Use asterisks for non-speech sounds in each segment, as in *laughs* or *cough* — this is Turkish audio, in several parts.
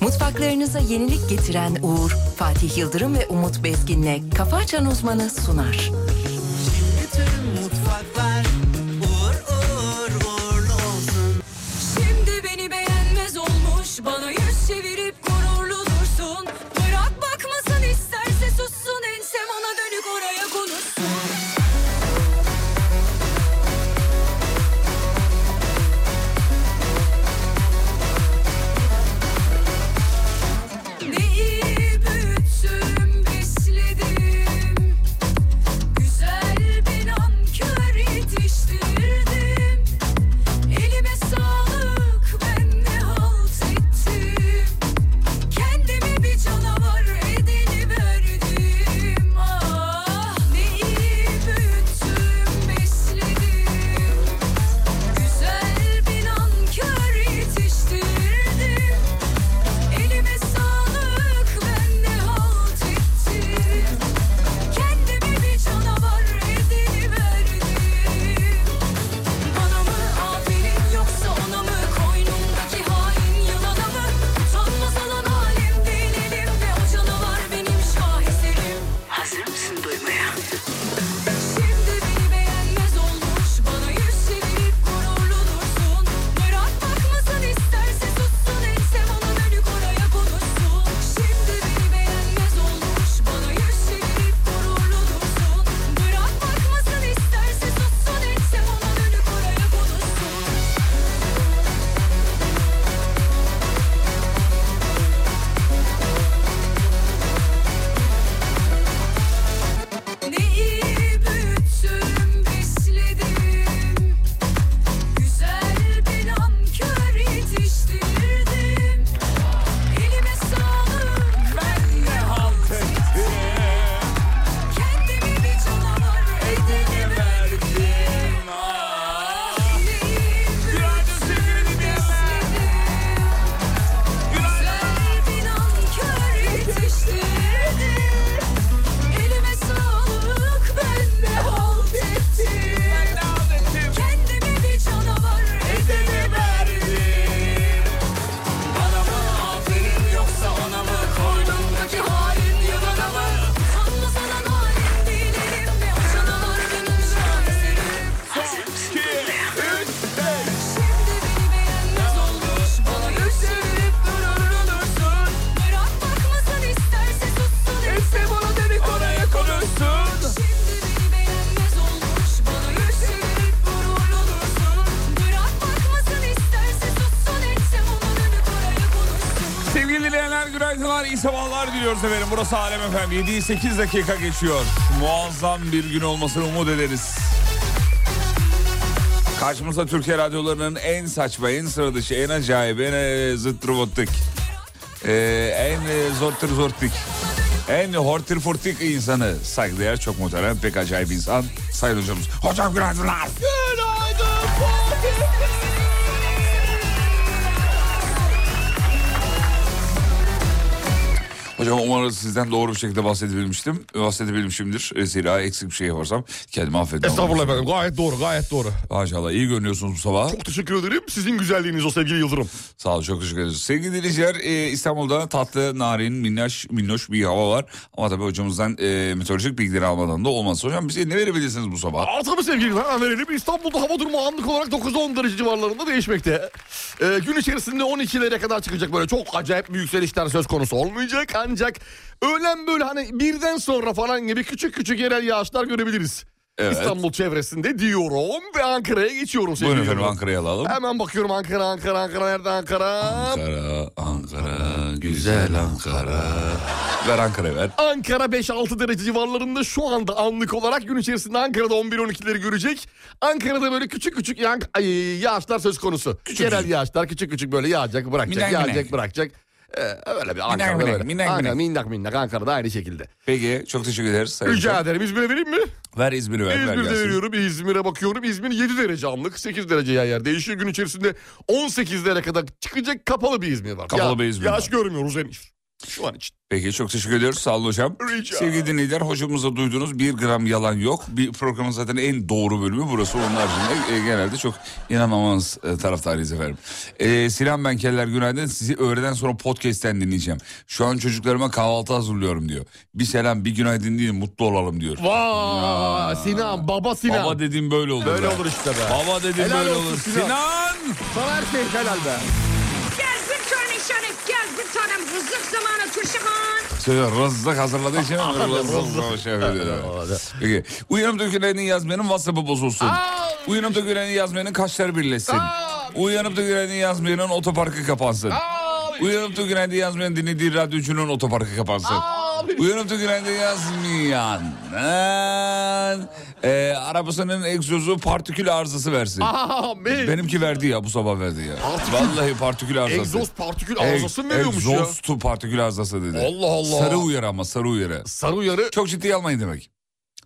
Mutfaklarınıza yenilik getiren Uğur, Fatih Yıldırım ve Umut Bezgin'le Kafa Açan Uzmanı sunar. Şimdi beni beğenmez olmuş Bana yüz çevirip gururlu dursun Bırak bakmasın isterse sussun Ensem ona dönük oraya konuşsun Ne iyi büyüttüm besledim Güzel bir nankör yetiştirdim Elime sağlık ben de halt ettim Kendimi bir canavar ediniverdim Ah ne iyi büyüttüm besledim Güzel bir nankör yetiştirdim Elime sağlık ben de halt ettim Kendimi bir canavar ediniverdim bana mı aferin yoksa ona mı koynumdaki hain yılana mı utanmaz olan halim değil elimde o canavar benim şaheserim. Hazır mısın duymaya? Şimdi beni beğenmez olmuş bana yüz çevirip gururlu dursun. Bırak bakmasın isterse sussun ensem ona dönük oraya konuşsun. Şimdi beni beğenmez olmuş bana yüz çevirip gururlu dursun. Bırak bakmasın isterse sussun ensem ona dönük oraya konuşsun. Ne iyi büyüttüm besledim Güzel bir nankör yetiştirdim Elime sağlık ben de halt ettim Kendimi bir canavar ediniverdim Ah, Ne iyi büyüttüm besledim Güzel bir nankör yetiştirdim Elime sağlık ben de halt ettim Kendimi bir canavar ediniverdim Bana mı aferin yoksa ona mı koynumdaki hain yılana mı Sanma sana nalim değil elimde o canavar benim şaheserim Şimdi beni beğenmez olmuş Bana yüz çevirip gururlu dursun Merak bakmasın isterse sussun Etse bana demek oraya konuşsun Şimdi beni beğenmez olmuş Bana yüz çevirip gururlu dursun Merak bakmasın isterse sussun Etse ona dönüp oraya konuşsun Sevgili dinleyenler günaydınlar, iyi sabahlar diliyoruz efendim. Burası Alem Efendim. 7-8 dakika geçiyor. Muazzam bir gün olmasını umut ederiz. Karşımızda Türkiye radyolarının en saçma, en sıra dışı, en acayip, en e, zıt robotik, e, en e, zorttir zorttik, en hortir fortik insanı saygıdeğer çok muhterem, pek acayip insan sayın hocamız. Hocam günaydınlar. Hocam umarım sizden doğru bir şekilde bahsedebilmiştim. Bahsedebilmişimdir. E, Zira eksik bir şey yaparsam kendimi affedin. Estağfurullah efendim gayet doğru gayet doğru. Maşallah iyi görünüyorsunuz bu sabah. Çok teşekkür ederim sizin güzelliğiniz o sevgili Yıldırım. Sağ olun çok teşekkür ederiz. Sevgili dinleyiciler e, İstanbul'da tatlı, narin, minnoş, minnoş bir hava var. Ama tabii hocamızdan e, meteorolojik bilgileri almadan da olmaz. Hocam bize ne verebilirsiniz bu sabah? Aa, tabii sevgili Yıldırım hemen verelim. İstanbul'da hava durumu anlık olarak 9-10 derece civarlarında değişmekte. Ee, gün içerisinde 12'lere kadar çıkacak böyle çok acayip bir yükselişler söz konusu olmayacak. Ancak öğlen böyle hani birden sonra falan gibi küçük küçük yerel yağışlar görebiliriz. Evet. İstanbul çevresinde diyorum ve Ankara'ya geçiyorum sevgili Buyurun efendim Yıldırım. Ankara'ya alalım. Hemen bakıyorum Ankara, Ankara, Ankara, nerede Ankara? Ankara, Ankara, güzel Ankara. Ver Ankara'yı ver. Ankara 5-6 derece civarlarında şu anda anlık olarak gün içerisinde Ankara'da 11-12'leri görecek. Ankara'da böyle küçük küçük yan, ay, yağışlar söz konusu. Yerel küçük. yağışlar küçük küçük böyle yağacak bırakacak Minnak yağacak minnak. bırakacak. Ee, öyle bir Ankara'da minnak, böyle. minnak Ankara, minnak. minnak minnak Ankara'da aynı şekilde. Peki çok teşekkür ederiz. Sayın Rica hocam. ederim İzmir'e vereyim mi? Ver İzmir'i ver. ver İzmir'de gelsin. veriyorum İzmir'e bakıyorum. İzmir 7 derece anlık 8 derece yer yer değişiyor. Gün içerisinde 18'lere kadar çıkacak kapalı bir İzmir var. Kapalı bir İzmir Yağış görmüyoruz henüz. Şu an için. Peki çok teşekkür ediyoruz. Sağ olun hocam. Rica. Sevgili dinleyiciler hocamıza duyduğunuz bir gram yalan yok. Bir programın zaten en doğru bölümü burası. Onun haricinde e, genelde çok inanmamanız e, taraftarıyız efendim. E, Sinan Benkeller günaydın. Sizi öğleden sonra podcast'ten dinleyeceğim. Şu an çocuklarıma kahvaltı hazırlıyorum diyor. Bir selam bir günaydın deyin mutlu olalım diyor. Vay Sinan baba Sinan. Baba dediğim böyle olur. Böyle be. olur işte be. Baba dediğim Helal böyle olsun olur. Sinan. Sinan! Sana her şey helal be. Gel bir tane şanım, gel bir tanem rızık zamanı Turşahan. Söyle rızık hazırladığı için *laughs* mi? Rızık. Rızık şey veriyor. Orada. Peki. Uyanıp dökülenin yazmayanın WhatsApp'ı bozulsun. Uyanıp dökülenin yazmayanın kaşları birleşsin. Uyanıp dökülenin yazmayanın otoparkı kapansın. Uyanıp dökülenin yazmayanın dinlediği radyocunun otoparkı kapansın. Uyanıp dökülenin yazmayan e, arabasının egzozu partikül arızası versin. Amin. Benimki verdi ya bu sabah verdi ya. Partikül- Vallahi partikül arızası. Egzoz partikül arızası mı veriyormuş ya? Egzoz tu partikül arızası dedi. Allah Allah. Sarı uyarı ama sarı uyarı. Sarı uyarı. Çok ciddiye almayın demek.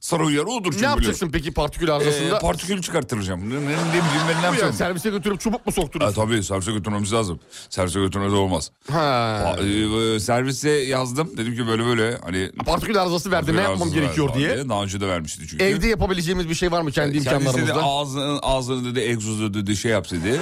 Sarı uyarı odur çünkü Ne yapacaksın peki partikül biliyorsun. arızasında? Ee, partikül çıkarttıracağım. Ne, ne, ne, bileyim ben ne Bu ya, yapacağım? servise götürüp çubuk mu Ha, soktunuz? tabii servise götürmemiz lazım. Servise götürmemiz olmaz. Ha. Ha, e, servise yazdım. Dedim ki böyle böyle hani... Partikül arızası verdi ne Biraz yapmam var gerekiyor falan diye. Daha önce de vermişti çünkü. Evde yapabileceğimiz bir şey var mı kendi Ee, Kendisi de imkanlarımızda? ağzını, ağzını dedi egzozu dedi şey yap dedi.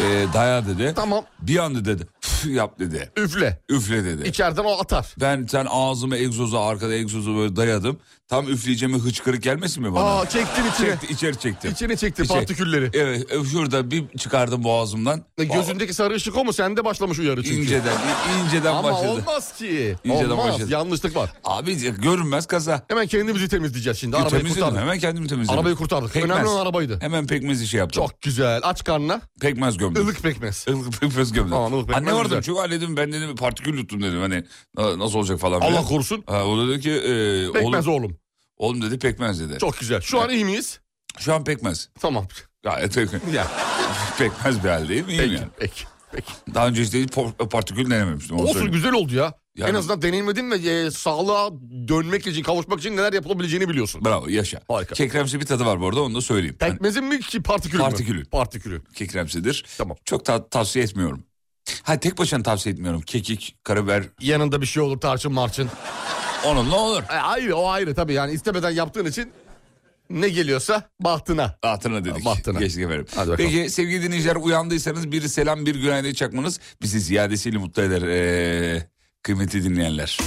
E, daya dedi. Tamam. Bir anda dedi "Üf" yap dedi. Üfle. Üfle dedi. İçeriden o atar. Ben sen ağzıma egzozu arkada egzozu böyle dayadım. Tam üfleyeceğime hıçkırık gelmesin mi bana? Aa çektim içine. Çekti, içeri çektim. İçine çekti İçeri- partikülleri. Evet e, şurada bir çıkardım boğazımdan. E, Gözündeki sarı ışık o mu? Sende başlamış uyarı çünkü. Ee, İnceden, i- inceden Ama başladı. olmaz ki. İnceden olmaz. başladı. Yanlışlık var. Abi c- görünmez kaza. Hemen kendimizi temizleyeceğiz şimdi. Bir Arabayı Temizledim kurtardık. hemen kendimi temizledim. Arabayı kurtardık. Pekmez. Önemli olan arabaydı. Hemen pekmez işi yaptım. Çok güzel. Aç karnına. Pekmez gömdüm. ılık pekmez. *laughs* Ilık pekmez gömdüm. Tamam, ılık pekmez Anne vardı güzel. çünkü halledim ben dedim partikül yuttum dedim hani "Na- nasıl olacak falan. Allah böyle. korusun. Ha, o dedi ki e, Pekmez oğlum, oğlum. oğlum dedi pekmez dedi. Çok güzel. Şu an iyi miyiz? Şu an pekmez. Tamam. Gayet *laughs* pekmez. Ya. pekmez bir haldeyim iyiyim Peki. yani. Peki. Peki. Daha önce hiç por- partikül denememiştim. onu Olsun söyleyeyim. güzel oldu ya. Yani- En azından deneyimledin ve e, sağlığa dönmek için, kavuşmak için neler yapılabileceğini biliyorsun. Bravo yaşa. Harika. Kekremsi bir tadı var bu arada onu da söyleyeyim. Hani Pekmezin mi ki partikülü Partikülü. mü? Partikülü. kekremsidir. Tamam. Çok ta- tavsiye etmiyorum. Ha tek başına tavsiye etmiyorum. Kekik, karabiber Yanında bir şey olur tarçın marçın. onunla olur. E, ayrı o ayrı tabii yani istemeden yaptığın için ne geliyorsa bahtına. Hatırına dedik. Bahtına. Geçtik efendim. Hadi bakalım. Peki sevgili dinleyiciler uyandıysanız bir selam bir günaydın çakmanız bizi ziyadesiyle mutlu eder. Ee, kıymetli dinleyenler.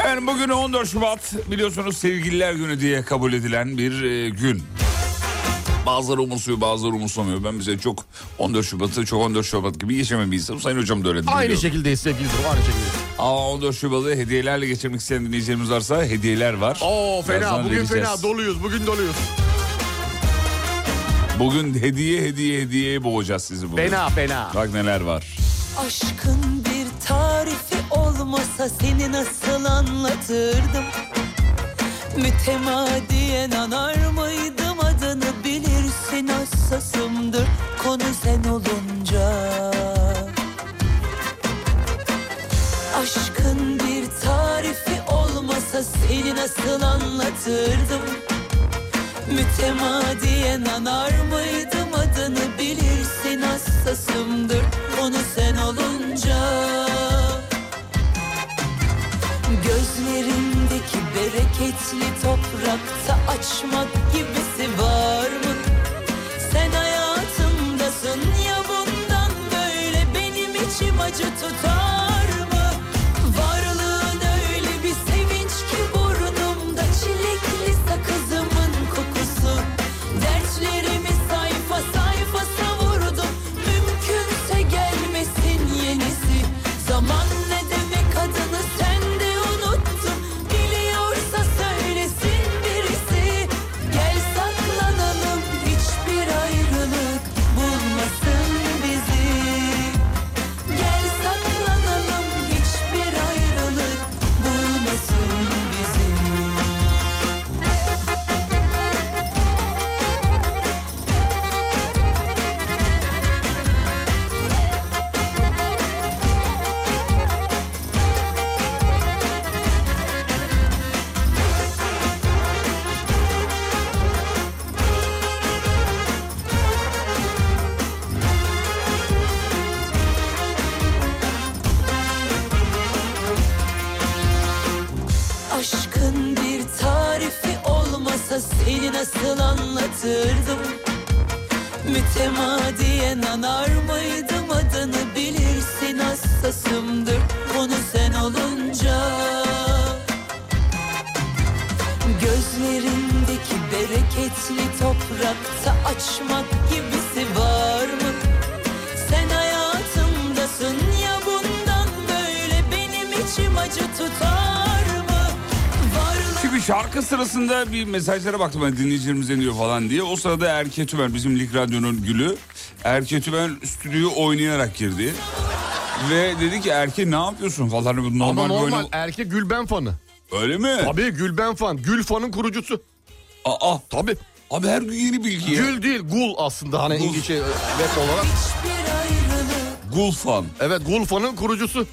Efendim bugün 14 Şubat biliyorsunuz sevgililer günü diye kabul edilen bir e, gün. Bazıları umursuyor bazıları umursamıyor. Ben bize çok 14 Şubat'ı çok 14 Şubat gibi geçemem bir insanım. Sayın hocam da öyle. Aynı biliyorum. şekildeyiz sevgili Durum, aynı şekilde. Ama 14 Şubat'ı hediyelerle geçirmek isteyen dinleyicilerimiz varsa hediyeler var. Oo fena Birazdan bugün vereceğiz. fena doluyuz bugün doluyuz. Bugün hediye hediye hediyeye boğacağız sizi bugün. Fena fena. Bak neler var. Aşkın bir tarifi olmasa seni nasıl anlatırdım? Mütemadiyen anar mıydım adını bilirsin hassasımdır konu sen olunca. Aşkın bir tarifi olmasa seni nasıl anlatırdım? Mütemadiyen anar mıydım adını bilirsin hassasımdır onu sen olunca Gözlerindeki bereketli toprakta açmak gibisi var mı? Sen hayatımdasın ya bundan böyle benim içim acı tutar mı? Varlığın öyle bir sevinç ki burnumda çilekli sakızımın kokusu. Dertlerimi sayfa sayfa savurdum. Mümkünse gelmesin yenisi. Zaman ne demek adını sen de unuttun. Biliyorsa söylesin birisi. Gel sana Eli nasıl anlatırdım Mütemadiyen anar mıydım adını bilirsin hassasımdır Konu sen olunca Gözlerindeki bereketli toprakta açmak gibisi var mı? Sen hayatımdasın ya bundan böyle benim içim acı tutar mı? Varlık Çünkü şarkı sırasında bir mesajlara baktım ben dinleyicilerimiz ne diyor falan diye. O sırada Erke Tümer bizim Lig Radyo'nun gülü. Erke Tümer stüdyoyu oynayarak girdi. Ve dedi ki Erke ne yapıyorsun falan. Bu Normal, Ama bir normal oyun- erke Gülben fanı. Öyle mi? Abi, Tabii Gülben fan. Gül fanın kurucusu. Aa, Tabii. abi her gün yeni bilgi ya. Gül değil gul aslında hani Gul. İngilizce e, rap olarak. hiçbir ayrılık Gulfan. Evet gul fanın kurucusu.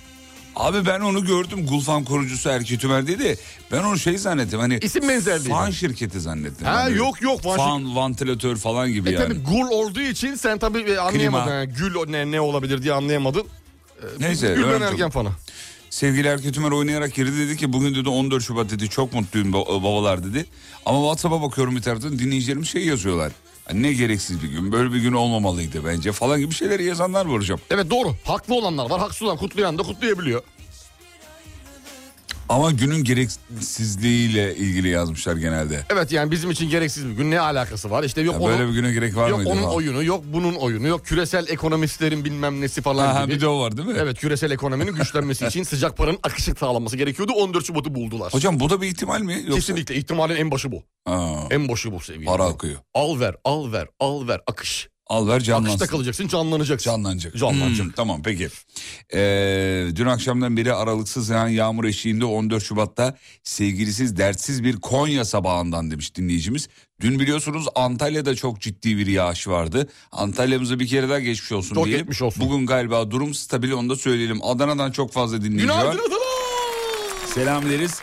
Abi ben onu gördüm. Gulfan kurucusu Erke Tümer dedi. Ben onu şey zannettim hani. İsim benzerliği. Fan şirketi zannettim. Ha, Yani. yok, yok, fan şir- Fan, vantilatör falan gibi E yani. tabii gul olduğu için sen tabii e, anlayamadın. Klima. ha, gül o- ne, ne olabilir diye anlayamadın. e, Neyse. Gülben önemli Ergen değil. fanı. Sevgili Erke Tümer oynayarak girdi dedi ki bugün dedi 14 Şubat dedi çok mutluyum ba- babalar dedi. Ama WhatsApp'a bakıyorum bir taraftan dinleyicilerim şey yazıyorlar. Hani Ne gereksiz bir gün böyle bir gün olmamalıydı bence falan gibi şeyleri yazanlar var hocam. Evet doğru. Haklı olanlar var. Haksız olan kutlayan da kutlayabiliyor. Ama günün gereksizliğiyle ilgili yazmışlar genelde. Evet yani bizim için gereksiz bir gün ne alakası var? İşte yok Ya onun, böyle bir güne gerek var yok mıydı? onun falan? oyunu, yok bunun oyunu, yok küresel ekonomistlerin bilmem nesi falan Ha, ha, gibi. bir de o var değil mi? Evet küresel ekonominin güçlenmesi için sıcak paranın akışı sağlanması gerekiyordu. 14 Şubat'ı buldular. Hocam bu da bir ihtimal mi? Yoksa... Kesinlikle ihtimalin en başı bu. Aa, En başı bu sevgili. para akıyor. Al ver, al ver, al ver akış. Al ver canlansın. Akışta kalacaksın, canlanacaksın. Canlanacak. Canlanacak. Hmm, tamam peki. Ee, dün akşamdan beri aralıksız yağan yağmur eşiğinde 14 Şubat'ta sevgilisiz dertsiz bir Konya sabahından demiş dinleyicimiz. Dün biliyorsunuz Antalya'da çok ciddi bir yağış vardı. Antalya'mıza bir kere daha geçmiş olsun Çok diyelim. geçmiş olsun. Bugün galiba durum stabil onu da söyleyelim. Adana'dan çok fazla dinleyici var. Günaydın Adana! Selam deriz.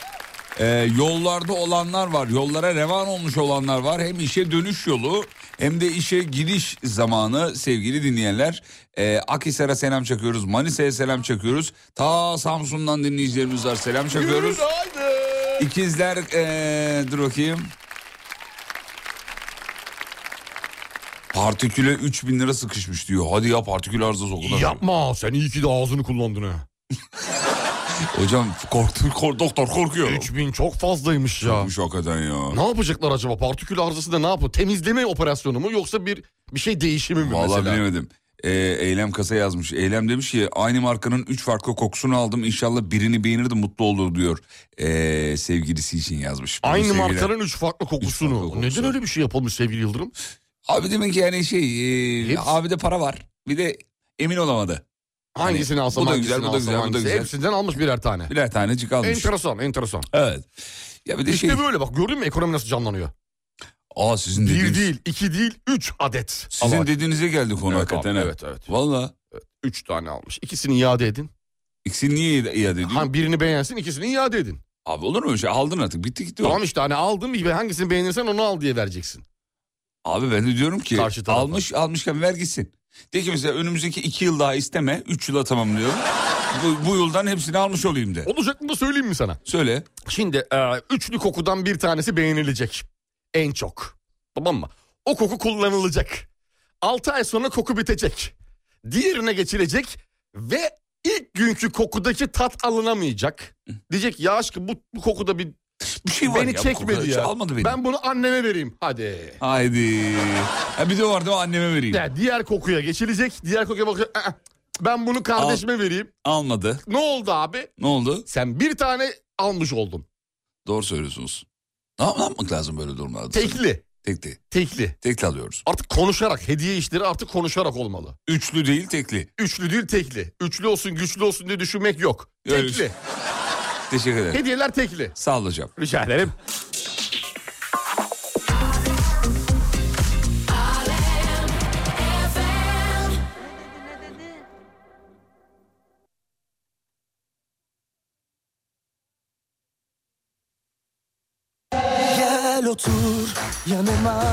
Ee, yollarda olanlar var. Yollara revan olmuş olanlar var. Hem işe dönüş yolu hem de işe gidiş zamanı sevgili dinleyenler. Ee, Akhisar'a selam çakıyoruz. Manisa'ya selam çakıyoruz. Ta Samsun'dan dinleyicilerimiz var. Selam çakıyoruz. Günaydın! İkizler ee, dur bakayım. Partiküle 3000 lira sıkışmış diyor. Hadi ya partikül arızası o kadar. Yapma sen iyi ki de ağzını kullandın ha. Hocam korktu, kork, doktor korkuyor. 3000 çok fazlaymış ya. Korkmuş hakikaten ya. Ne yapacaklar acaba? Partikül arızası da ne yapıyor? Temizleme operasyonu mu yoksa bir bir şey değişimi mi Vallahi mesela? bilemedim. Ee, Eylem kasa yazmış. Eylem demiş ki aynı markanın 3 farklı kokusunu aldım. İnşallah birini beğenir de mutlu olur diyor. Ee, sevgilisi için yazmış. Bunu Aynı sevgiler- markanın üç farklı kokusunu. farklı kokusu. Neden öyle bir şey yapılmış sevgili Yıldırım? Abi demek ki yani şey e, Hepsi- abi de para var. Bir de emin olamadı. Hangisini Hani, alsam bu da hangisini güzel, bu da alsam, güzel, bu da hangisi? güzel. Hepsinden almış birer tane. Birer tanecik almış. Enteresan enteresan. Evet. Ya bir de İşte şey. böyle bak gördün mü ekonomi nasıl canlanıyor? Aa sizin Bir dediğiniz. değil, iki değil, üç adet. Sizin Allah- dediğinize geldi konu Evet, hakikaten. abi, ha. evet, evet. Valla. Üç tane almış. İkisini iade edin. İkisini niye iade ediyorsun? Ha, birini beğensin, ikisini iade edin. Abi olur mu öyle şey? Aldın artık. Bitti gitti. o. Tamam işte hani aldın gibi hangisini beğenirsen onu al diye vereceksin. Abi ben de diyorum ki Karşı tarafa. almış almışken ver gitsin. De ki mesela önümüzdeki iki yıl daha isteme. Üç yıla tamamlıyorum. bu, bu yıldan hepsini almış olayım de. Olacak mı da söyleyeyim mi sana? Söyle. Şimdi e, üçlü kokudan bir tanesi beğenilecek. En çok. Tamam mı? O koku kullanılacak. 6 ay sonra koku bitecek. Diğerine geçilecek ve ilk günkü kokudaki tat alınamayacak. Diyecek ya aşkım bu, bu kokuda bir Bir şey var beni ya bu konuda. çekmedi Hiç ya. Almadı beni. Ben bunu anneme vereyim. Hadi. Haydi. Ha, bir de o vardı o anneme vereyim. Ya diğer kokuya geçilecek. Diğer kokuya bakıyor. "Aa, Ben bunu kardeşime vereyim. Almadı. Ne oldu abi? Ne oldu? Sen bir tane almış oldun. Doğru söylüyorsunuz. Ne, yap- ne yapmak lazım böyle durumlarda? Tekli. Tekli. Tekli. Tekli alıyoruz. Artık konuşarak hediye işleri artık konuşarak olmalı. Üçlü değil tekli. Üçlü değil tekli. Üçlü olsun güçlü olsun diye düşünmek yok. Öyle Tekli. Teşekkür ederim. Hediyeler tekli. Sağ ol hocam. Rica ederim. Gel otur yanıma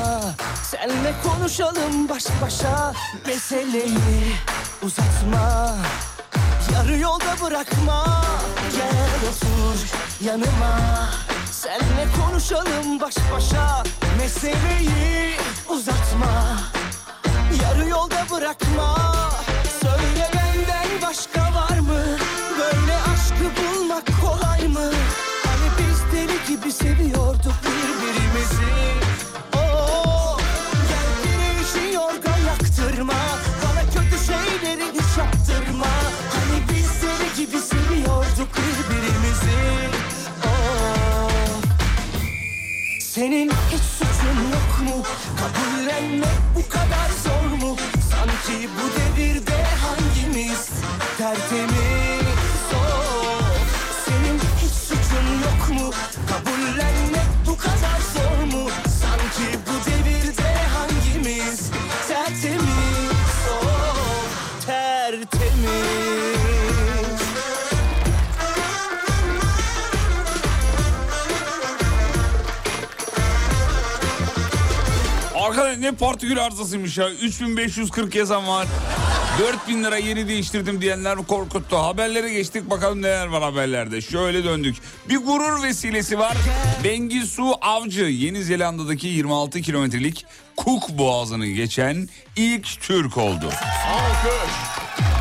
Senle konuşalım baş başa Meseleyi uzatma Yarı yolda bırakma Gel otur yanıma Senle konuşalım baş başa Meseleyi bırakma Söyle benden başka var mı? Böyle aşkı bulmak kolay mı? Hani biz deli gibi seviyorduk birbirimizi Oo, gel beni işi yorgan yaktırma Bana kötü şeyleri hiç yaptırma Hani biz deli gibi seviyorduk birbirimizi Oo, senin hiç suçun yok mu? Kabullenmek bu kadar zor mu? Sanki bu devirde hangimiz tertemiz ol? Senin hiç suçun yok mu? Kabullenmek bu kadar zor mu? Sanki bu devirde hangimiz tertemiz Oh, ol? Tertemiz Arkadaş ne partikül arızasıymış ya. 3540 yazan var. 4000 lira yeni değiştirdim diyenler korkuttu. Haberlere geçtik bakalım neler var haberlerde. Şöyle döndük. Bir gurur vesilesi var. Bengisu Avcı Yeni Zelanda'daki 26 kilometrelik Cook Boğazı'nı geçen ilk Türk oldu. Alkış.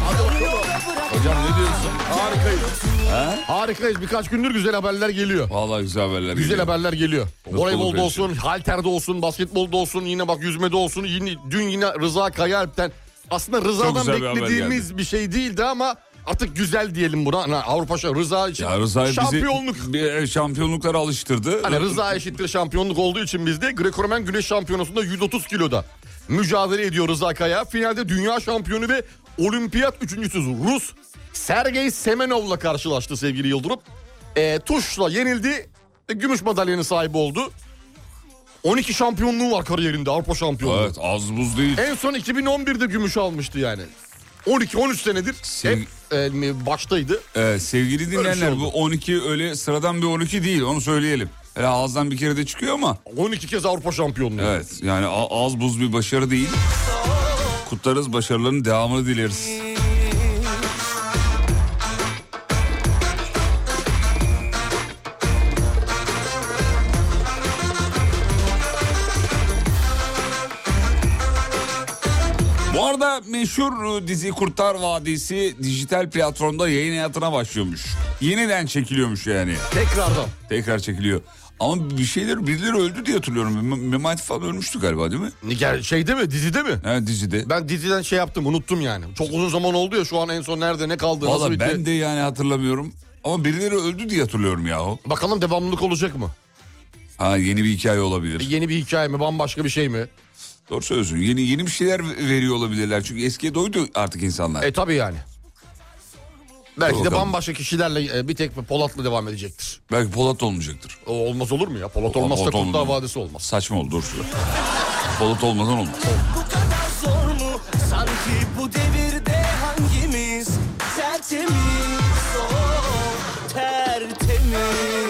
Hadi bakalım. Hocam ne diyorsun? Harikayız. Harikayız. Birkaç gündür güzel haberler geliyor. Vallahi güzel haberler Güzel geliyor. haberler geliyor. Nasıl olur Voleybolda böyle olsun, halterde olsun, basketbolda olsun, yine bak yüzmede olsun. Yine, dün yine Rıza Kayaalp'ten aslında Çok Rıza'dan güzel bir haber beklediğimiz bir, şey değildi ama artık güzel diyelim buna. Ana, Avrupa şa- Rıza için Ya Rıza bizi şampiyonluk. bir- e, şampiyonluklara alıştırdı. Hani Rıza eşittir şampiyonluk olduğu için bizde Greco-Romen Güreş Şampiyonası'nda 130 kiloda mücadele ediyor Rıza Kaya. Finalde dünya şampiyonu ve olimpiyat üçüncüsü Rus Sergey Semenov'la karşılaştı sevgili Yıldırım. Ee, tuşla yenildi. e, Gümüş madalyanın sahibi oldu. 12 şampiyonluğu var kariyerinde Avrupa şampiyonluğu. Evet az buz değil. En son 2011'de gümüş almıştı yani. 12-13 senedir Sev- hep e, baştaydı. Ee, sevgili şey dinleyenler oldu. bu 12 öyle sıradan bir 12 değil onu söyleyelim. Hele ağızdan bir kere de çıkıyor ama 12 kez Avrupa şampiyonluğu. evet yani a- az buz bir başarı değil. Kutlarız başarılarının devamını dileriz. Bu arada meşhur e, dizi Kurtlar Vadisi dijital platformda yayın hayatına başlıyormuş. Yeniden çekiliyormuş yani. Tekrardan. Tekrar çekiliyor. Ama bir şeyler birileri öldü diye hatırlıyorum. M- Memati falan ölmüştü galiba değil mi? Niger şeyde mi dizide mi? Ha dizide. Ben diziden şey yaptım unuttum yani. Çok uzun zaman oldu ya şu an en son nerede ne kaldı nasıl şey- Valla bitti. ben de yani hatırlamıyorum. Ama birileri öldü diye hatırlıyorum yahu. Bakalım devamlılık olacak mı? Ha yeni bir hikaye olabilir. Yeni bir hikaye mi bambaşka bir şey mi? Doğru söylüyorsun. Yeni yeni bir şeyler veriyor olabilirler. Çünkü eskiye doydu artık insanlar. E tabi yani. Belki de Bakalım. bambaşka kişilerle e, bir tek Polat'la devam edecektir. Belki Polat olmayacaktır. O olmaz olur mu ya? Polat olmazsa Polat olmaz. Kurtlar Vadisi olmaz. Saçma oldu. Doğru söylüyorsun. Polat olmadan olmaz. Bu kadar zor mu? Sanki bu devirde hangimiz tertemiz, oh, tertemiz.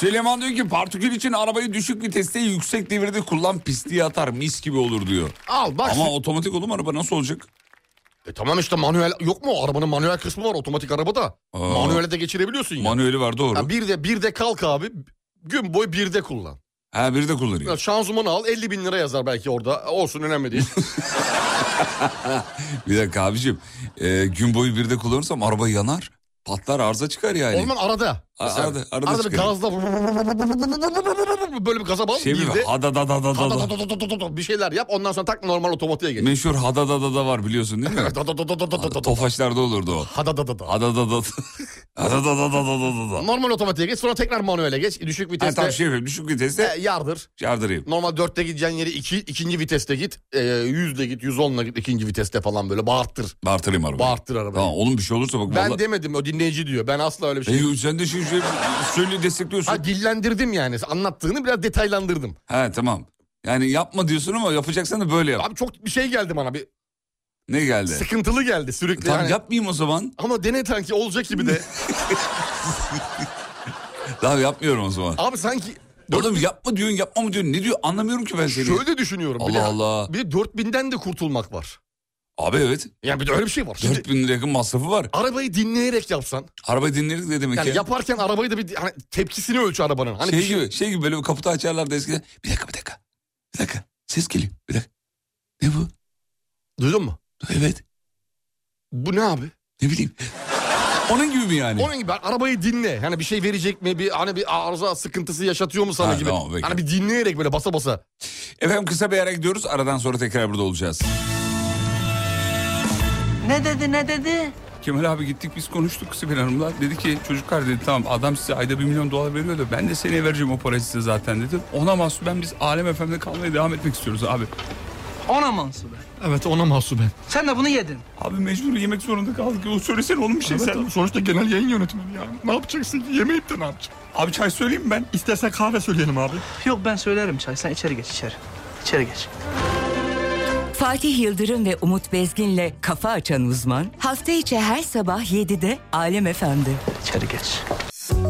Süleyman diyor ki partikül için arabayı düşük viteste yüksek devirde kullan pisliğe atar mis gibi olur diyor. Al bak. Ama şu- otomatik olur mu araba nasıl olacak? E, tamam işte manuel yok mu? Arabanın manuel kısmı var otomatik arabada. Aa. Manuele de geçirebiliyorsun ya. Manueli var doğru. Ha, bir de bir de kalk abi. Gün boyu bir de kullan. Ha biri de kullanıyor. Ya Şanzımanı al 50 bin lira yazar belki orada. Olsun önemli değil. Bir dakika abicim. e, gün boyu bir de kullanırsam araba yanar. Patlar arıza çıkar yani. Olman arada. A- Mesela arada- arada bir çıkarım. gazla böyle bir gaza bas. Şey mi? bir de Hada da da da da da. bir şeyler yap ondan sonra tak normal otomatiğe geç. Meşhur hada da da da var biliyorsun değil mi? Tofaşlarda olurdu o. Hada da da da. Hada da da da da da da. Normal otomatiğe geç sonra tekrar manuele geç. Düşük Ha, viteste tamam şey yapayım. Düşük e, viteste yardır. yardırayım. Normal dörtte gideceğin yeri iki, ikinci viteste git. E, yüzle git, yüz onla git ikinci viteste falan böyle bağırttır. Bağırtırayım arabayı. Bağırttır arabayı. Tamam oğlum bir şey olursa bak. Ben vallahi- demedim o dinleyici diyor. Ben asla öyle bir şey... E, sen de şey, şey söyle destekliyorsun. Ha dillendirdim yani. Anlattığını biraz detaylandırdım. Ha tamam. Yani yapma diyorsun ama yapacaksan da böyle yap. Abi çok bir şey geldi bana. Bir Ne geldi? sıkıntılı geldi sürekli. Tamam yani. yapmayayım o zaman. Ama dene sanki olacak *laughs* gibi de. Tamam yapmıyorum o zaman. Abi sanki Oğlum yapma diyorsun yapma mı diyorsun ne diyor anlamıyorum ki ben seni. şöyle düşünüyorum. bir Allah de, Allah. Bir de 4000'den de kurtulmak var. Abi evet. Yani bir de öyle bir şey var. Şimdi 4000 lira yakın masrafı var. arabayı dinleyerek yapsan. Araba dinledik ne demek Yani ya? yaparken arabayı da bir hani tepkisini ölçü arabanın. Hani şey gibi, şey gibi böyle bir kaputu açarlardı eskiden. Bir dakika bir dakika. Bir dakika. Ses geliyor. Bir dakika. Ne bu? duydun mu? Evet. Bu ne abi? Ne bileyim. *laughs* Onun gibi mi yani? Onun gibi ben arabayı dinle. Hani bir şey verecek mi? Bir hani bir arıza sıkıntısı yaşatıyor mu sana Ha, gibi. tamam, peki. hani bir dinleyerek böyle basa basa. Efendim kısa bir ara gidiyoruz. Aradan sonra tekrar burada olacağız. Ne dedi ne dedi? Kemal abi gittik biz konuştuk Sibel Hanım'la. Dedi ki çocuklar dedi tamam adam size ayda 1 milyon dolar veriyor da ben de seneye vereceğim o parayı size zaten dedi. Ona mahsuben biz Alem Efendi kalmaya devam etmek istiyoruz abi. Ona mansuben. Evet ona mahsuben. Sen de bunu yedin. Abi mecbur yemek zorunda kaldık. O söylesene oğlum bir şey sen. Sonuçta genel yayın yönetmeni ya. Ne yapacaksın ki? Yemeyip de ne yapacaksın? Abi çay söyleyeyim mi ben? İstersen kahve söyleyelim abi. Yok ben söylerim çay. Sen içeri geç içeri. İçeri geç. Fatih Yıldırım ve Umut Bezgin'le Kafa Açan Uzman hafta içi her sabah 7'de Alem Efendi. İçeri geç.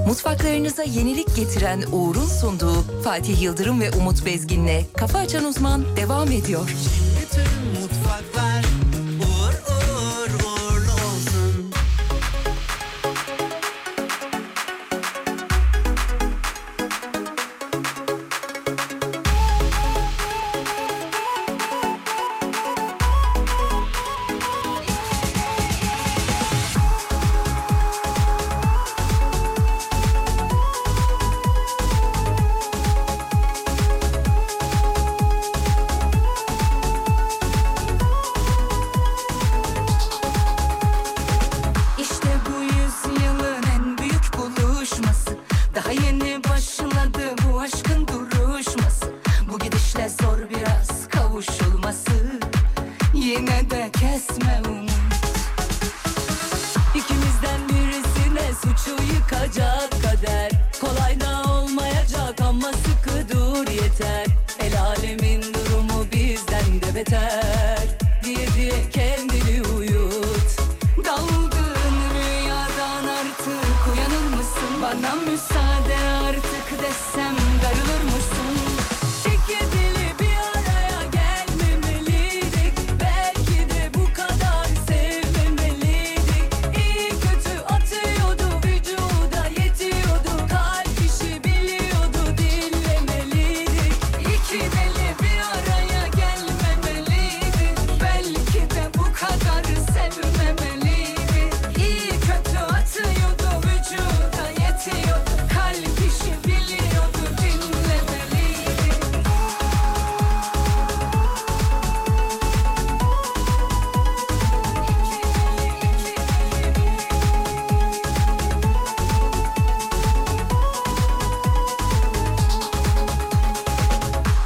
Mutfaklarınıza yenilik getiren Uğur'un sunduğu Fatih Yıldırım ve Umut Bezgin'le Kafa Açan Uzman devam ediyor. Bütün mutfaklar uğur uğur uğurlu olsun. İşte bu yüzyılın en büyük buluşması Daha yeni başladı bu aşkın duruşması Bu gidişle zor biraz kavuşulması Yine de kesme umut İkimizden birisine suçu yıkacak kader Kolay da olmayacak ama sıkı dur yeter El alemin durumu bizden de beter Diye diye kendini uyut Daldığın rüyadan artık uyanır mısın? Bana müsaade artık desem darılır mısın? İki dili bir araya gelmemeliydik Belki de bu kadar sevmemeliydik İyi kötü atıyordu vücuda yetiyordu Kalp işi biliyordu dinlemeliydik İki deli bir araya gelmemeliydik Belki de bu kadar sevmemeliydik İyi kötü atıyordu vücuda yetiyordu Kalp işi biliyordu dinlemeliydik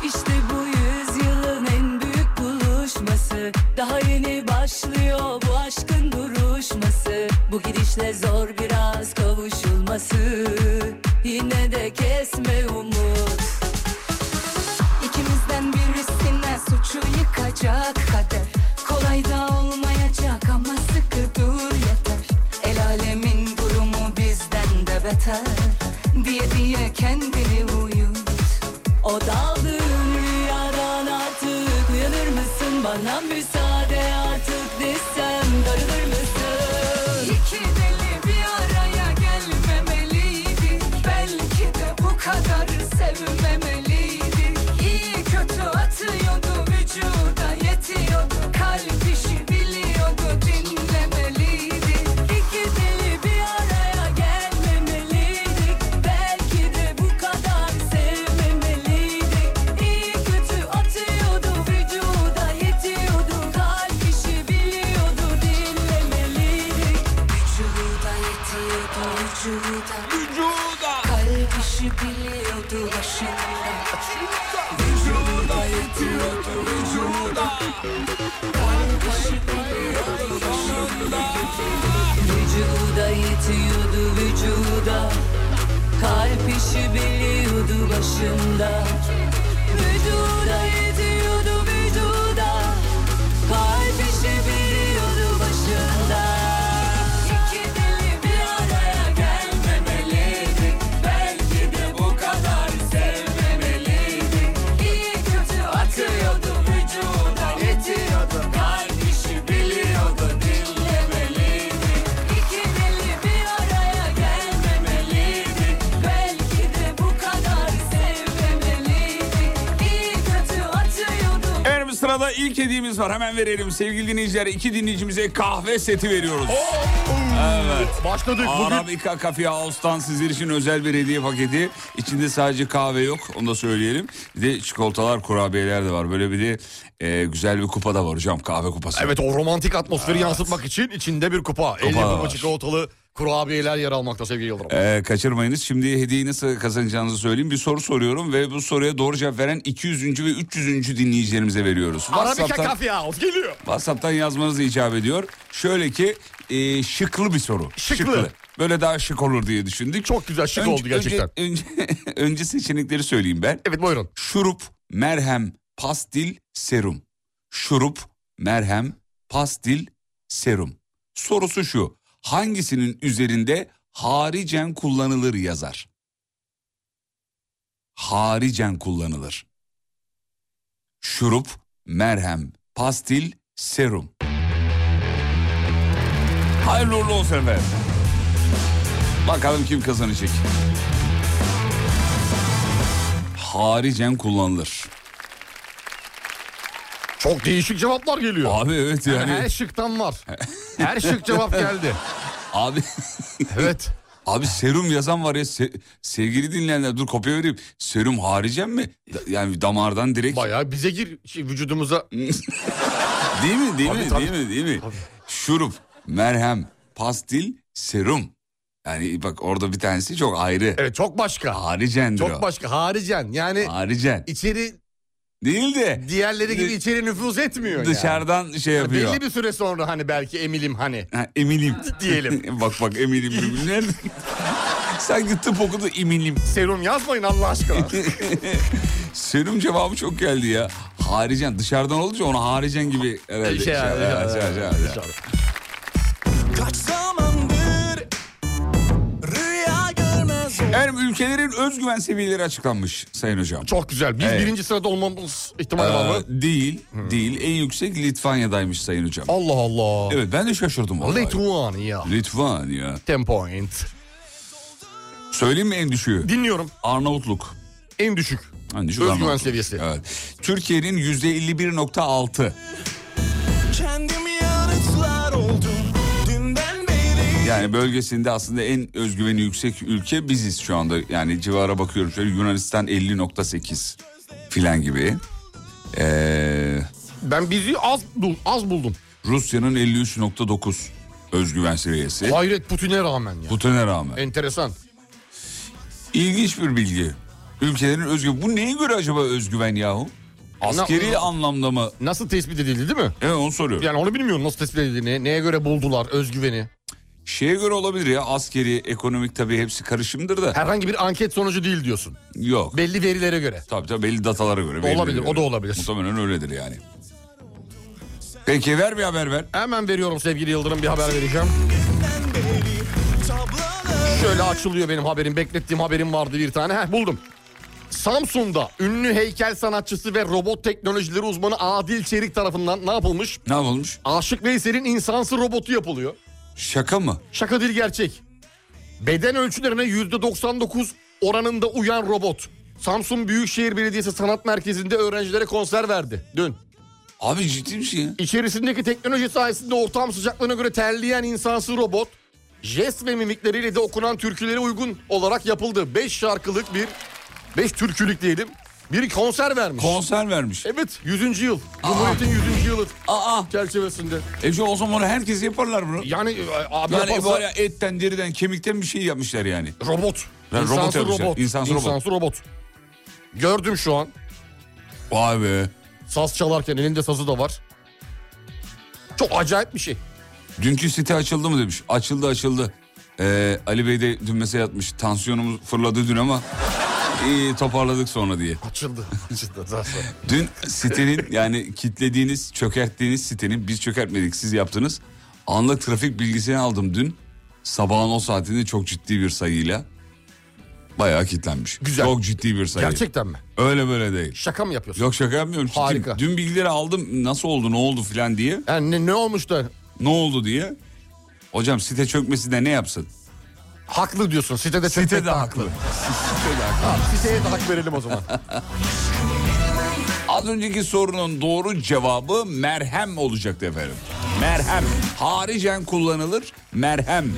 İşte bu yüzyılın en büyük buluşması Daha yeni başlıyor bu aşkın duruşması Bu gidişle zor biraz kavuşulması Yine de kesme umut İkimizden birisine suçu yıkacak kader Kolay da olmayacak ama sıkı dur yeter El alemin durumu bizden de beter Diye diye kendini uyut o daldığın rüyadan artık uyanır mısın? Bana müsaade artık desem darılır mısın? İki deli bir araya gelmemeliydi Belki de bu kadar sevmemeliydi İyi kötü atıyordu vücuda yetiyordu Kalp işi biliyordu dinlemeliydi İki deli bir araya gelmemeliydik Belki de bu kadar sevmemeliydik İyi kötü atıyordu vücuda yetiyordu Kalp işi biliyordu dinlemeliydik Vücuda yetiyordu vücuda Vücuda Kalp işi biliyordu başında Vücuda yetiyordu vücuda Kalp işi biliyordu başında Vücuda yetiyordu vücuda Kalp işi biliyordu başında Vücuda yetiyordu vücuda Kalp işi biliyordu başında İki deli bir araya gelmemeliydik Belki de bu kadar sevmemeliydik İyi kötü atıyordu vücuda Yetiyordu kalp işi biliyordu İlk hediyemiz var hemen verelim. Sevgili dinleyiciler iki dinleyicimize kahve seti veriyoruz. Evet. Başladık bugün. Arabica Coffee House'tan sizler için özel bir hediye paketi. İçinde sadece kahve yok onu da söyleyelim. Bir de çikolatalar kurabiyeler de var. Böyle bir de e, güzel bir kupa da var hocam kahve kupası. Evet o romantik atmosferi yansıtmak için içinde bir kupa. El yapımı var. çikolatalı kurabiyeler yer almakta sevgili Yıldırım. Ee, kaçırmayınız. Şimdi hediyeyi nasıl kazanacağınızı söyleyeyim. Bir soru soruyorum ve bu soruya doğru cevap veren 200. ve 300. dinleyicilerimize veriyoruz. Arabica WhatsApp'tan, Coffee House geliyor. WhatsApp'tan yazmanız icap ediyor. Şöyle ki e, şıklı bir soru. Şıklı. Böyle daha şık olur diye düşündük. Çok güzel şık oldu gerçekten. Önce, *laughs* önce, önce seçenekleri söyleyeyim ben. Evet buyurun. Şurup, merhem, pastil, serum. Şurup, merhem, pastil, serum. Sorusu şu. Hangisinin üzerinde haricen kullanılır yazar? Haricen kullanılır. Şurup, merhem, pastil, serum. Hayırlı uğurlu olsun efendim. Bakalım kim kazanacak. Haricen kullanılır. Çok değişik cevaplar geliyor. Abi evet Yani yani. her şıktan var. Her şık *laughs* cevap geldi. Abi Evet. abi serum yazan var ya se- sevgili dinleyenler dur kopya vereyim. Serum haricen mi? Da- yani damardan direkt Bayağı bize gir şey, vücudumuza. değil mi? Değil Tabii, mi? tabii. Değil mi? Değil mi? Şurup, merhem, pastil, serum. Yani bak orada bir tanesi çok ayrı. Evet çok başka. Haricendir o. Çok başka. Haricen. Yani Haricen. içeri Değil de diğerleri gibi Dış- içeri nüfuz etmiyor yani. dışarıdan şey Yani yapıyor. Belli bir süre sonra hani belki emilim hani. Ha, eminim. *laughs* Diyelim. bak bak eminim. *laughs* birbirine. Sanki tıp okudu eminim. Serum yazmayın *laughs* Allah aşkına. Şey, Serum cevabı çok geldi ya. Haricen dışarıdan olunca ona haricen gibi herhalde. Şey, Evet, evet, evet, evet, evet. Kaç zamandır rüya görmez Efendim ülkelerin özgüven seviyeleri açıklanmış Sayın Hocam. Çok güzel. Biz Evet. birinci sırada olmamız ihtimali var mı? Ee, değil, Hmm. değil. En yüksek Litvanya'daymış Sayın Hocam. Allah Allah. Evet ben de şaşırdım. vallahi. Lithuania. Litvanya. Ten point. Söyleyeyim mi en düşüğü? Dinliyorum. Arnavutluk. En düşük. En düşük Özgüven Arnavutluk. seviyesi. Evet. Türkiye'nin %51.6. Kendim yanıtlar oldum Dünden beri Yani bölgesinde aslında en özgüveni yüksek ülke biziz şu anda. Yani civara bakıyorum şöyle Yunanistan 50.8 filan gibi. Ee, Ben bizi az bul, az buldum. Rusya'nın 53.9 özgüven seviyesi. Hayret Putin'e rağmen ya. Putin'e rağmen. Enteresan. İlginç bir bilgi. Ülkelerin özgüven. Bu neye göre acaba özgüven yahu? Askeri Na- anlamda mı? Nasıl tespit edildi değil mi? Evet onu soruyorum. Yani onu bilmiyorum nasıl tespit edildiğini, neye göre buldular özgüveni. Şeye göre olabilir ya askeri, ekonomik tabii hepsi karışımdır da. Herhangi bir anket sonucu değil diyorsun. Yok. Belli verilere göre. Tabii tabii belli datalara göre. Olabilir, verilere göre. o da olabilir. Muhtemelen öyledir yani. Peki ver bir haber ver. Hemen veriyorum sevgili Yıldırım bir haber vereceğim. tabloları Şöyle açılıyor benim haberim. Beklettiğim haberim vardı bir tane. Heh buldum. Samsun'da ünlü heykel sanatçısı ve robot teknolojileri uzmanı Adil Çelik tarafından ne yapılmış? Ne olmuş? Aşık Veysel'in insansı robotu yapılıyor. Şaka mı? Şaka değil gerçek. Beden ölçülerine %99 oranında uyan robot. Samsun Büyükşehir Belediyesi Sanat Merkezi'nde öğrencilere konser verdi dün. Abi ciddi misin ya? İçerisindeki teknoloji sayesinde ortam sıcaklığına göre terleyen insansı robot jest ve mimikleriyle de okunan türkülere uygun olarak yapıldı. 5 şarkılık bir 5 türkülük diyelim. Bir konser vermiş. Konser vermiş. evet 100. yıl. Cumhuriyet'in 100. yılı Aa, çerçevesinde. e şu o zaman herkes yaparlar bunu. Yani e, abi Yani yaparsa- bari etten, deriden, kemikten bir şey yapmışlar yani. Robot. Ha, robot İnsansı yapmışlar. robot. İnsansı robot. robot. Gördüm şu an. Vay be. Saz çalarken elinde sazı da var. Çok acayip bir şey. Dünkü site açıldı mı demiş. Açıldı açıldı. Ee, Ali Bey de dün mesaj atmış. Tansiyonumuz fırladı dün ama iyi toparladık sonra diye. Açıldı. *laughs* Açıldı. Daha sonra. Dün sitenin yani kitlediğiniz, çökerttiğiniz sitenin biz çökertmedik siz yaptınız. Anlık trafik bilgisini aldım dün. Sabahın o saatinde çok ciddi bir sayıyla bayağı kitlenmiş. Güzel. Çok ciddi bir sayı. *laughs* Gerçekten mi? Öyle böyle değil. Şaka mı yapıyorsun? Yok şaka yapmıyorum. Ciddiyim. Harika. Dün bilgileri aldım nasıl oldu ne oldu filan diye. Yani ne, ne olmuş da Ne oldu diye. Hocam site çökmesi de ne yapsın? haklı diyorsun. Sitede çökmek Site de de haklı. *laughs* Ha, siteye de hak verelim o zaman. Az önceki sorunun doğru cevabı merhem olacaktı efendim. Merhem. Haricen kullanılır merhem.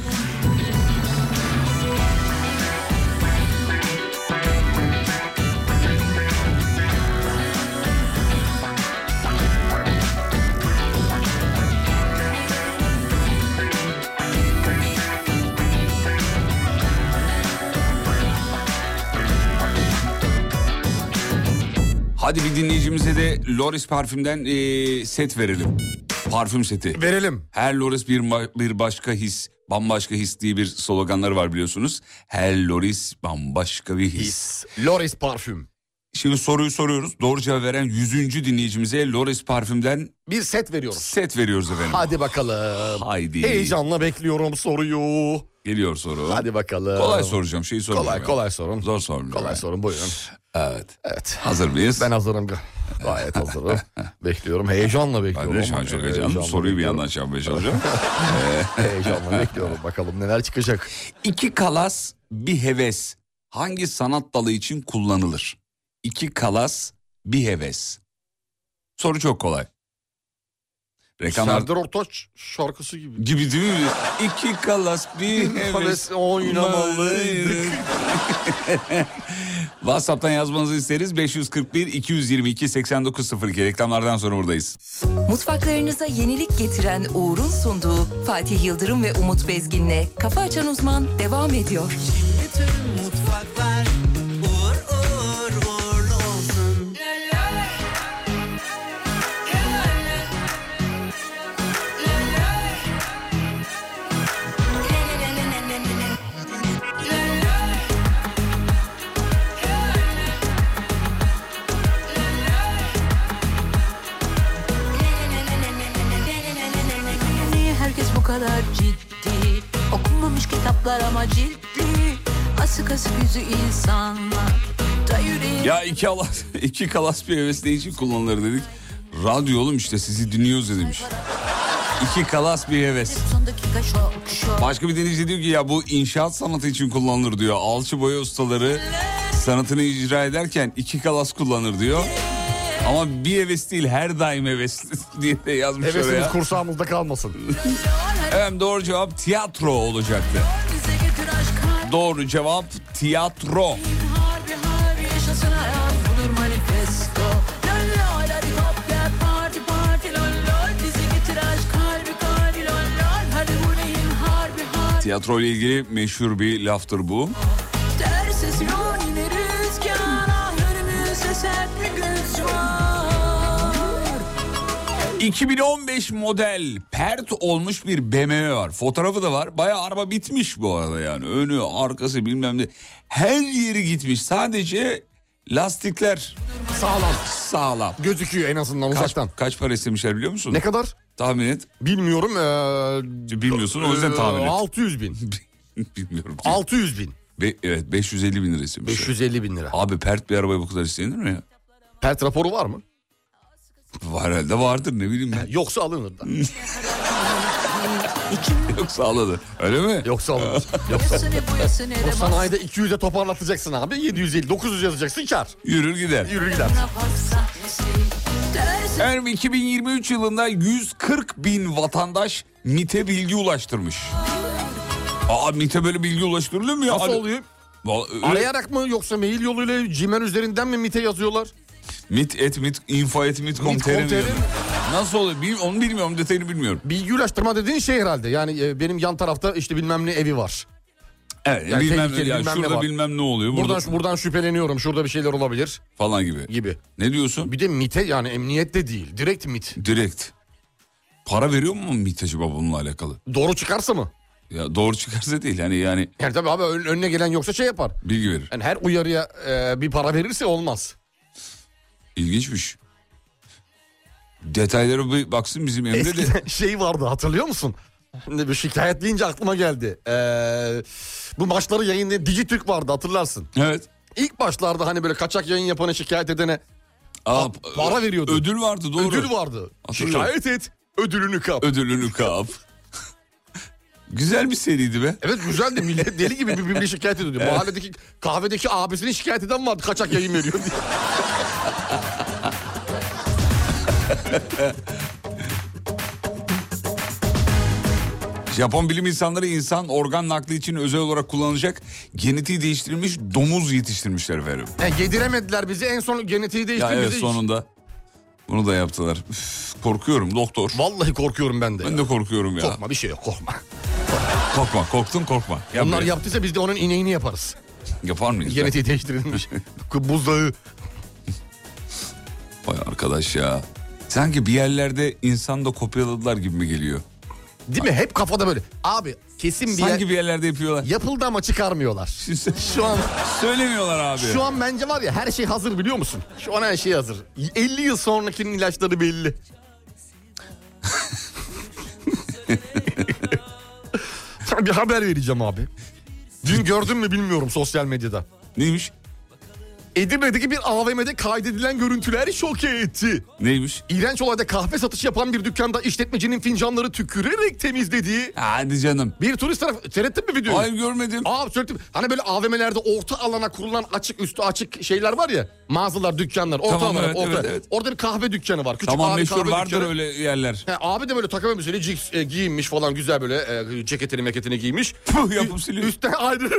Hadi bir dinleyicimize de Loris parfümden eee, set verelim. Parfüm seti. Verelim. Her Loris bir, ma- bir başka his, bambaşka his diye bir sloganları var biliyorsunuz. Her Loris bambaşka bir his. Loris parfüm. Şimdi soruyu soruyoruz. Doğru cevap veren 100. dinleyicimize Loris parfümden Bir set veriyoruz. set veriyoruz efendim. Hadi bakalım. Haydi. Heyecanla bekliyorum soruyu. Geliyor soru. Hadi bakalım. Kolay soracağım şeyi sormayacağım. Kolay kolay sorun. Zor sormuyorum. Kolay sorun buyurun. Evet. Evet. Hazır mıyız? Ben hazırım. *laughs* Gayet hazırım. bekliyorum. Heyecanla bekliyorum. Kardeş ben çok heyecanlıyım. Soruyu bir yandan şey yapmaya çalışıyorum. *laughs* Heyecanla bekliyorum. Bakalım neler çıkacak. İki kalas bir heves hangi sanat dalı için kullanılır? İki kalas bir heves. Soru çok kolay. Reklam Serdar Ortaç şarkısı gibi. gibi değil mi? İki kalas bir heves Heves oynamalıydık. *laughs* WhatsApp'tan yazmanızı isteriz. 541 222 8902 reklamlardan sonra buradayız. Mutfaklarınıza yenilik getiren Uğur'un sunduğu Fatih Yıldırım ve Umut Bezgin'le Kafa Açan Uzman devam ediyor. Bütün mutfaklar uğur uğur uğurlu olsun. Niye herkes bu kadar ciddi? Okunmamış kitaplar ama ciddi. Asık asık yüzü insanlar. Da yüreğim Ya iki kalas, *laughs* iki kalas bir heves ne için kullanılır dedik. Radyo oğlum işte sizi dinliyoruz demiş. İki kalas bir heves. son dakika şok şok. Başka bir dinleyici diyor ki ya bu inşaat sanatı için kullanılır diyor. Alçı boya ustaları sanatını icra ederken iki kalas kullanır diyor. Ama bir heves değil her daim heves *laughs* diye de yazmış Hevesimiz oraya. kursağımızda kalmasın. Evet doğru cevap tiyatro olacaktı. Bize getir aşk kalbim. Doğru cevap tiyatro. Harbi harbi yaşasın hayat. Budur manifesto. Lol lol hadi hop gel parti parti lol lol. Bize getir aşk kalbi kalbi lol lol. Hadi bu neyin harbi harbi. Tiyatro ile ilgili meşhur bir laftır bu. Ters esiyor yine rüzgar. Ah önümüzde sert bir güç var. 2015 model pert olmuş bir BMW var. Fotoğrafı da var. Bayağı araba bitmiş bu arada yani. Önü, arkası bilmem ne. Her yeri gitmiş. Sadece lastikler Sağlam. sağlam. Gözüküyor en azından Kaç, uzaktan. kaç para istemişler biliyor musun? Ne kadar? Tahmin et. *laughs* Bilmiyorum. Ee, Bilmiyorsun o yüzden ee, tahmin et. 600 bin. Bilmiyorum. 600 bin. Be- evet 550 bin lira istemişler. 550 bin lira. Abi pert bir arabaya bu kadar istenir mi ya? Pert raporu var mı? Var herhalde vardır ne bileyim *laughs* ben. Yoksa alınır da. Yoksa aladı. Öyle mi? *laughs* Yoksa alınır. Yoksa alınır. Seni bu yasını O ele sanayide 200'e toparlatacaksın abi. 750, 900 yazacaksın kar. Yürür gider. Yürü gider. Efendim 2023 yılında 140 bin vatandaş MIT'e bilgi ulaştırmış. Aa MIT'e böyle bilgi ulaştırılıyor mu ya? Nasıl Hani- oluyor? Va- öyle- Arayarak mı yoksa mail yoluyla Gmail üzerinden mi MIT'e yazıyorlar? MIT et MIT info et MIT com MIT tr mi com tr. diyor? Nasıl oluyor? Bil- onu bilmiyorum detayını bilmiyorum. Bilgi ulaştırma dediğin şey herhalde. Yani e, benim yan tarafta işte bilmem ne evi var. Evet Yani bilmem ne tehlikeli, ya bilmem ne şurada var. bilmem ne oluyor burada, Buradan buradan şüpheleniyorum. Şurada bir şeyler olabilir falan gibi. gibi. Ne diyorsun? Bir de MIT'e yani emniyette değil. Direkt MIT. Direkt. Para veriyor mu MIT acaba bununla alakalı? Doğru çıkarsa mı? Ya doğru çıkarsa değil hani yani Yani tabii abi ön- önüne gelen yoksa şey yapar. bilgi verir. Yani her uyarıya e, bir para verirse olmaz. İlginçmiş. Detaylara bir baksın bizim Emre de. *laughs* Eskiden şey vardı hatırlıyor musun? Şimdi bir şikayet deyince aklıma geldi. Ee, bu maçları yayınlayan Digitürk vardı hatırlarsın. Evet. İlk başlarda hani böyle kaçak yayın yapana şikayet edene Aa, Pa- para veriyordu. Ödül vardı doğru. ödül vardı. Hatırlıyorum. Şikayet et ödülünü kap. Ödülünü kap. Güzel bir seriydi be. Evet güzeldi millet deli gibi birbirini şikayet ediyordu. *laughs* Mahalledeki kahvedeki abisini şikayet eden vardı kaçak yayın veriyor diye. Japon bilim insanları insan organ nakli için özel olarak kullanılacak genetiği değiştirilmiş domuz yetiştirmişler efendim. Yani yediremediler bizi en son genetiği Ya değiştirdi. evet bizi. sonunda bunu da yaptılar. Üf, korkuyorum doktor. Vallahi korkuyorum ben de. ya. Ben de korkuyorum ya. Korkma bir şey yok korkma. Korkma korktun korkma. Yapma. Onlar yaptıysa biz de onun ineğini yaparız. Yapar mıyız? be? Genetiği *laughs* değiştirilmiş. Buzdağı. Vay arkadaş ya. Sanki bir yerlerde insan da kopyaladılar gibi mi geliyor? Değil mi? Hep kafada böyle. Abi kesin bir Sanki yer- bir yerlerde yapıyorlar. yapıldı ama çıkarmıyorlar. Şu an Söylemiyorlar abi. şu an bence var ya her şey hazır biliyor musun? Şu an her şey hazır. 50 yıl sonrakinin ilaçları belli. *laughs* Sana bir haber vereceğim abi. Dün gördün mü bilmiyorum sosyal medyada. Neymiş? Edirne'deki bir AVM'de kaydedilen görüntüler şok etti. Neymiş? İğrenç olayda kahve satışı yapan bir dükkanda işletmecinin fincanları tükürerek temizlediği Hadi canım. bir turist tarafı... Seyrettin mi videoyu? Hayır görmedim. Aa söyledim. Hani böyle AVM'lerde orta alana kurulan açık üstü açık şeyler var ya. Mağazalar, dükkanlar, orta Tamam, alana. evet, orta. evet, evet. Orada bir kahve dükkanı var. Küçük tamam abi meşhur kahve vardır dükkanı. öyle yerler. He, abi de böyle takım elbiseli cips e, giyinmiş falan güzel böyle e, ceketini meketini giymiş. Puh, *laughs* yapıp siliyor. Üstten ayrı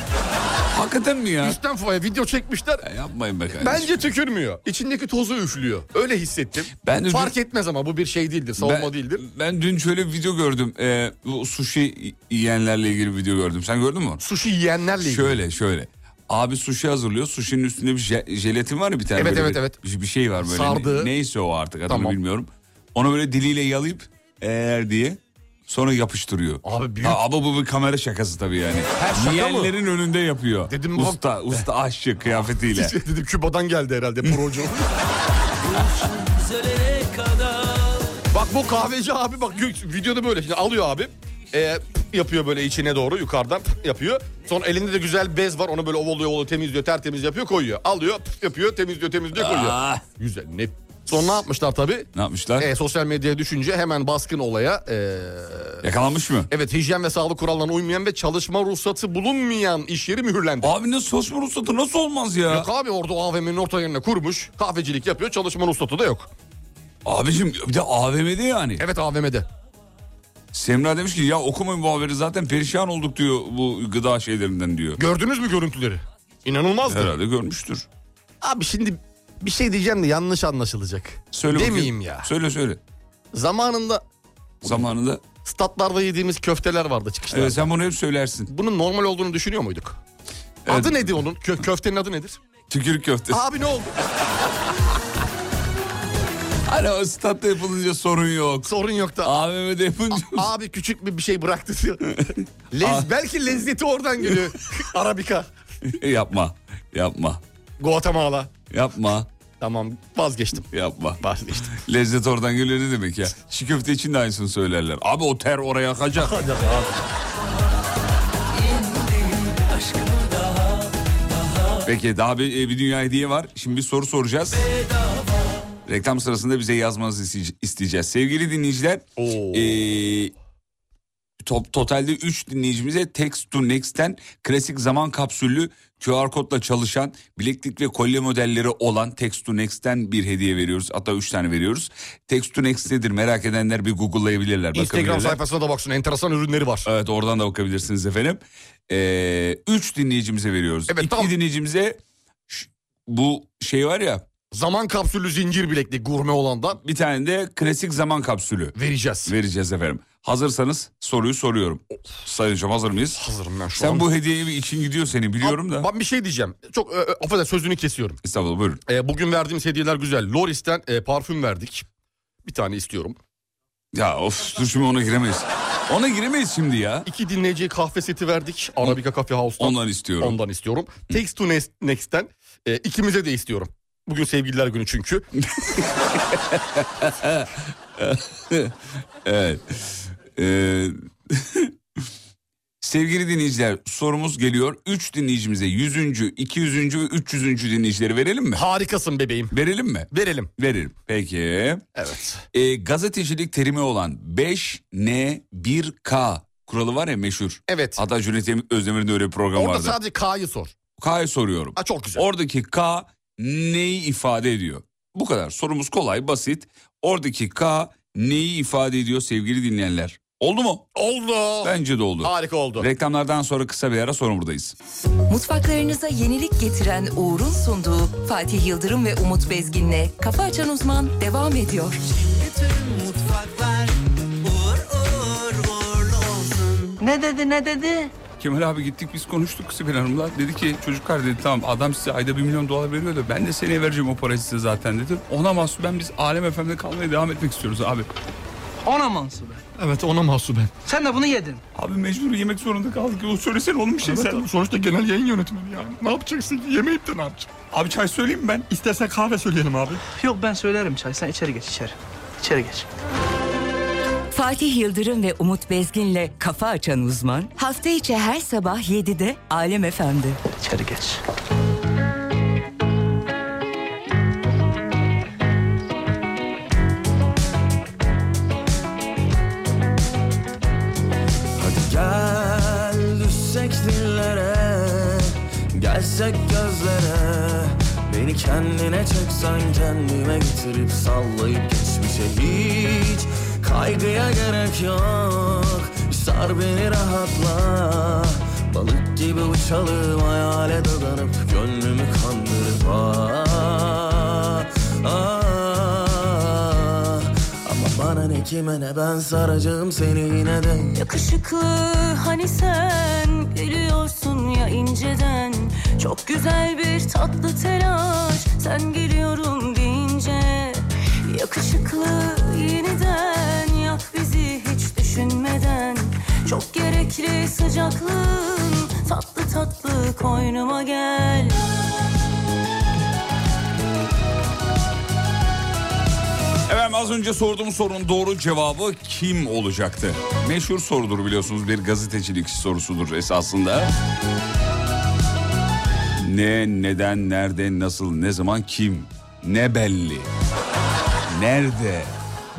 *laughs* Hakikaten mi ya? üstten foya video çekmişler. Ya yapmayın be kardeşim. Bence tükürmüyor. İçindeki tozu üflüyor. Öyle hissettim. Ben de- Fark etmez ama bu bir şey değildir. Savunma ben, değildir. Ben dün şöyle bir video gördüm. Ee, bu sushi yiyenlerle ilgili bir video gördüm. Sen gördün mü onu? Sushi yiyenlerle ilgili. Şöyle şöyle. Abi sushi hazırlıyor. Sushi'nin üstünde bir je- jelatin var ya bir tane. Evet, böyle evet, bir, evet. Bir bir şey var böyle. Sardığı. Ne- neyse o artık adını Tamam. bilmiyorum. Onu böyle diliyle yalayıp eğer diye sonra yapıştırıyor. Abi büyük- Ha, ama bu bir kamera şakası tabii yani. şaka mı? Yiyenlerin önünde yapıyor. Dedim, bak- usta, usta aşçı *laughs* kıyafetiyle. Dedim Küba'dan geldi herhalde procu. bak bu kahveci abi bak gö- videoda böyle şimdi alıyor abi. Ee, yapıyor böyle içine doğru yukarıdan yapıyor. Sonra elinde de güzel bez var onu böyle ovalıyor ovalıyor temizliyor tertemiz yapıyor koyuyor. Alıyor yapıyor temizliyor temizliyor koyuyor. Aa, Güzel ne? Sonra ne yapmışlar tabii? ne yapmışlar? Ee, sosyal medyaya düşünce hemen baskın olaya ee, Yakalanmış mı? Evet hijyen ve sağlık kurallarına uymayan ve çalışma ruhsatı bulunmayan iş yeri mühürlendi. Abi ne saçma ruhsatı nasıl olmaz ya? Yok abi orada o AVM'nin orta yerine kurmuş. Kahvecilik yapıyor çalışma ruhsatı da yok. Abicim bir de AVM'de yani. Evet AVM'de. Semra demiş ki ya okumayın bu haberi zaten perişan olduk diyor bu gıda şeylerinden diyor. Gördünüz mü görüntüleri? İnanılmazdı. Herhalde görmüştür. Abi şimdi bir şey diyeceğim de yanlış anlaşılacak. Söyle bakayım. Demeyeyim ya. Söyle söyle. Zamanında Zamanında. statlarda yediğimiz köfteler vardı çıkışlarda. Evet, sen bunu hep söylersin. Bunun normal olduğunu düşünüyor muyduk? Evet. Adı nedir onun? Kö- köftenin adı nedir? Tükürük köftesi. Abi ne oldu? Hani o statta yapılınca sorun yok. Sorun yok da. AVM'de yapınca... *laughs* Abi küçük bir bir şey bıraktı diyor. Lez, Aa. belki lezzeti oradan *laughs* geliyor. Arabika. yapma. Yapma. Guatemala. Yapma. Tamam vazgeçtim. Yapma. Vazgeçtim. Lezzet oradan geliyor ne demek ya? Çiğ köfte için de aynısını söylerler. Abi o ter oraya akacak. Peki daha bir, bir dünya hediye var. Şimdi bir soru soracağız. Reklam sırasında bize yazmanızı isteye- isteyeceğiz. Sevgili dinleyiciler, e, eee, top, totalde 3 dinleyicimize Text to Next'ten klasik zaman kapsüllü QR kodla çalışan bileklik ve kolye modelleri olan Text to Next'ten bir hediye veriyoruz. Hatta 3 tane veriyoruz. Text to Next nedir merak edenler bir google'layabilirler. Instagram bakabilirler. sayfasına da baksın enteresan ürünleri var. Evet oradan da bakabilirsiniz efendim. Ee, üç dinleyicimize veriyoruz. Evet, İki tamam. dinleyicimize ş- bu şey var ya Zaman kapsülü zincir bileklik gurme olandan bir tane de klasik zaman kapsülü vereceğiz. vereceğiz efendim. Hazırsanız soruyu soruyorum. Sayın Hocam hazır mıyız? Hazırım ben şu Sen an. bu hediyeye bir için gidiyor seni biliyorum da. Ben bir şey diyeceğim. Çok e, e, affedersin sözünü kesiyorum. İstanbul buyurun. E, bugün verdiğimiz hediyeler güzel. Loris'ten e, parfüm verdik. Bir tane istiyorum. Ya of dur şimdi ona giremeyiz. Ona giremeyiz şimdi ya. İki dinleyiciye kahve seti verdik. Arabica Coffee House'tan. Ondan istiyorum. Ondan istiyorum. Text to Next- Next'ten e, ikimize de istiyorum. Bugün sevgililer günü çünkü. Evet. Ee, *laughs* sevgili dinleyiciler sorumuz geliyor. 3 dinleyicimize 100. 200. ve 300. dinleyicileri verelim mi? Harikasın bebeğim. Verelim mi? Verelim. Verelim. Peki. Evet. Ee, gazetecilik terimi olan 5N1K kuralı var ya meşhur. Evet. Hatta Cüneyt Özdemir'in de öyle bir programı Orada vardı. sadece K'yı sor. K'ya soruyorum. Aa, çok güzel. Oradaki K neyi ifade ediyor? Bu kadar. Sorumuz kolay, basit. Oradaki K neyi ifade ediyor sevgili dinleyenler? Oldu mu? Oldu. Bence de oldu. Harika oldu. Reklamlardan sonra kısa bir ara sonra buradayız. Mutfaklarınıza yenilik getiren Uğur'un sunduğu Fatih Yıldırım ve Umut Bezgin'le Kafa Açan Uzman devam ediyor. Bütün mutfaklar uğur uğur uğurlu olsun. Ne dedi ne dedi? Kemal abi gittik biz konuştuk Sibel Hanım'la. Dedi ki çocuklar dedi tamam adam size ayda 1 milyon dolar veriyor da ben de seneye vereceğim o parayı size zaten dedi. Ona mahsuben biz Alem FM'de kalmaya devam etmek istiyoruz abi. Ona mansuben. Evet ona mahsuben. Sen de bunu yedin. Abi mecbur yemek zorunda kaldık. O söylesene oğlum bir şey Evet, sen. ama sonuçta genel yayın yönetmeni ya. Ne yapacaksın ki yemeyip de ne yapacaksın? Abi çay söyleyeyim mi ben? İstersen kahve söyleyelim abi. Yok ben söylerim çay. Sen içeri geç içeri. İçeri geç. Fatih Yıldırım ve Umut Bezgin'le Kafa Açan Uzman hafta içi her sabah 7'de Alem Efendi. İçeri geç. Hadi gel düşsek dillere Gelsek gözlere Beni kendine çeksen kendime getirip sallayıp geçmişe hiç Kaygıya gerek yok Sar beni rahatla Balık gibi uçalım hayale dadanıp gönlümü kandırıp ah, ah. Ama bana ne kime ne ben saracağım seni yine de Yakışıklı hani sen gülüyorsun ya inceden Çok güzel bir tatlı telaş sen geliyorum deyince Yakışıklı yeniden yak bizi hiç düşünmeden Çok gerekli sıcaklığın tatlı tatlı koynuma gel Efendim az önce sorduğum sorunun doğru cevabı kim olacaktı? Meşhur sorudur biliyorsunuz bir gazetecilik sorusudur esasında. Ne, neden, nerede, nasıl, ne zaman, kim? Ne belli? Nerede?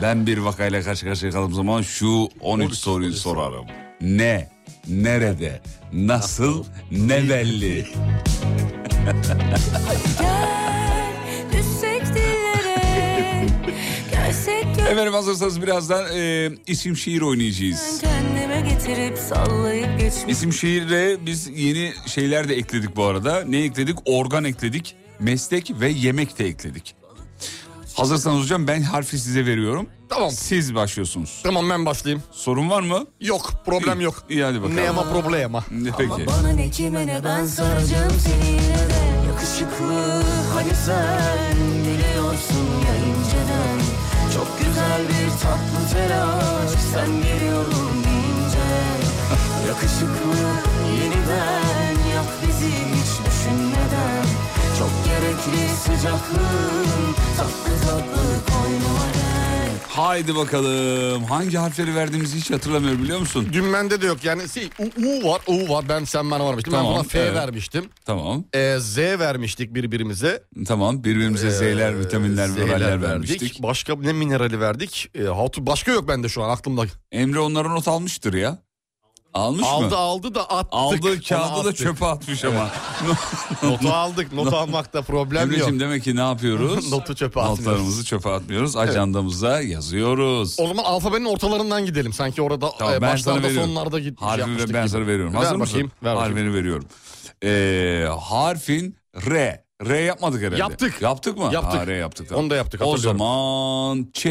Ben bir vakayla karşı karşıya kaldığım zaman şu 13 soruyu sorarım. Ne, nerede, nasıl, ne belli? Gel düşsek dillere Gelsek Efendim hazırsanız birazdan e, isim şiir oynayacağız. kendime getirip sallayıp geçmiş İsim şehirle biz yeni şeyler de ekledik bu arada. Ne ekledik? Organ ekledik, meslek ve yemek de ekledik. Hazırsanız hocam ben harfi size veriyorum. Tamam. Siz başlıyorsunuz. Tamam ben başlayayım. Sorun var mı? Yok problem yok. İyi hadi bakalım. Ne ama problema. Ne Peki. Bana ne kime ne ben saracağım seni yine de Yakışıklı hani sen biliyorsun ya inceden Çok güzel bir tatlı telaş sen geliyorum deyince Yakışıklı yeniden yap bizi hiç düşünmeden Çok gerekli sıcaklığın tatlı tatlı koynuma gel Haydi bakalım. Hangi harfleri verdiğimizi hiç hatırlamıyorum biliyor musun? Dün bende de yok yani şey, U, U var U var ben sen bana varmıştım. Tamam, ben buna F evet. vermiştim. Tamam. E, Z vermiştik birbirimize. Tamam. Birbirimize E, Z'ler, Ee, vitaminler, Z'ler mineraller vermiştik. Başka ne minerali verdik? E, hatun başka yok bende şu an aklımda. Emre onlara not almıştır ya. Almış aldı mı? aldı da attık. Aldığı Onu kağıdı da attık. çöpe atmış ama. *laughs* Notu aldık. Not almakta problem yok. Emre'cim demek ki ne yapıyoruz? *laughs* Notu çöpe atmıyoruz. Notlarımızı çöpe atmıyoruz. Ajandamıza yazıyoruz. O zaman alfabenin ortalarından gidelim. Sanki orada Tamam, e, ben sana başlarda veriyorum. sonlarda git, Harfi yapmıştık ve ben gibi. sana veriyorum. Ver Hazır bakayım, mısın? ver bakayım. Harfini veriyorum. Ee, harfin R. R yapmadık herhalde. Yaptık. Yaptık mı? Yaptık. Ha, R yaptık. tamam. Onu da yaptık. o hatırlıyorum. zaman Ç.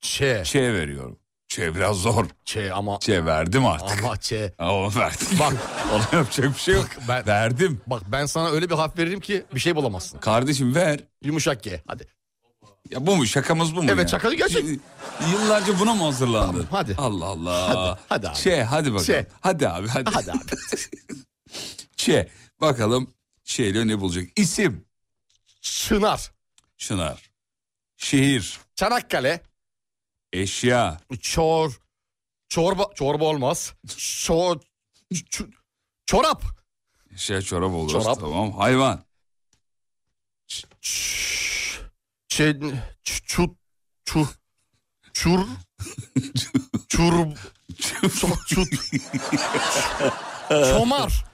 Ç. Ç veriyorum. Ç biraz zor. Ç ama. Ç verdim artık. Ama Ç. Ama verdim. *laughs* Bak. Ona yapacak bir şey yok. ben- Verdim. Bak ben sana öyle bir harf veririm ki bir şey bulamazsın. Kardeşim ver. Yumuşak G. Hadi. Ya bu mu? Şakamız bu mu? Evet, ya? şaka gerçek. Y- Yıllarca buna mı hazırlandın? Tamam, hadi. Allah Allah. Hadi, hadi abi. Ç, hadi bakalım. Ç. Hadi abi, hadi. Hadi abi. Ç, bakalım şeyle ne bulacak? İsim, Çınar. Çınar. Şehir, Çanakkale. eşya, Çor. Çorba. Çorba olmaz. Çor. ç- çorap. şey çorap olur. Çorap. Tamam, hayvan. Ç- Ç. Ç. Çut. Çur. Çur. Çur. Çok çut. Çomar.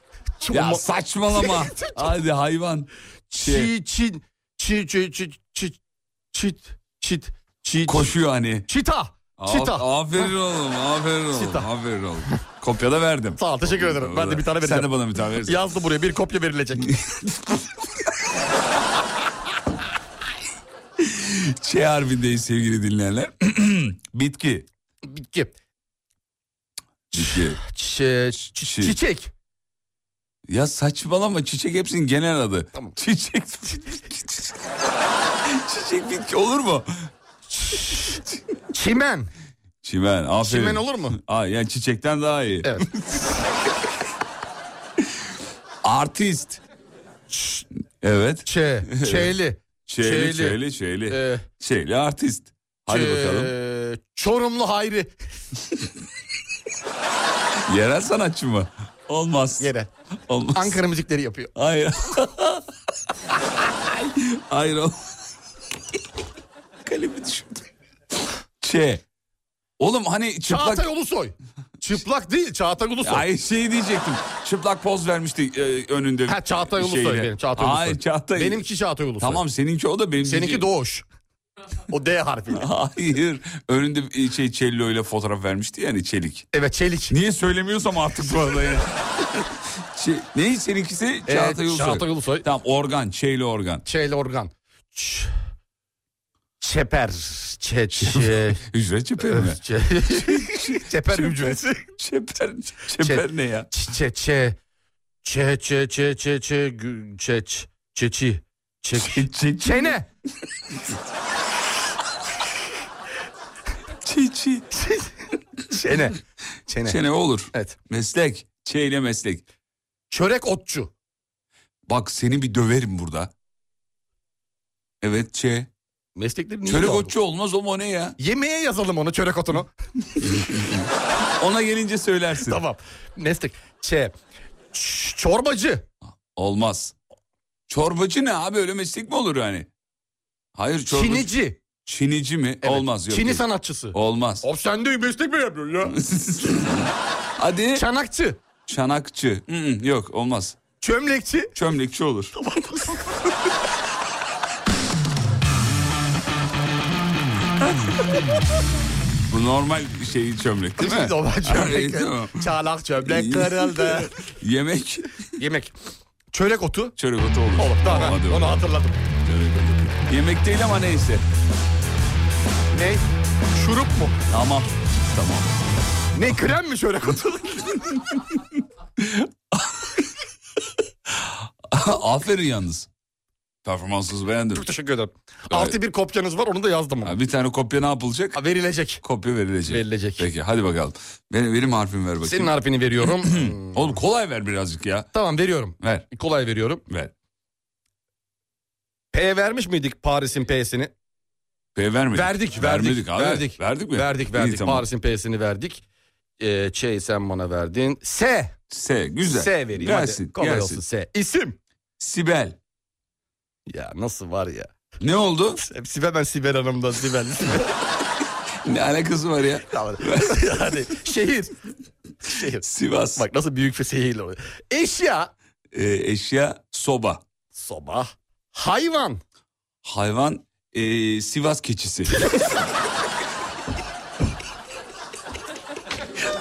Ya Çoma- *laughs* saçmalama. hadi hayvan. Çi çin çi çi çi çi çit çit Koşuyor hani. Çita. Af- Çita. Aferin oğlum, aferin oğlum, Çita. aferin oğlum. Kopya da verdim. Sağ ol teşekkür ederim. Ben de bir tane vereceğim. Sen de bana bir tane verirsin. Yazdı buraya bir kopya verilecek. *laughs* Şey harfindeyiz sevgili dinleyenler. *clears throat* Bitki. Bitki. Bitki. Çi- çi- çiçek. Ya saçmalama çiçek hepsinin genel adı. Çiçek. *laughs* çiçek bitki olur mu? Çimen. Çimen aferin. Çimen *laughs* olur mu? Aa, yani çiçekten daha iyi. Evet. *laughs* Artist. Evet. Ç. Çeyli. Çeyli, çeyli, çeyli. Ee, Şeyli artist. Hadi Ç- bakalım. Çorumlu Hayri. Yerel sanatçı mı? Olmaz. Yerel. Olmaz. Ankara müzikleri yapıyor. Hayır. Hayır ol. Kalemi düşürdüm. Ç. Oğlum hani çıplak... Çağatay Ulusoy. Çıplak değil Çağatay Ulusoy. Ay şey diyecektim. Çıplak poz vermişti e, önünde. Ha Çağatay Ulusoy şeyine. benim. Çağatay Ulusoy. Hayır Çağatay. Benimki Çağatay Ulusoy. Tamam seninki o da benim. Seninki diyeceğim. Doğuş. O D harfiyle. Hayır. Önünde e, şey Cello ile fotoğraf vermişti yani Çelik. Evet Çelik. Niye söylemiyorsam artık bu arada ya. Ç- ne seninkisi? Ee, Çağatay Ulusoy. Çağatay Ulusoy. Tamam organ, şeyli organ. Çeyli Organ. Ç- Çeper. Çe, çe, Hücre çeperi mi? çe, çeper hücresi. Çeper, çeper ne ya? Ç- Çe çe. Çe çe çe çe çe gü- çe ç- çeçi. Çe Çe- çene. Çi çi. Çene. Çene. Çene olur. Evet. Meslek. Çeyle meslek. Çörek otçu. Bak seni bir döverim burada. Evet Ç. Meslekleri niye Çörek aldın? otçu olmaz o mu ne ya? Yemeğe yazalım onu çörek otunu. Ona gelince söylersin. tamam. Meslek. Çe. Ç- çorbacı. Olmaz. Çorbacı ne abi öyle meslek mi olur yani? Hayır çorbacı. Çinici. Çinici mi? Evet. Olmaz. Yok, Çini yok. sanatçısı. Olmaz. Abi sen de meslek mi yapıyorsun ya? *laughs* Hadi. Çanakçı. Çanakçı. Hı hı, yok olmaz. Çömlekçi. Çömlekçi olur. Bu normal şey çömlek değil mi? *laughs* Normal Evet, çömlek. tamam. Çanak çömlek kırıldı. Yemek *laughs* Yemek. Çörek otu. çörek otu olur. Oğlum tamam Olmadı, ben onu olmadı. hatırladım. Çörek otu. Yemek değil ama neyse. Ne? Şurup mu? Tamam. *laughs* Tamam. Ne krem mi *laughs* çörek otu? Aferin yalnız. Performansınızı beğendim. Çok teşekkür ederim. Artı bir kopyanız var onu da yazdım. Ha, bir tane kopya ne yapılacak? Ha, verilecek. Kopya verilecek. Verilecek. Peki hadi bakalım. Benim, benim harfimi ver bakayım. Senin *clears throat* harfini veriyorum. Hmm. Oğlum kolay ver birazcık ya. tamam veriyorum. Ver Kolay veriyorum. ver. P vermiş miydik Paris'in P'sini? P vermedik. Verdik, verdik, Vermedik abi. verdik. Verdik mi? Verdik İyi, verdik. tamam. Paris'in P'sini verdik. Ee, şey sen bana verdin. S. S güzel. S vereyim. Gelsin Hadi. Kolay gelsin. olsun S. İsim. Sibel. Ya nasıl var ya. Ne oldu? *laughs* Hepsi hemen Sibel Hanım'dan Sibel. *laughs* Sibel. ne alakası var ya? Tamam. yani şehir. Şehir. Sivas. Bak nasıl büyük bir şehir oluyor. Eşya. Ee, eşya soba. Soba. Hayvan. Hayvan ee, Sivas keçisi. *laughs*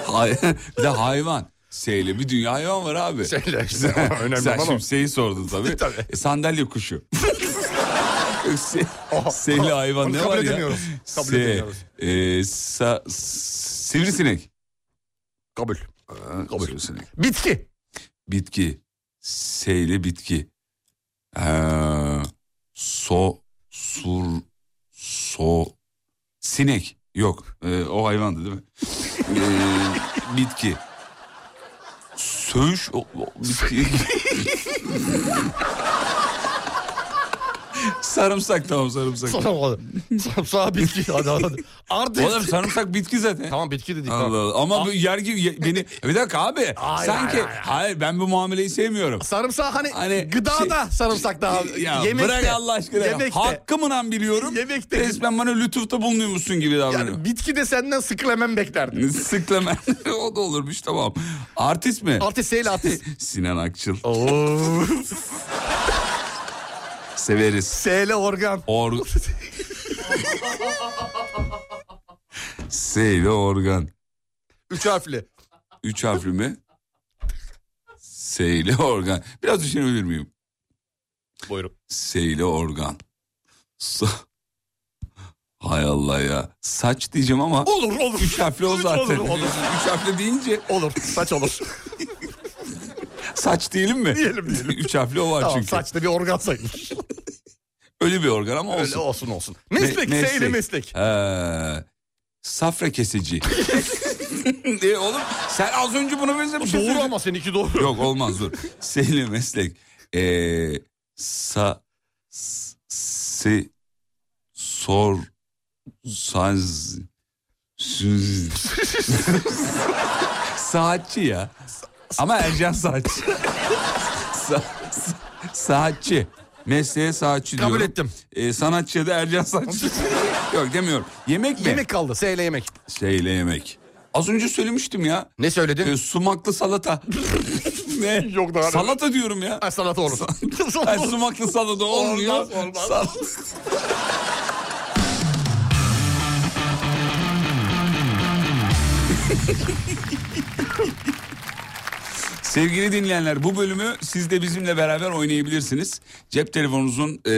Hay *laughs* bir de hayvan. S'yle bir dünya hayvan var abi. Şeyler *laughs* işte. Önemli Sen olan o. şimdi S'yi sordun tabii. *laughs* Tabii. E, sandalye *laughs* kuşu. Se, S'li hayvan Onu ne kabul var ya? edemiyoruz. Kabul Se- edemiyoruz. e, sa- sivrisinek. Ee, Kabul. Kabul. Sivrisinek. Bitki. Bitki. S'li bitki. Ee, so, sur, so, sinek. Yok. Ee, o hayvandı *laughs* değil mi? Ee, bitki. Söğüş. o- o- *laughs* bitki. sarımsak tamam sarımsak. Sonra Sonra bitki. Hadi hadi. Artı. Oğlum sarımsak bitki zaten. Tamam bitki dedik. tamam. Allah Allah. Ama bu yer gibi ye- beni E, bir dakika abi Hayır, sanki hayır, hayır, hayır. ben bu muameleyi sevmiyorum. Sarımsak hani, Hani gıdada şey- sarımsak daha Ya yemekte. bırak Allah aşkına. ya. Yemekte. Hakkımı lan biliyorum. Yemekte. Resmen bana lütufta bulunuyormuşsun gibi davranıyor. Yani bitki de senden sıkılemem *laughs* beklerdim. Sıklama. o da olurmuş tamam. Artist mi? Artist değil artist. Sinan Akçıl. Oo. Severiz. SL organ. Or Seyle organ. Üç harfli. Üç harfli mi? Seyle organ. Biraz düşünebilir miyim? Buyurun. Seyle organ. Sa- Hay Allah ya. Saç diyeceğim ama. Olur olur. Üç harfli o zaten. Olur olur. *laughs* Üç harfli deyince. Olur saç olur. Saç diyelim mi? Diyelim, *laughs* diyelim. Üç harfli o var tamam çünkü. saçta bir organ sayılır. Ölü bir organ ama olsun. Öyle olsun olsun. Meslek, Me- seyle meslek. Ee, safra *laughs* kesici. *laughs* e oğlum sen az önce buna benzer bir şey Doğru söyledin. ama seninki doğru. Yok olmaz dur. Seyle meslek. Ee, sa s- se sor saz süz. saatçi ya. Ama Ercan saatçi. Sa- sa- saatçi. Mesleğe saatçi Kabul diyorum. ettim. Ee, sanatçıya da Ercan saatçi. Yok demiyorum. Yemek mi? Yemek kaldı seyle yemek. Seyle yemek. Az önce söylemiştim ya. Ne söyledin? Ee, sumaklı salata. *laughs* ne? E, Yok daha ne? Salata diyorum ya. Ha, sanat olur. *laughs* Ay, sumaklı salata olmuyor. Olmaz, olmaz. Sal- *laughs* Sevgili dinleyenler bu bölümü siz de bizimle beraber oynayabilirsiniz. Cep telefonunuzun e,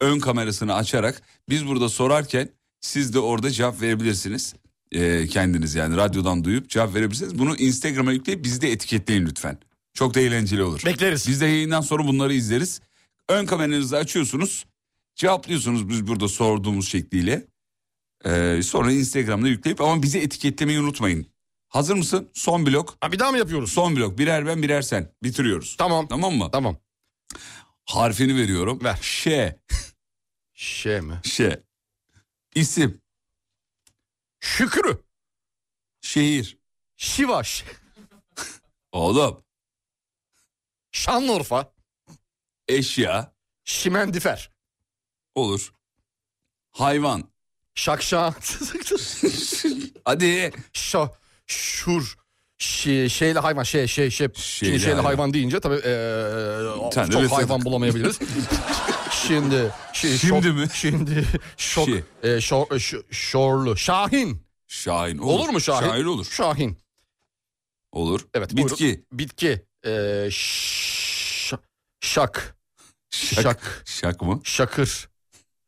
ön kamerasını açarak biz burada sorarken siz de orada cevap verebilirsiniz. E, kendiniz yani radyodan duyup cevap verebilirsiniz. Bunu Instagram'a yükleyip bizi de etiketleyin lütfen. Çok da eğlenceli olur. Bekleriz. Biz de yayından sonra bunları izleriz. Ön kameranızı açıyorsunuz. Cevaplıyorsunuz biz burada sorduğumuz şekliyle. E, sonra Instagram'da yükleyip ama bizi etiketlemeyi unutmayın. Hazır mısın? Son blok. Ha, bir daha mı yapıyoruz? Son blok birer ben birer sen bitiriyoruz. Tamam. Tamam mı? Tamam. Harfini veriyorum. Ver. Ş. Şey mi? Ş. İsim. Şükrü. Şehir. Şivaş. Oğlum. Şanlıurfa. Eşya. Şimendifer. Olur. *laughs* Hayvan. Şakşa. Hadi. Şa. Şur. Şi, şeyle hayvan şey şey şey. Şeyle Şimdi şeyle hayvan. hayvan deyince tabii eee tane de çok besledik. *laughs* hayvan bulamayabiliriz. şimdi şi- Şimdi şok- mi? Şimdi şok Şi. eee, şor, şu- şorlu Şahin. Şahin. Olur, mu Şahin? Şahin olur. Şahin. Olur. Evet. buyurun. Bitki. Bitki. Eee ş- şak. Şak. Şak. Şak mı? Şakır.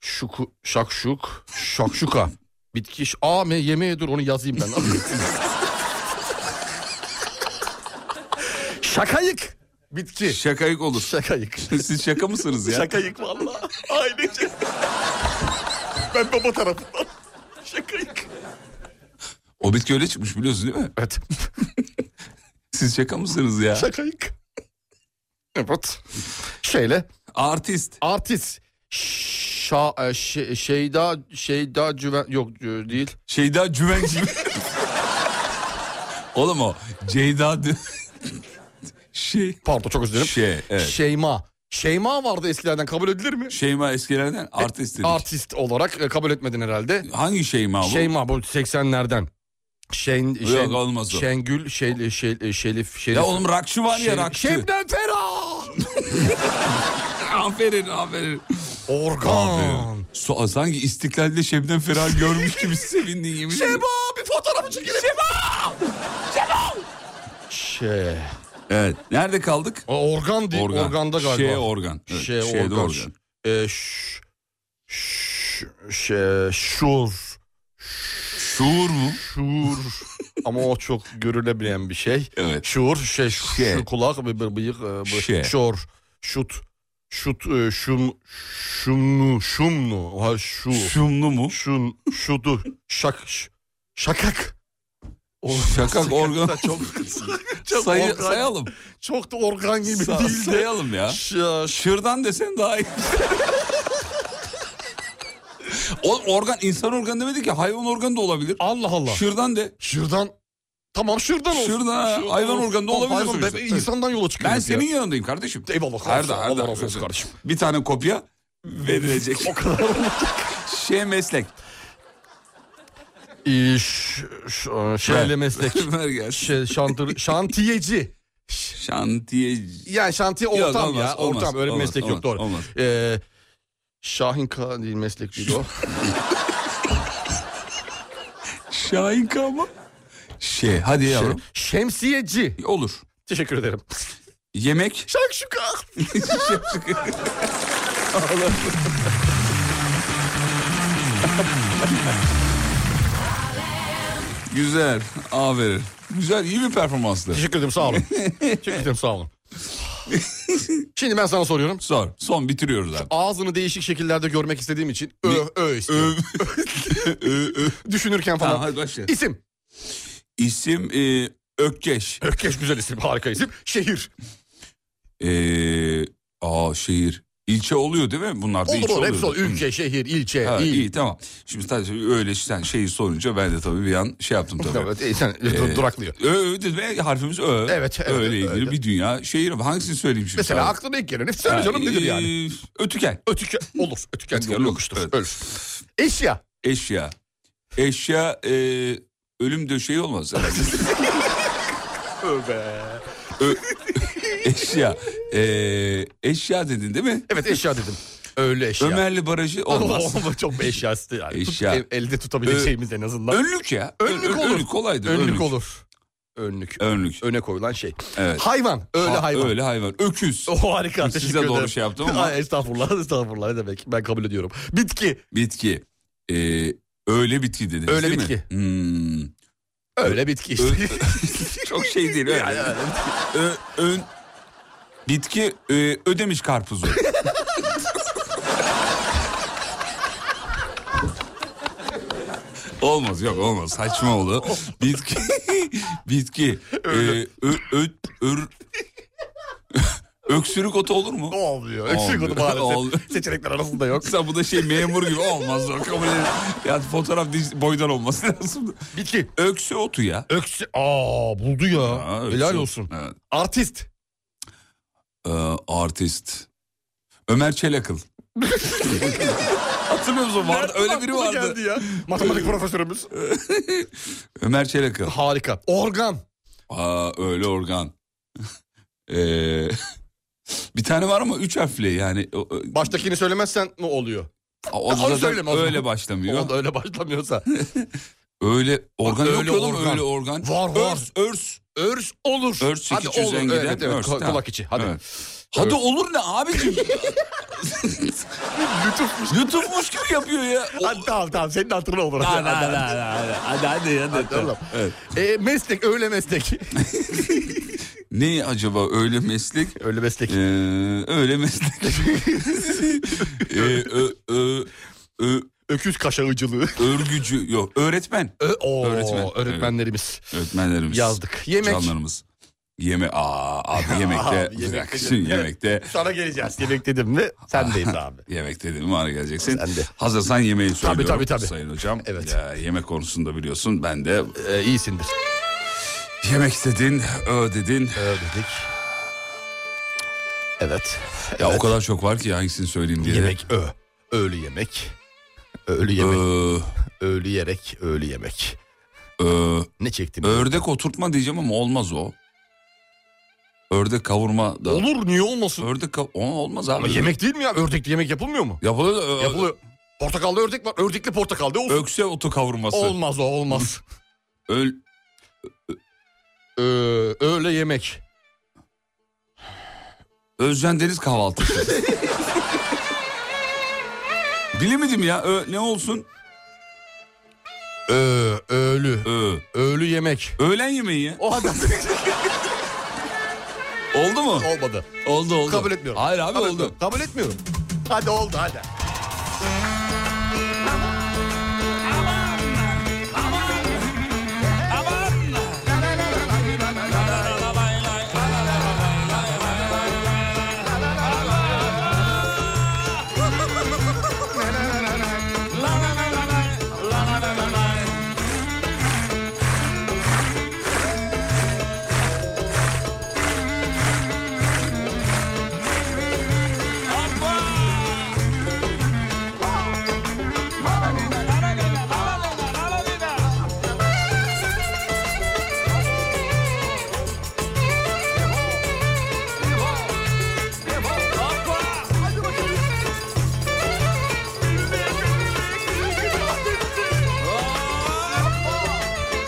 Şuku, şakşuk. Şakşuka. Bitki. ş- Aa me, yemeğe dur onu yazayım ben. *laughs* Şakayık. Bitki. Şakayık olur. *laughs* Şakayık. Siz şaka mısınız ya? Şakayık valla. Ailece. ben baba tarafından. Şakayık. O bitki öyle çıkmış biliyorsun değil mi? Evet. Siz şaka mısınız ya? *laughs* Şakayık. Evet. Şeyle. Artist. Artist. Şa, e, şey, şeyda, şeyda cüven, yok e, değil. Şeyda *laughs* Cüvenci. Oğlum o. Ceyda. Dü- şey. Pardon çok özür dilerim. Şey, evet. Şeyma. Şeyma vardı eskilerden kabul edilir mi? Şeyma eskilerden artist dedik. Artist olarak e, kabul etmedin herhalde. Hangi Şeyma bu? Şeyma bu 80'lerden. Şen, Şen- olmaz o. Şengül, şey, şey, Şelif, Şelif. Ya oğlum rakçı var ya Şey- rakçı. Şebnem Ferah. aferin aferin. Organ. So, sanki istiklalde Şebnem Ferah görmüş gibi sevindin yemin ederim. Şeba bir fotoğraf çekelim. Şeba. Şeba. Şey. Evet. Nerede kaldık? O Organ değil. Organda galiba. Şey organ. Evet, Şey, şeyde organ. organ. Ee, ş- ş- şey, şur. Şuur mu? Şur. Ama o çok görülebilen bir şey. Evet. Şuur, şey, şu, Şey. şu kulak, bir, bir bıyık, e, bu- Şey. şor, şut, şut, e, şum, şumnu, şumnu, ha şu, Şumlu mu? şun, şudu, şak, ş- şakak. Oğlum, Şakak organ. da Çok, çok, Sayı- organ- sayalım. çok da organ gibi Sa- değil de. sayalım ya. Ş- Şırdan desen daha iyi. Oğlum organ insan organı demedi ki hayvan organı da olabilir. Allah Allah. Şırdan de. Şırdan. Tamam şırdan olsun. Şırdan, hayvan organı da Tamam, olabilir hayvan, sonuçta. ben insandan yola çıkıyorum. Ben senin yanındayım kardeşim. Eyvallah Her kardeşim. da, her Allah da. razı olsun kardeşim. Bir tane kopya verilecek. O kadar olacak. şey meslek. İş, ş- e, şeyle *laughs* meslek. Ver gelsin. Şey, şantır, *laughs* şantiyeci. Şantiyeci. Yani şantiye Yok, ortam olmaz, ya. olmaz, ortam öyle bir olmaz, meslek Ee, olmaz, yok doğru. olmaz. Ee, Şahin K değil meslek değil o. Şahinka mı? Şey hadi yavrum. *laughs* Şemsiyeci. Olur. Teşekkür ederim. Yemek. Şakşuka. Güzel. Aferin. Güzel iyi bir performanstı. Teşekkür *laughs* ederim sağ olun. Teşekkür ederim sağ olun. Şimdi ben sana soruyorum. Sor. Son bitiriyoruz abi. Ağzını değişik şekillerde görmek istediğim için ö ö istiyorum. *laughs* Düşünürken falan. Tamam, hadi başla. İsim. İsim e, Ökkeş. Ökkeş güzel isim harika isim. Şehir. E, aa şehir. İlçe oluyor değil mi? Bunlar da Olur ilçe olur oluyor. hepsi olur. Ülke, şehir, ilçe, Ha, il. iyi. tamam. Şimdi sadece öyle sen şeyi sorunca ben de tabii bir an şey yaptım tabii. Evet, e, sen Ee, duraklıyor. Ö, ö, dedi ve harfimiz Ö. Evet, evet, Öyle ilgili öyle. bir dünya şehir. var. Hangisini söyleyeyim şimdi? Mesela sana? aklına ilk gelen. Söyle Ha, canım nedir e, yani? Ötüken. Ötüken olur. Ötüken Ötüken yolu olur, yokuştur. evet. Ölür. Eşya. Eşya. Eşya e, ölüm döşeği olmaz *laughs* herhalde. Öbe. eşya. E, eşya dedin değil mi? Evet eşya dedim. Öyle eşya. Ömerli Barajı olmaz. *laughs* Ama çok bir eşyası yani. Tut- Eşya. el- elde tutabileceğimiz en azından. Önlük ya. Önlük Ön- olur. Önlük kolaydı. önlük, olur. Önlük. Önlük. Öne koyulan şey. Evet. Hayvan. Öyle Ha, *laughs* hayvan. Öyle hayvan. Öküz. O harika. Size teşekkür doğru ederim. şey yaptım ama- Ay, estağfurullah, estağfurullah ne demek. Ben kabul ediyorum. Bitki. Bitki. E, öyle bitki dediniz Öyle değil bitki. mi? Hmm. Öyle bitki işte. *laughs* Ö- *laughs* Çok şey değil öyle. Yani öyle Ö- ön- bitki e, ödemiş karpuzu. *laughs* olmaz yok olmaz saçma oldu. Bitki *laughs* bitki e, ö, ö- ör- *laughs* öksürük otu olur mu? Olmuyor. Eksik oldu Olmuyor. Olmuyor. maalesef. Seçenekler arasında yok. Sen bu da şey memur gibi olmaz yok kabul edin. Ya fotoğraf diz- boydan olması *laughs* lazım. Bitki. Öksü otu ya. Öksü. Aa buldu ya. Ha, öksü Helal otu. olsun. Evet. Artist. Ee, artist. Ömer *laughs* Çelakıl. Hatırlıyor musun? Vardı, öyle biri Aklıma vardı. geldi ya. Matematik profesörümüz. *laughs* Ömer Çelakıl. *laughs* Harika. Organ. Aa, öyle organ. *laughs* Ee, bir tane var ama üç harfli yani. O, o- Baştakini söylemezsen ne oluyor? o da Onu zaten söyleme o zaman. öyle başlamıyor. O da öyle başlamıyorsa. Öyle organ Öyle yok ya oğlum, organ. öyle organ. Var, var. Örs, örs. Örs olur. Örs Hadi 800 olur. en giden Evet, evet. örs, Ko- tamam. Kulak içi. Hadi. Evet. Hadi Örs. olur ne abicim? *laughs* Lütufmuş. YouTube'muş gibi yapıyor ya. O- Hadi tamam tamam senin hatırına olur. Hadi, hadi, hadi. hadi hadi hadi. oğlum. Evet. E, meslek *laughs* öyle meslek. Ne acaba öyle meslek? öyle meslek. Ee, öyle meslek. ee, ö, ö, ö, Öküz kaşağıcılığı. örgücü yok. Öğretmen. Ö, oo, Öğretmen. Öğretmenlerimiz Öğretmenlerimiz. yazdık. Yemek. Canlarımız. Yeme aa abi yemekte *laughs* Abi, yemek bırak dedim. şimdi yemekte Ah. Sana geleceğiz. Yemek dedim mi *laughs* sendeyiz abi. yemek dedim bana geleceksin. Sen de. Hazırsan yemeği söylüyorum. tabii, tabii. Sayın hocam. Evet. Ya, yemek konusunda biliyorsun ben de E, iyisindir. yemek dedin, ö dedin. Ödedik. Evet. Ya o kadar çok var ki hangisini söyleyeyim diye. de. Yemek ö. Öğlü yemek. Öğlü Ö, yemek. Öğlü yerek. Öğlü yemek. ö, Ne çektim? ördek oturtma diyeceğim ama olmaz o. Ördek kavurma da. Olur niye olmasın? Ördek kav- Aa, olmaz abi. Ama yemek değil mi ya? Ördekli yemek yapılmıyor mu? Yapılıyor. da, ö- Yapılıyor. Portakallı ördek var. Ördekli portakal de olsun. Ökse otu kavurması. Olmaz o olmaz. Öl... ee, öğle yemek. Özcan Deniz *laughs* kahvaltısı. Bilemedim ya. Ö, ne olsun? Ee, öğlü. Ö. Öğlü yemek. Öğlen yemeği ya. O adam Oldu mu? olmadı. Oldu oldu. Kabul etmiyorum. Hayır abi Kabul oldu. etmiyorum. Kabul etmiyorum. Hadi oldu hadi.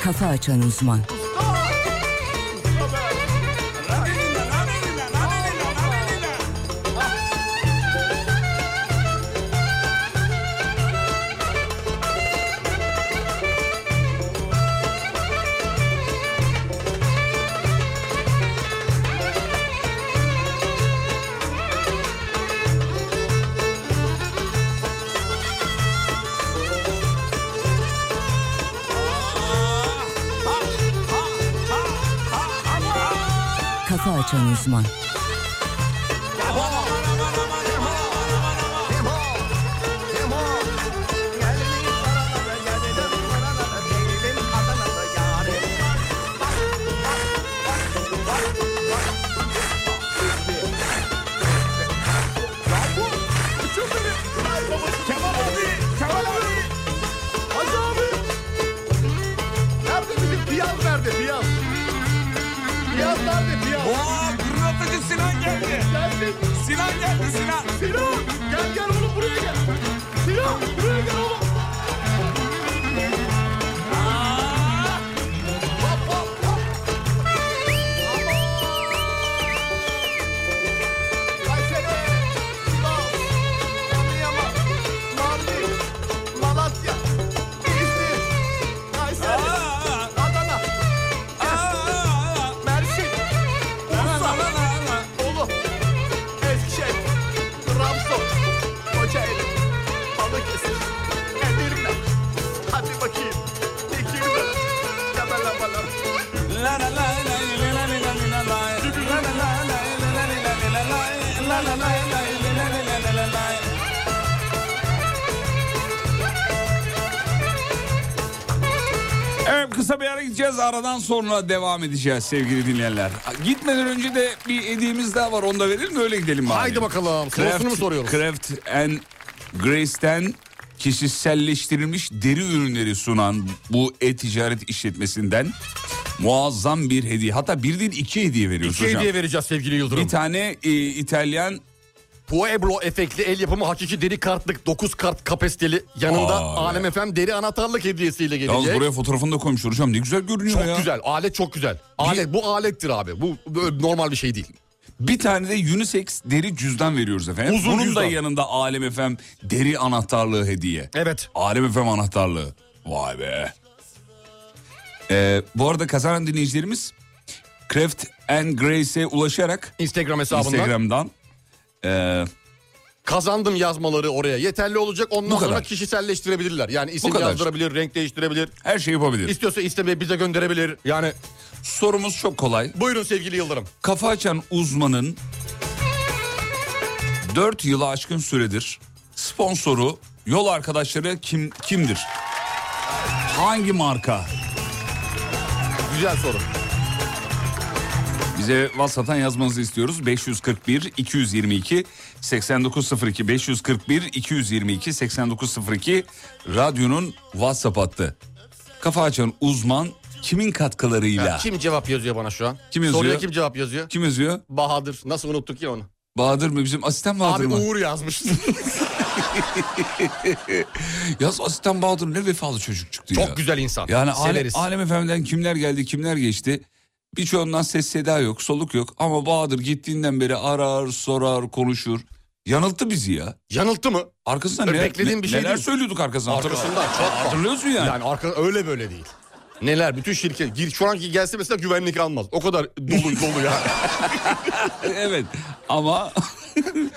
Kafa Açan Uzman. Kafa Açan Uzman. Kemal abi, Kemal abi. Hacı abi. Nerede bizim piyaz nerede piyaz? Piyaz nerede piyaz? Oha gırlatıcı Sinan geldi. Geldi. Sinan geldi Sinan. Sinan gel gel oğlum buraya gel. Sinan buraya gel oğlum. Hadi bakayım. Tekirdağ. Laba laba laba. Evet kısa bir ara gideceğiz. Aradan sonra devam edeceğiz sevgili dinleyenler. Gitmeden önce de bir hediyemiz daha var. Onu da verelim de öyle gidelim bari. Haydi bakalım, sırasını mı soruyoruz? Kraft and Grace'ten kişiselleştirilmiş deri ürünleri sunan bu e-ticaret işletmesinden muazzam bir hediye. Hatta bir değil iki hediye veriyoruz İki hocam. hediye vereceğiz sevgili Yıldırım. Bir tane e, İtalyan Pueblo efekli el yapımı hakiki deri kartlık 9 kart kapasiteli yanında Aa, Alem FM deri anahtarlık hediyesiyle gelecek. Yalnız buraya fotoğrafını da koymuş hocam. Ne güzel görünüyor çok ya. güzel. Alet çok güzel. Alet bu alettir abi. Bu böyle normal bir şey değil. Bir tane de unisex deri cüzdan veriyoruz efendim. Uzun Bunun cüzdan. da yanında Alem Efem deri anahtarlığı hediye. Evet. Alem Efem anahtarlığı. Vay be. Ee, bu arada kazanan dinleyicilerimiz Kraft and Grace'e ulaşarak Instagram hesabından Instagram'dan ee, kazandım yazmaları oraya yeterli olacak. Ondan Bu sonra kadar. kişiselleştirebilirler. Yani Bu isim kadar. yazdırabilir, renk değiştirebilir. her şeyi yapabilir. İstiyorsa istemeye bize gönderebilir. Yani Sorumuz çok kolay. buyurun sevgili Yıldırım. Kafa açan uzmanın 4 yılı aşkın süredir sponsoru, yol arkadaşları kim kimdir? Hangi marka? Güzel soru. Bize WhatsApp'tan yazmanızı istiyoruz. 541 222 8902 541 222 8902 radyonun WhatsApp hattı. Kafa açan uzman kimin katkılarıyla? Ya, Kim cevap yazıyor bana şu an? Kim yazıyor? Soruya kim cevap yazıyor? Kim yazıyor? Bahadır. Nasıl unuttuk ya onu? Bahadır mı? Bizim asistan Bahadır Abi mı? *laughs* Uğur yazmış. Yaz asistan Bahadır ne vefalı çocuk çıktı ya. Çok güzel insan. Yani Alem, Severiz. Alem Efendi'den kimler geldi kimler geçti. Birçoğundan ses seda yok soluk yok ama Bahadır gittiğinden beri arar sorar konuşur. Yanılttı bizi ya. Yanılttı mı? Arkasından Öyle neler, beklediğim bir şey neler değil. söylüyorduk arkasından. Arkasından çok var. Hatırlıyorsun yani. Yani arka öyle böyle değil. Neler bütün şirket gir şu anki gelse mesela güvenlik almaz. O kadar *laughs* dolu dolu ya. evet ama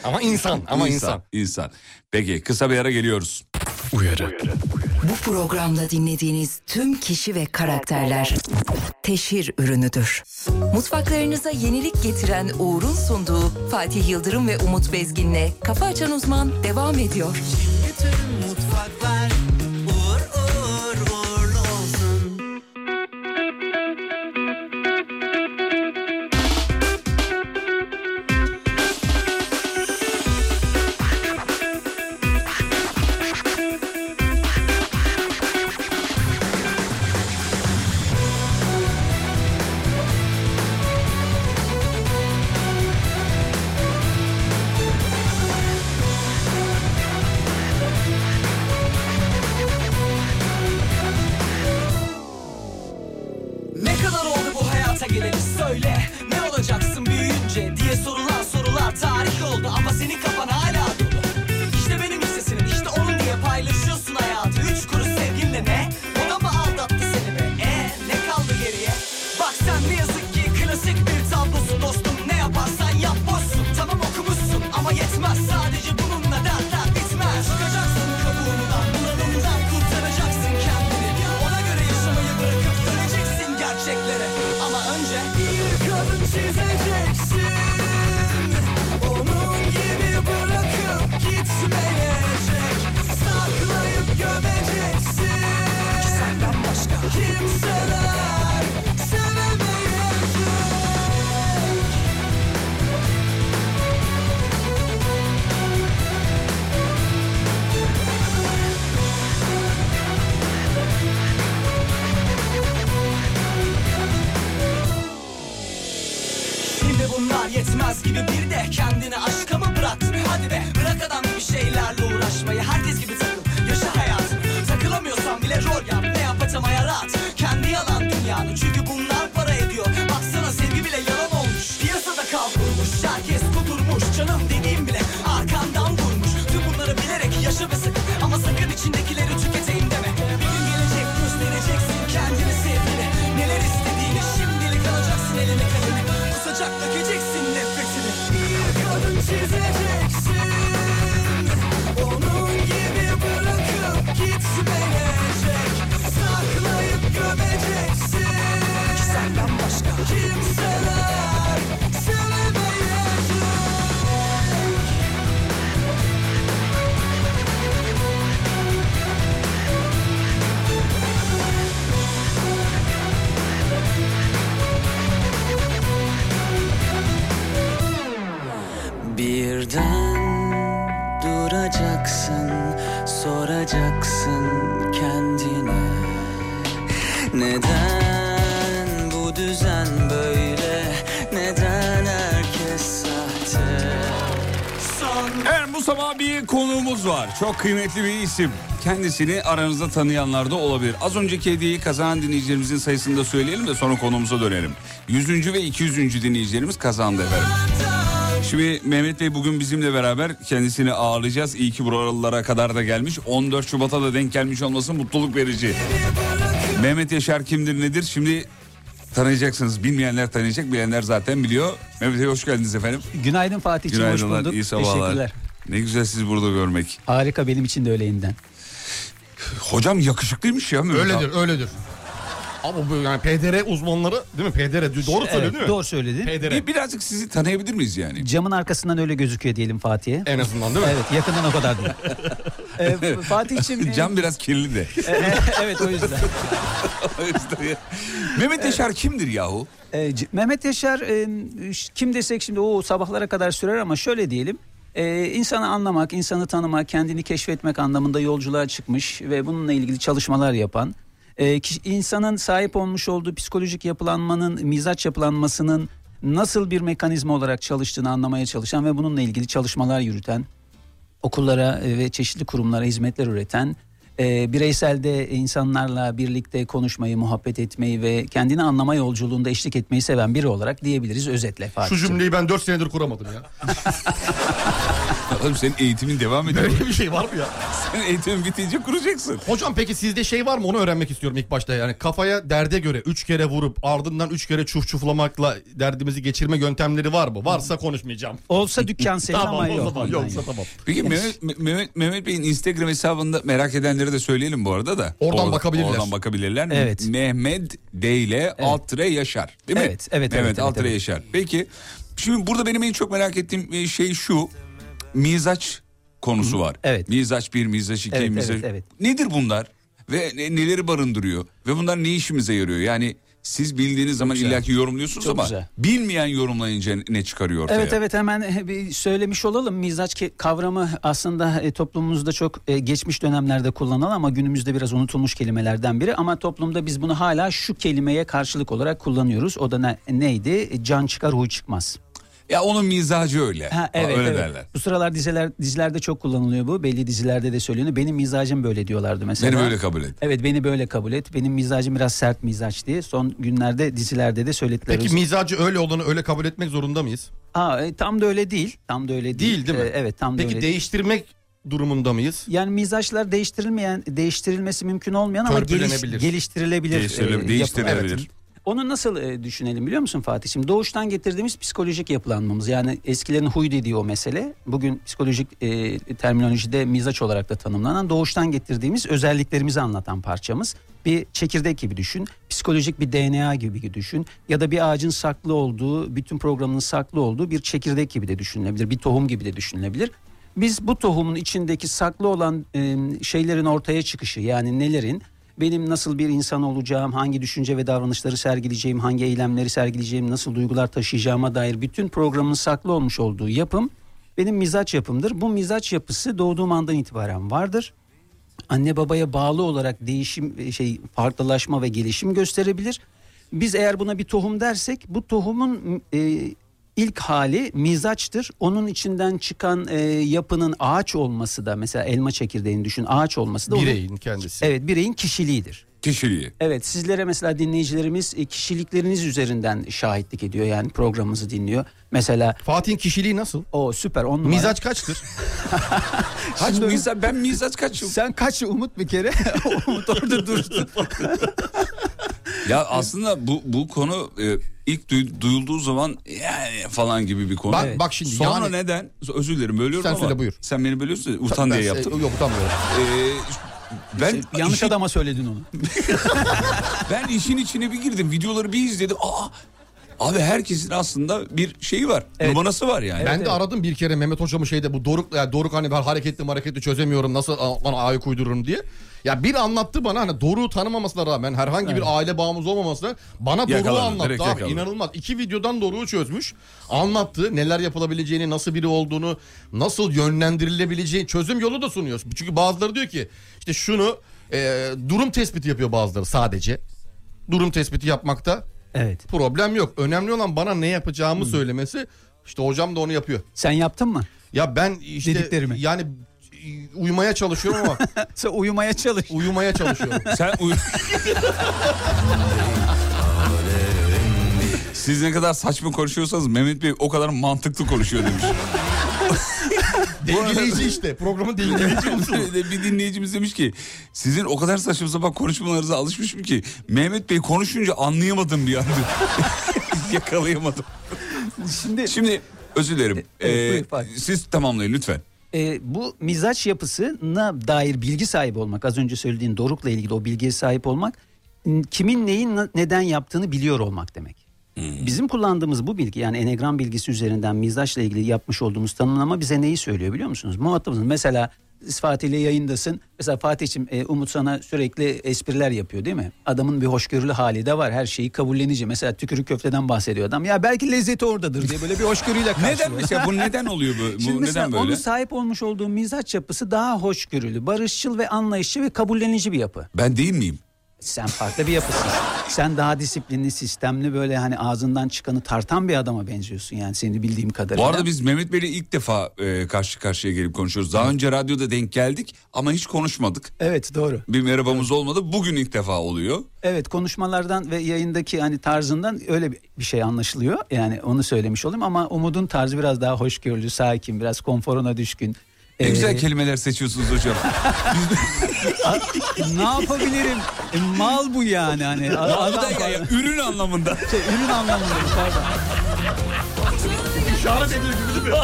ama insan ama insan. *laughs* İnsan. Peki kısa bir ara geliyoruz. Bu programda dinlediğiniz tüm kişi ve karakterler teşhir ürünüdür. Mutfaklarınıza yenilik getiren Uğur'un sunduğu Fatih Yıldırım ve Umut Bezgin'le Kafa Açan Uzman devam ediyor. sevgilini söyle Ne olacaksın büyüyünce diye sorulan sorular tarih oldu Ama senin kafan hala dolu İşte benim hissesinin işte onun diye paylaşıyorsun hayatı Üç kuruş sevginle ne? O da mı aldattı seni be? E ne kaldı geriye? Bak sen ne yazık ki klasik bir tablosun dostum Ne yaparsan yap boşsun Tamam okumuşsun ama yetmez Sadece bununla dertler bitmez Çıkacaksın kabuğundan bunalımdan kurtaracaksın kendini Ona göre yaşamayı bırakıp döneceksin gerçeklere Ama önce bir kadın çizeceksin Onun gibi bırakıp gitmeyecek Saklayıp gömeceksin Ki senden başka kimseler sevemeyecek Şimdi bunlar yetmez gibi bir de kendini aşka mı bıraktın? Hadi be bırak adam gibi şeylerle uğraşmayı herkes gibi takıl yaşa hayatını Takılamıyorsan bile rol yap ne yapacağım hayal at Kendi yalan dünyanı çünkü bunlar para ediyor Baksana sevgi bile yalan olmuş piyasada kavrulmuş Herkes kudurmuş canım dediğim bile arkandan vurmuş Tüm bunları bilerek yaşa ve sakın ama sakın içindekileri tüketeyim deme Bir gün gelecek göstereceksin kendini sevgini Neler istediğini şimdilik alacaksın eline kalemi Kusacak dökeceksin nefretini Bir kadın çizeceksin Onun gibi bırakıp gitmeyecek Saklayıp gömeceksin Ki senden başka kimseler sevemeyecek Birden duracaksın, soracaksın kendine. Neden bu düzen böyle? Neden herkes sahte? Evet bu sabah bir konuğumuz var. Çok kıymetli bir isim. Kendisini aranızda tanıyanlar da olabilir. Az önceki hediyeyi kazanan dinleyicilerimizin sayısını da söyleyelim de sonra konumuza dönelim. 100. ve 200. dinleyicilerimiz kazandı efendim. Şimdi Mehmet Bey bugün bizimle beraber kendisini ağırlayacağız. İyi ki buralara kadar da gelmiş. 14 Şubat'a da denk gelmiş olması mutluluk verici. Mehmet Yaşar kimdir nedir? Şimdi tanıyacaksınız. Bilmeyenler tanıyacak, bilenler zaten biliyor. Mehmet Bey hoş geldiniz efendim. Günaydın Fatih'ciğim hoş Günaydınlar, bulduk. iyi sabahlar. Teşekkürler. Ne güzel sizi burada görmek. Harika benim için de öyleyinden. Hocam yakışıklıymış ya. Mehmet Öyledir abi. öyledir. Abi bu yani PDR uzmanları değil mi? PDR doğru Evet, söylüyor değil mi? doğru söyledin. Bir- birazcık sizi tanıyabilir miyiz yani? Camın arkasından öyle gözüküyor diyelim Fatih'e. En azından değil mi? Evet yakından o kadar değil. ee, Fatih'ciğim. Cam biraz kirli de. *laughs* evet o yüzden. Mehmet Yaşar kimdir yahu? Ee, C- Mehmet Yaşar e, ş- kim desek şimdi o sabahlara kadar sürer ama şöyle diyelim. E, insanı anlamak, insanı tanımak, kendini keşfetmek anlamında yolculuğa çıkmış ve bununla ilgili çalışmalar yapan, e, ki- insanın sahip olmuş olduğu psikolojik yapılanmanın, mizaç yapılanmasının nasıl bir mekanizma olarak çalıştığını anlamaya çalışan ve bununla ilgili çalışmalar yürüten, okullara e, ve çeşitli kurumlara hizmetler üreten, e, bireyselde insanlarla birlikte konuşmayı, muhabbet etmeyi ve kendini anlama yolculuğunda eşlik etmeyi seven biri olarak diyebiliriz özetle Şu Fatih. cümleyi ben 4 senedir kuramadım ya. Oğlum senin eğitimin devam ediyor. *laughs* Böyle bir şey var mı ya? Senin eğitimin bitince kuracaksın. Hocam peki sizde şey var mı onu öğrenmek istiyorum ilk başta. Yani kafaya derde göre 3 kere vurup ardından 3 kere çuf çuflamakla derdimizi geçirme yöntemleri var mı? Varsa konuşmayacağım. Olsa dükkan senin tamam, ama o yok Zaman, ondan yoksa yok. tamam. Peki Mehmet, Me- Mehmet, Mehmet Bey'in Instagram hesabında merak edenleri de söyleyelim bu arada da. Oradan Orada- bakabilirler. Oradan bakabilirler. Evet. Mehmet D ile alt tire Yaşar. Değil mi? Evet, evet, Evet, evet, alt tire evet. Yaşar. Peki şimdi burada benim en çok merak ettiğim e, şey şu. Mizaç konusu var. Evet. Mizaç 1, mizaç 2, Evet, mizaç... evet, evet. Nedir bunlar? Ve ne- neleri barındırıyor? Ve bunlar ne işimize yarıyor? Yani siz bildiğiniz zaman güzel. illaki yorumluyorsunuz Çok ama güzel. bilmeyen yorumlayınca ne çıkarıyor ortaya? Şey- Evet evet hemen e, bir söylemiş olalım. Mizaç ki- kavramı aslında e, toplumumuzda çok e, geçmiş dönemlerde kullanılan ama günümüzde biraz unutulmuş kelimelerden biri. Ama toplumda biz bunu hala şu kelimeye karşılık olarak kullanıyoruz. O da ne- neydi? E, Can çıkar huy çıkmaz. Ya onun mizacı öyle. Ha, evet, öyle evet. derler. Bu sıralar diziler, dizilerde çok kullanılıyor bu. Belli dizilerde de söyleniyor. Benim mizacım böyle diyorlardı mesela. Beni böyle kabul Ee, et. Evet beni böyle kabul et. Benim mizacım biraz sert mizaç diye. Son günlerde dizilerde de söylettiler. Peki mizacı öyle olanı öyle kabul etmek zorunda mıyız? Aa, e, tam da öyle değil. Tam da öyle değil. Değil değil mi? Ee, evet tam da Peki öyle değiştirmek durumunda mıyız? Yani mizaçlar değiştirilmeyen, değiştirilmesi mümkün olmayan ama geliş, Törpülenebilir. geliştirilebilir. e, Değiştirile- yapı- değiştirilebilir. Evet. Onu nasıl e, düşünelim biliyor musun Fatih? Şimdi doğuştan getirdiğimiz psikolojik yapılanmamız yani eskilerin huy dediği o mesele bugün psikolojik e, terminolojide mizaç olarak da tanımlanan doğuştan getirdiğimiz özelliklerimizi anlatan parçamız. Bir çekirdek gibi düşün, psikolojik bir DNA gibi düşün ya da bir ağacın saklı olduğu, bütün programının saklı olduğu bir çekirdek gibi de düşünülebilir, bir tohum gibi de düşünülebilir. Biz bu tohumun içindeki saklı olan e, şeylerin ortaya çıkışı yani nelerin benim nasıl bir insan olacağım, hangi düşünce ve davranışları sergileyeceğim, hangi eylemleri sergileyeceğim, nasıl duygular taşıyacağıma dair bütün programın saklı olmuş olduğu yapım benim mizaç yapımdır. Bu mizaç yapısı doğduğum andan itibaren vardır anne babaya bağlı olarak değişim e, şey farklılaşma ve gelişim gösterebilir. Biz eğer buna bir tohum dersek bu tohumun e, ilk hali mizaçtır. Onun içinden çıkan e, yapının ağaç olması da mesela elma çekirdeğini düşün ağaç olması da onun- Bireyin kendisi. Evet bireyin kişiliğidir. Kişiliği. Evet sizlere mesela dinleyicilerimiz e, kişilikleriniz üzerinden şahitlik ediyor yani programımızı dinliyor. Mesela Fatih'in kişiliği nasıl? O süper on numara. Mizaç kaçtır? Kaç mizaç ben mizaç kaçım. Sen kaç Umut bir kere? Umut orada dursun. *laughs* Ya aslında bu bu konu e, ilk duy- duyulduğu zaman yani falan gibi bir konu. Bak- Evet. bak şimdi Sonra yani- neden? Özür dilerim bölüyorum Sen ama. söyle, buyur. Sen beni bölüyorsun ya, utan Ben- Şey, diye e, yaptım. Yok utanmıyorum. Ee, ben *laughs* Yanlış işin- adama söyledin onu. *laughs* ben işin içine bir girdim. Videoları bir izledim. Aa abi herkesin aslında bir şeyi var. Numarası var yani. ben de aradım bir kere Mehmet hocamı şeyde bu Doruk yani Doruk hani ben hareketli hareketli çözemiyorum nasıl a- bana ayak uydururum diye. Ya bir anlattı bana hani Doruk'u tanımamasına rağmen herhangi Evet. bir aile bağımız olmamasına bana Doruk'u Yakalandı, anlattı direkt abi yakalandı. inanılmaz. İki videodan Doruk'u çözmüş anlattı neler yapılabileceğini nasıl biri olduğunu nasıl yönlendirilebileceğini çözüm yolu da sunuyoruz. Çünkü bazıları diyor ki işte şunu e, durum tespiti yapıyor bazıları sadece. Durum tespiti yapmakta Evet. problem yok. Önemli olan bana ne Hmm. yapacağımı söylemesi. İşte hocam da onu yapıyor. Sen yaptın mı? Ya ben işte Dediklerimi. yani e, uyumaya çalışıyorum ama. Sen uyumaya çalış. Uyumaya çalışıyorum. Sen uy... Siz ne kadar saçma konuşuyorsanız Mehmet Bey o kadar mantıklı konuşuyor *laughs* demiş. Dengeleyici işte. *laughs* Programın dengeleyici bir dinleyicimiz demiş ki sizin o kadar saçma sapan konuşmalarınıza alışmışım ki Mehmet Bey konuşunca anlayamadım bir anda. *laughs* Yakalayamadım. Şimdi, Şimdi özür dilerim. Evet, Ee, E, buyur Fatih. siz tamamlayın lütfen. Ee, bu mizaç yapısına dair bilgi sahibi olmak, az önce söylediğin Doruk'la ilgili o bilgiye sahip olmak, n- kimin neyin na- neden yaptığını biliyor olmak demek. Bizim kullandığımız bu bilgi yani enegram bilgisi üzerinden mizaçla ilgili yapmış olduğumuz tanımlama bize neyi söylüyor biliyor musunuz? Muhatabımız mesela siz Fatih ile yayındasın. Mesela Fatih'ciğim e, Umut sana sürekli espriler yapıyor değil mi? Adamın bir hoşgörülü hali de var. Her şeyi kabullenici. Mesela tükürük köfteden bahsediyor adam. Ya belki lezzeti oradadır diye böyle bir hoşgörüyle karşılıyor. Neden mesela bu neden oluyor bu? bu Şimdi mesela neden böyle? onun sahip olmuş olduğu mizaç yapısı daha hoşgörülü, barışçıl ve anlayışçı ve kabullenici bir yapı. Ben değil miyim? Sen farklı bir yapısın. Sen daha disiplinli, sistemli böyle hani ağzından çıkanı tartan bir adama benziyorsun yani seni bildiğim kadarıyla. Bu arada biz Mehmet Bey'le ilk defa e, karşı karşıya gelip konuşuyoruz. Daha önce radyoda denk geldik ama hiç konuşmadık. Evet doğru. Bir merhabamız olmadı. Bugün ilk defa oluyor. Evet konuşmalardan ve yayındaki hani tarzından öyle bir- bir şey anlaşılıyor. Yani onu söylemiş olayım ama Umut'un tarzı biraz daha hoşgörülü, sakin, biraz konforuna düşkün. Ne Ee, güzel kelimeler seçiyorsunuz *laughs* hocam. Ee, ne yapabilirim? E, mal bu yani *laughs* hani. Mal da ya, ya, ürün *laughs* anlamında. Şey, ürün anlamında pardon. İşaret ediyor gibi değil mi?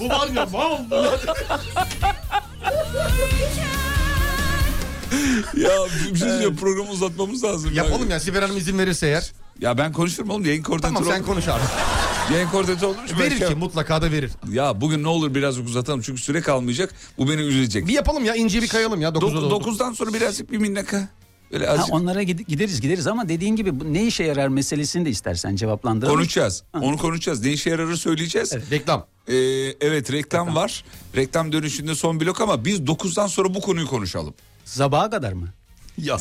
bu var ya mal. ya bir şey söyleyeceğim, programı uzatmamız lazım. Yapalım ya Sibel Hanım izin verirse eğer. Ya ben konuşurum oğlum yayın koordinatörü Tamam sen oldum. *laughs* konuş E, abi. Yayın koordinatörü oldum. Şimdi ben Verir şey- ki mutlaka da verir. Ya bugün ne olur birazcık uzatalım çünkü süre kalmayacak. Bu beni üzecek. Bir yapalım ya ince bir kayalım ya 9'da Dok- dokuzdan sonra birazcık bir minnaka. Böyle azıcık- Ha, onlara gid- gideriz gideriz ama dediğin gibi bu ne işe yarar meselesini de istersen cevaplandıralım. Konuşacağız. Onu konuşacağız. Ne işe yararı söyleyeceğiz. reklam. Ee, evet reklam, var. Reklam dönüşünde son blok ama biz 9'dan sonra bu konuyu konuşalım. Sabaha kadar mı? Ya.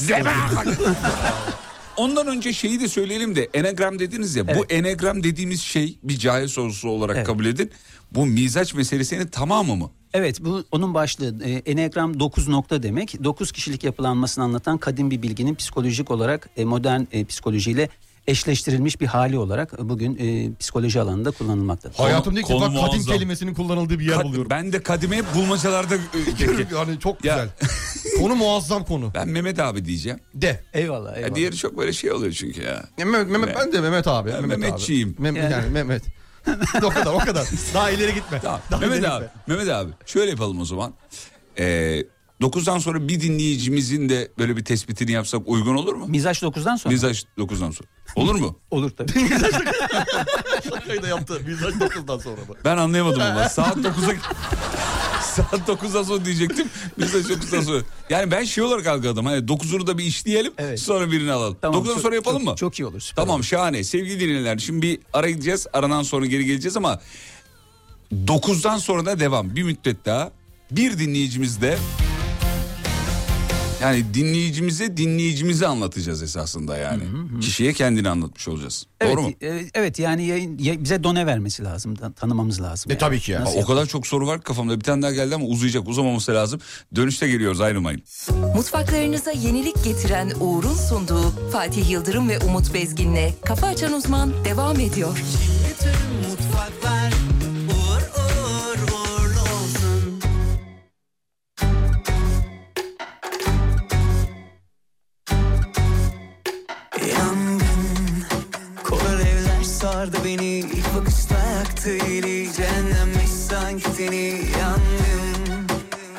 *laughs* ondan önce şeyi de söyleyelim de enegram dediniz ya bu enegram dediğimiz şey bir cahil sorusu olarak kabul edin. Bu mizaç meselesinin tamamı mı? Evet bu onun başlığı e, Enneagram 9 nokta demek. 9 kişilik yapılanmasını anlatan kadim bir bilginin psikolojik olarak e, modern e, psikolojiyle eşleştirilmiş bir hali olarak e, bugün e, psikoloji alanında kullanılmaktadır. Hayatımda ilk defa kadim kelimesinin kullanıldığı bir yer buluyorum. Ben de kadime hep bulmacalarda... e, *laughs* hani yani çok güzel. konu muazzam konu. Ben Mehmet abi diyeceğim. De. Eyvallah. Ya diğeri çok böyle şey oluyor çünkü ya. Mehmet, Mehmet, ben de Mehmet abi. Ben Mehmet Mehmetçiyim. Abi. Mem- yani. Yani. *laughs* Mehmet. o kadar o kadar. Daha ileri gitme. Daha Mehmet ileri abi, gitme. Mehmet abi şöyle yapalım o zaman. Ee, 9'dan sonra bir dinleyicimizin de böyle bir tespitini yapsak uygun olur mu? Mizaç 9'dan sonra. Mizaç 9'dan sonra. Olur mu? Olur tabii. Şakayı da yaptı. Mizaç 9'dan sonra da. Ben anlayamadım ama saat 9'a *laughs* saat 9'dan sonra diyecektim. Mizaç 9'dan sonra. Yani ben şey olarak algıladım. Hani 9'unu da bir işleyelim sonra birini alalım. Tamam, 9'dan çok- sonra yapalım çok- mı? Çok iyi olur. süper. Tamam şahane. Sevgili dinleyenler şimdi bir ara gideceğiz. Aradan sonra geri geleceğiz ama 9'dan sonra da devam. Bir müddet daha. Bir dinleyicimiz de yani dinleyicimize dinleyicimizi anlatacağız esasında yani. Kişiye kendini anlatmış olacağız. Evet, Doğru mu? e, evet yani yayın- ya- bize done vermesi lazım. tan- Tanımamız E, lazım. yani. Nasıl o kadar çok soru var ki kafamda. Bir tane daha geldi ama uzayacak. Uzamaması lazım. Dönüşte geliyoruz ayrılmayın. Mutfaklarınıza yenilik getiren Uğur'un sunduğu Fatih Yıldırım ve Umut Bezgin'le Kafa Açan Uzman devam ediyor. Mutfaklar uğur uğur uğurlu olsun. Yangın kolar evler sardı beni ilk bakışta yaktı eli cehennemmiş sanki seni yandım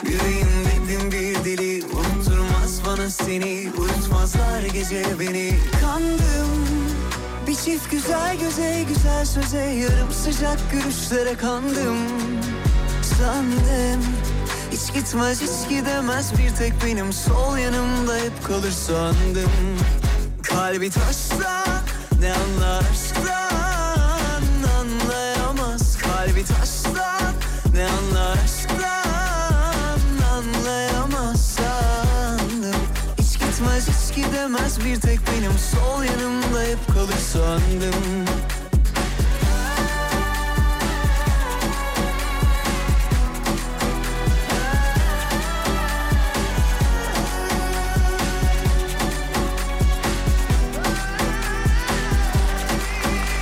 Yüreğim dedim bir deli unutturmaz bana seni Uyutmazlar gece beni kandım bir çift güzel göze güzel söze yarım sıcak görüşlere kandım Sandım hiç gitmez hiç gidemez bir tek benim sol yanımda hep kalır sandım Kalbi taşsa ne anlar aşktan anlayamaz Kalbi taşsa ne anlar aşktan anlayamaz sandım hiç gitmez hiç gidemez bir tek benim sol yanımda hep kalır sandım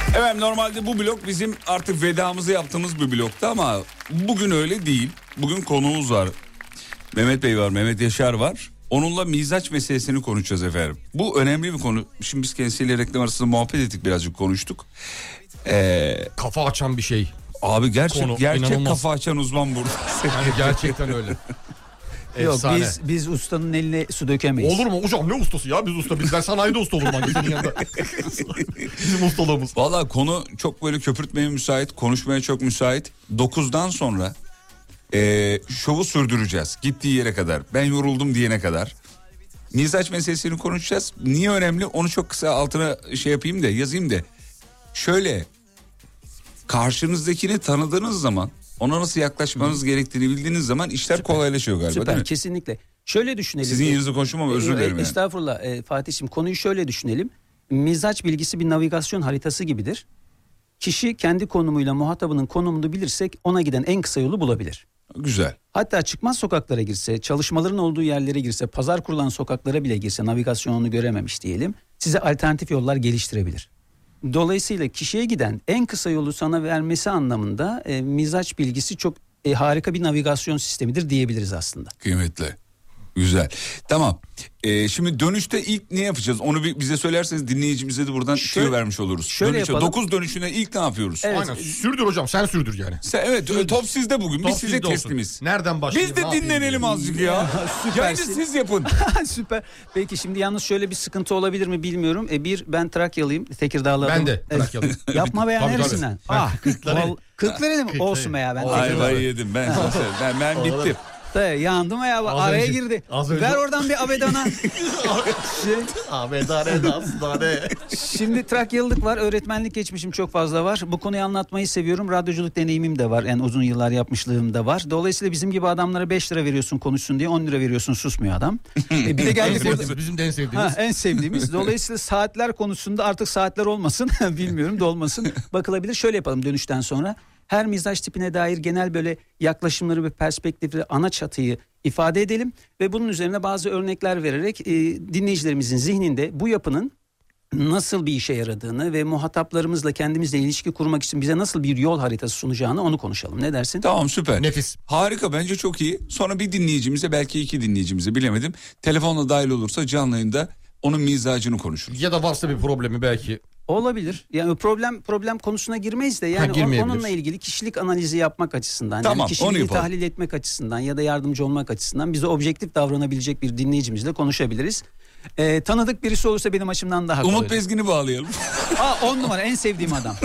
Efendim normalde bu blok bizim artık vedamızı yaptığımız bir bloktu ama bugün öyle değil. Bugün konuğumuz var. Mehmet Bey var, Mehmet Yaşar var. Onunla mizaç meselesini konuşacağız efendim. Bu önemli bir konu. Şimdi biz kendisiyle reklam arasında muhabbet ettik birazcık konuştuk. kafa açan bir şey. Abi gerçek Konu, gerçek inanılmaz. kafa açan uzman burada. gerçekten öyle. Yok Efsane. biz biz ustanın eline su dökemeyiz. Olur mu hocam ne ustası ya biz usta biz ben sanayide usta olurum hangi senin yanında. Bizim ustalığımız. Valla konu çok böyle köpürtmeye müsait, konuşmaya çok müsait. 9'dan sonra eee, şovu sürdüreceğiz. Gittiği yere kadar, ben yoruldum diyene kadar. Mizaç meselesini konuşacağız. Niye önemli onu çok kısa altına şey yapayım da yazayım da. Şöyle karşınızdakini tanıdığınız zaman ona nasıl yaklaşmanız gerektiğini bildiğiniz zaman işler kolaylaşıyor galiba Süper değil mi? kesinlikle. Şöyle düşünelim. Sizin yüzünüzü konuştum ama özür Ee, dilerim yani. Estağfurullah e, Fatih'im konuyu şöyle düşünelim. Mizaç bilgisi bir navigasyon haritası gibidir. Kişi kendi konumuyla muhatabının konumunu bilirsek ona giden en kısa yolu bulabilir. Güzel. Hatta çıkmaz sokaklara girse, çalışmaların olduğu yerlere girse, pazar kurulan sokaklara bile girse navigasyonunu görememiş diyelim. Size alternatif yollar geliştirebilir. Dolayısıyla kişiye giden en kısa yolu sana vermesi anlamında e, mizaç bilgisi çok e, harika bir navigasyon sistemidir diyebiliriz aslında. Kıymetli. Güzel. Tamam. Ee, şimdi dönüşte ilk ne yapacağız? Onu bir bize söylerseniz dinleyicimize de buradan tüyo vermiş oluruz. şöyle dönüşe, yapalım. 9 dönüşüne ilk ne yapıyoruz? Aynen sürdür hocam sen sürdür yani. Sen- evet top sizde bugün. Top Biz size sizde olsun. teslimiz. Nereden başlayayım? Biz de ne yapayım? dinlenelim azıcık ya. *laughs* Yani süpersin. siz yapın. *laughs* Süper. Peki şimdi yalnız şöyle bir sıkıntı olabilir mi bilmiyorum. E bir ben Trakyalıyım. Tekirdağlı Ben adamım. de Trakyalıyım. *laughs* Yapma be ya Tabii, tabii. neresinden? Ben Ah, Kırklareli. val- Kırklareli mi? Olsun be ya ben. Ay Tekirdağlı. *laughs* vay yedim ben sana söyleyeyim. Ben, ben bittim. Tabii yandım ya bak, Az araya önce- girdi. az önce- Ver oradan bir abedana. *laughs* Abedane dastane. Şimdi Trakyalılık var. Öğretmenlik geçmişim çok fazla var. Bu konuyu anlatmayı seviyorum. Radyoculuk deneyimim de var. En uzun yıllar yapmışlığım da var. Dolayısıyla bizim gibi adamlara 5 lira veriyorsun konuşsun diye 10 lira veriyorsun susmuyor adam. E bir de geldik En burada- sevdiğimiz, *laughs* bizim de en sevdiğimiz. Ha, en sevdiğimiz. Dolayısıyla saatler konusunda artık saatler olmasın. *laughs* Bilmiyorum dolmasın. Bakılabilir. Şöyle yapalım dönüşten sonra. Her mizaj tipine dair genel böyle yaklaşımları ve perspektifleri ana çatıyı ifade edelim. Ve bunun üzerine bazı örnekler vererek e, dinleyicilerimizin zihninde bu yapının nasıl bir işe yaradığını ve muhataplarımızla kendimizle ilişki kurmak için bize nasıl bir yol haritası sunacağını onu konuşalım. Ne dersin? Tamam süper. Nefis. Harika bence çok iyi. Sonra bir dinleyicimize belki iki dinleyicimize bilemedim. Telefonla dahil olursa canlı yayında onun mizacını konuşuruz. Ya da varsa bir problemi belki. Olabilir. Yani problem problem konusuna girmeyiz de Ha, yani o- girmeyebiliriz. onunla ilgili kişilik analizi yapmak açısından, Tamam, yani onu kişiliği yapalım. tahlil etmek açısından ya da yardımcı olmak açısından bize objektif davranabilecek bir dinleyicimizle konuşabiliriz. Ee, tanıdık birisi olursa benim açımdan daha Umut kolay. Bezgin'i bağlayalım. Aa, on numara en *laughs* sevdiğim adam.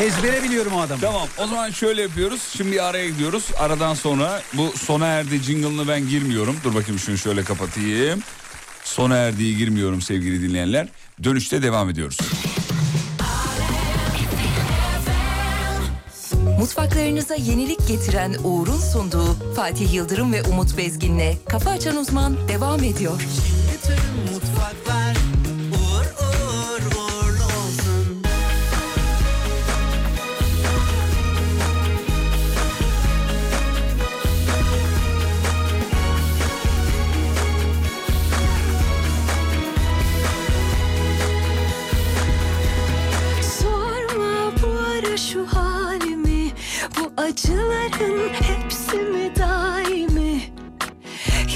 Ezbere biliyorum o adamı. Tamam o zaman şöyle yapıyoruz. Şimdi araya gidiyoruz. Aradan sonra bu sona erdi jingle'ını ben girmiyorum. Dur bakayım şunu şöyle kapatayım. Sona erdiği girmiyorum sevgili dinleyenler. Dönüşte devam ediyoruz. Mutfaklarınıza yenilik getiren Uğur'un sunduğu Fatih Yıldırım ve Umut Bezgin'le Kafa Açan Uzman devam ediyor. Mutfaklar uğur uğur uğurlu olsun. Sorma bu ara şu halimi Bu acıların hepsi mi daimi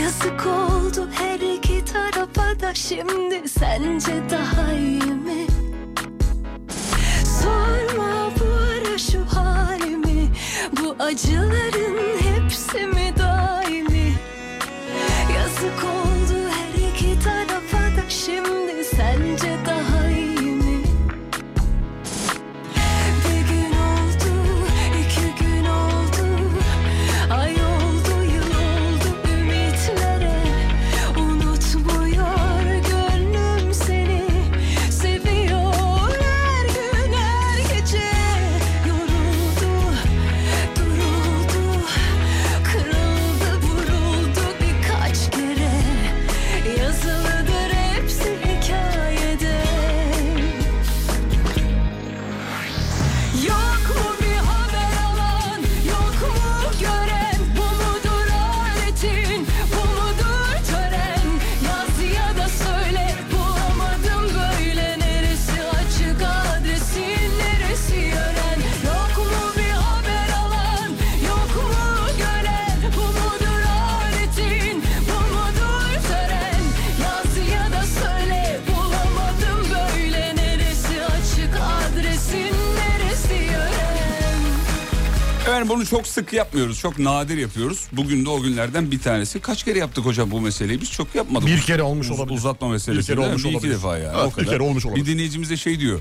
Yazık oldu her iki tarafa da Şimdi sence daha iyi mi Sorma bu ara şu halimi Bu acıların hepsi mi daimi Yazık oldu her iki tarafa da Şimdi sence daha iyi mi bir gün oldu, iki gün oldu, ay oldu, yıl oldu ümitlere Unutmuyor gönlüm seni, seviyor her gün her gece Yoruldu, duruldu, kırıldı, vuruldu birkaç kere Yazılıdır hepsi hikayede Yok mu bir haber alan, yok mu gören? Bu mudur aletin, bu mudur tören? Yaz ya da söyle, bulamadım böyle neresi açık adresin, neresi yören? Yok mu bir haber alan, yok mu gören? Bu mudur aletin, bu mudur tören? Yaz ya da söyle, bulamadım böyle neresi açık adresin, neresi yören? Efendim bunu çok sık yapmıyoruz. Çok nadir yapıyoruz. Bugün de o günlerden bir tanesi. Kaç kere yaptık hocam bu meseleyi? Biz çok yapmadık. Bir kere olmuş Uz- olabilir. Uzatma meselesi. Bir kere değil mi? olmuş bir olabilir. iki defa yani. o Evet, bir kadar. kere olmuş olabilir. Bir dinleyicimiz de şey diyor.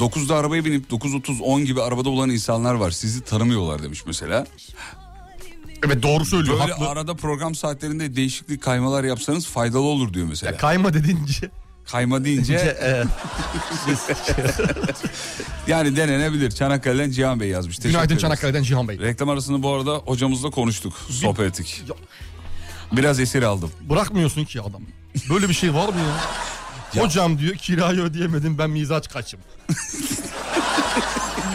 9'da arabaya binip 9.30 10 gibi arabada olan insanlar var. Sizi tanımıyorlar demiş mesela. Evet doğru söylüyor. Böyle haklı. arada program saatlerinde değişiklik kaymalar yapsanız faydalı olur diyor mesela. Kayma dediğince. Kayma deyince *laughs* yani denenebilir. Çanakkale'den Cihan Bey yazmış. Teşekkür Günaydın ederiz. Çanakkale'den Cihan Bey. Reklam arasını bu arada hocamızla konuştuk, sohbet ettik. Biraz esir aldım. Bırakmıyorsun ki adam. Böyle bir şey var mı ya? Hocam diyor kirayı ödeyemedim ben mizaç kaçım.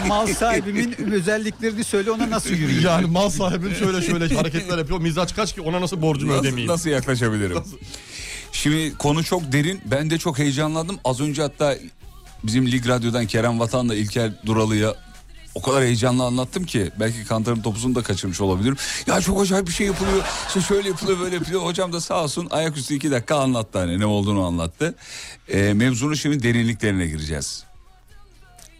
Mal sahibimin özelliklerini söyle ona *laughs* nasıl yürüyeyim? Yani mal sahibim şöyle şöyle hareketler yapıyor. Mizaç kaç ki ona nasıl borcumu Nasıl- ödemeyeyim? Nasıl yaklaşabilirim? Şimdi konu çok derin. Ben de çok heyecanlandım. Az önce hatta bizim Lig Radyo'dan Kerem Vatan'la İlker Duralı'ya o kadar heyecanla anlattım ki belki kantarın topuzunu da kaçırmış olabilirim. Ya çok acayip bir şey yapılıyor. İşte şöyle yapılıyor böyle yapılıyor. Hocam da sağ olsun ayaküstü iki dakika anlattı hani ne olduğunu anlattı. Ee, mevzunun şimdi derinliklerine gireceğiz.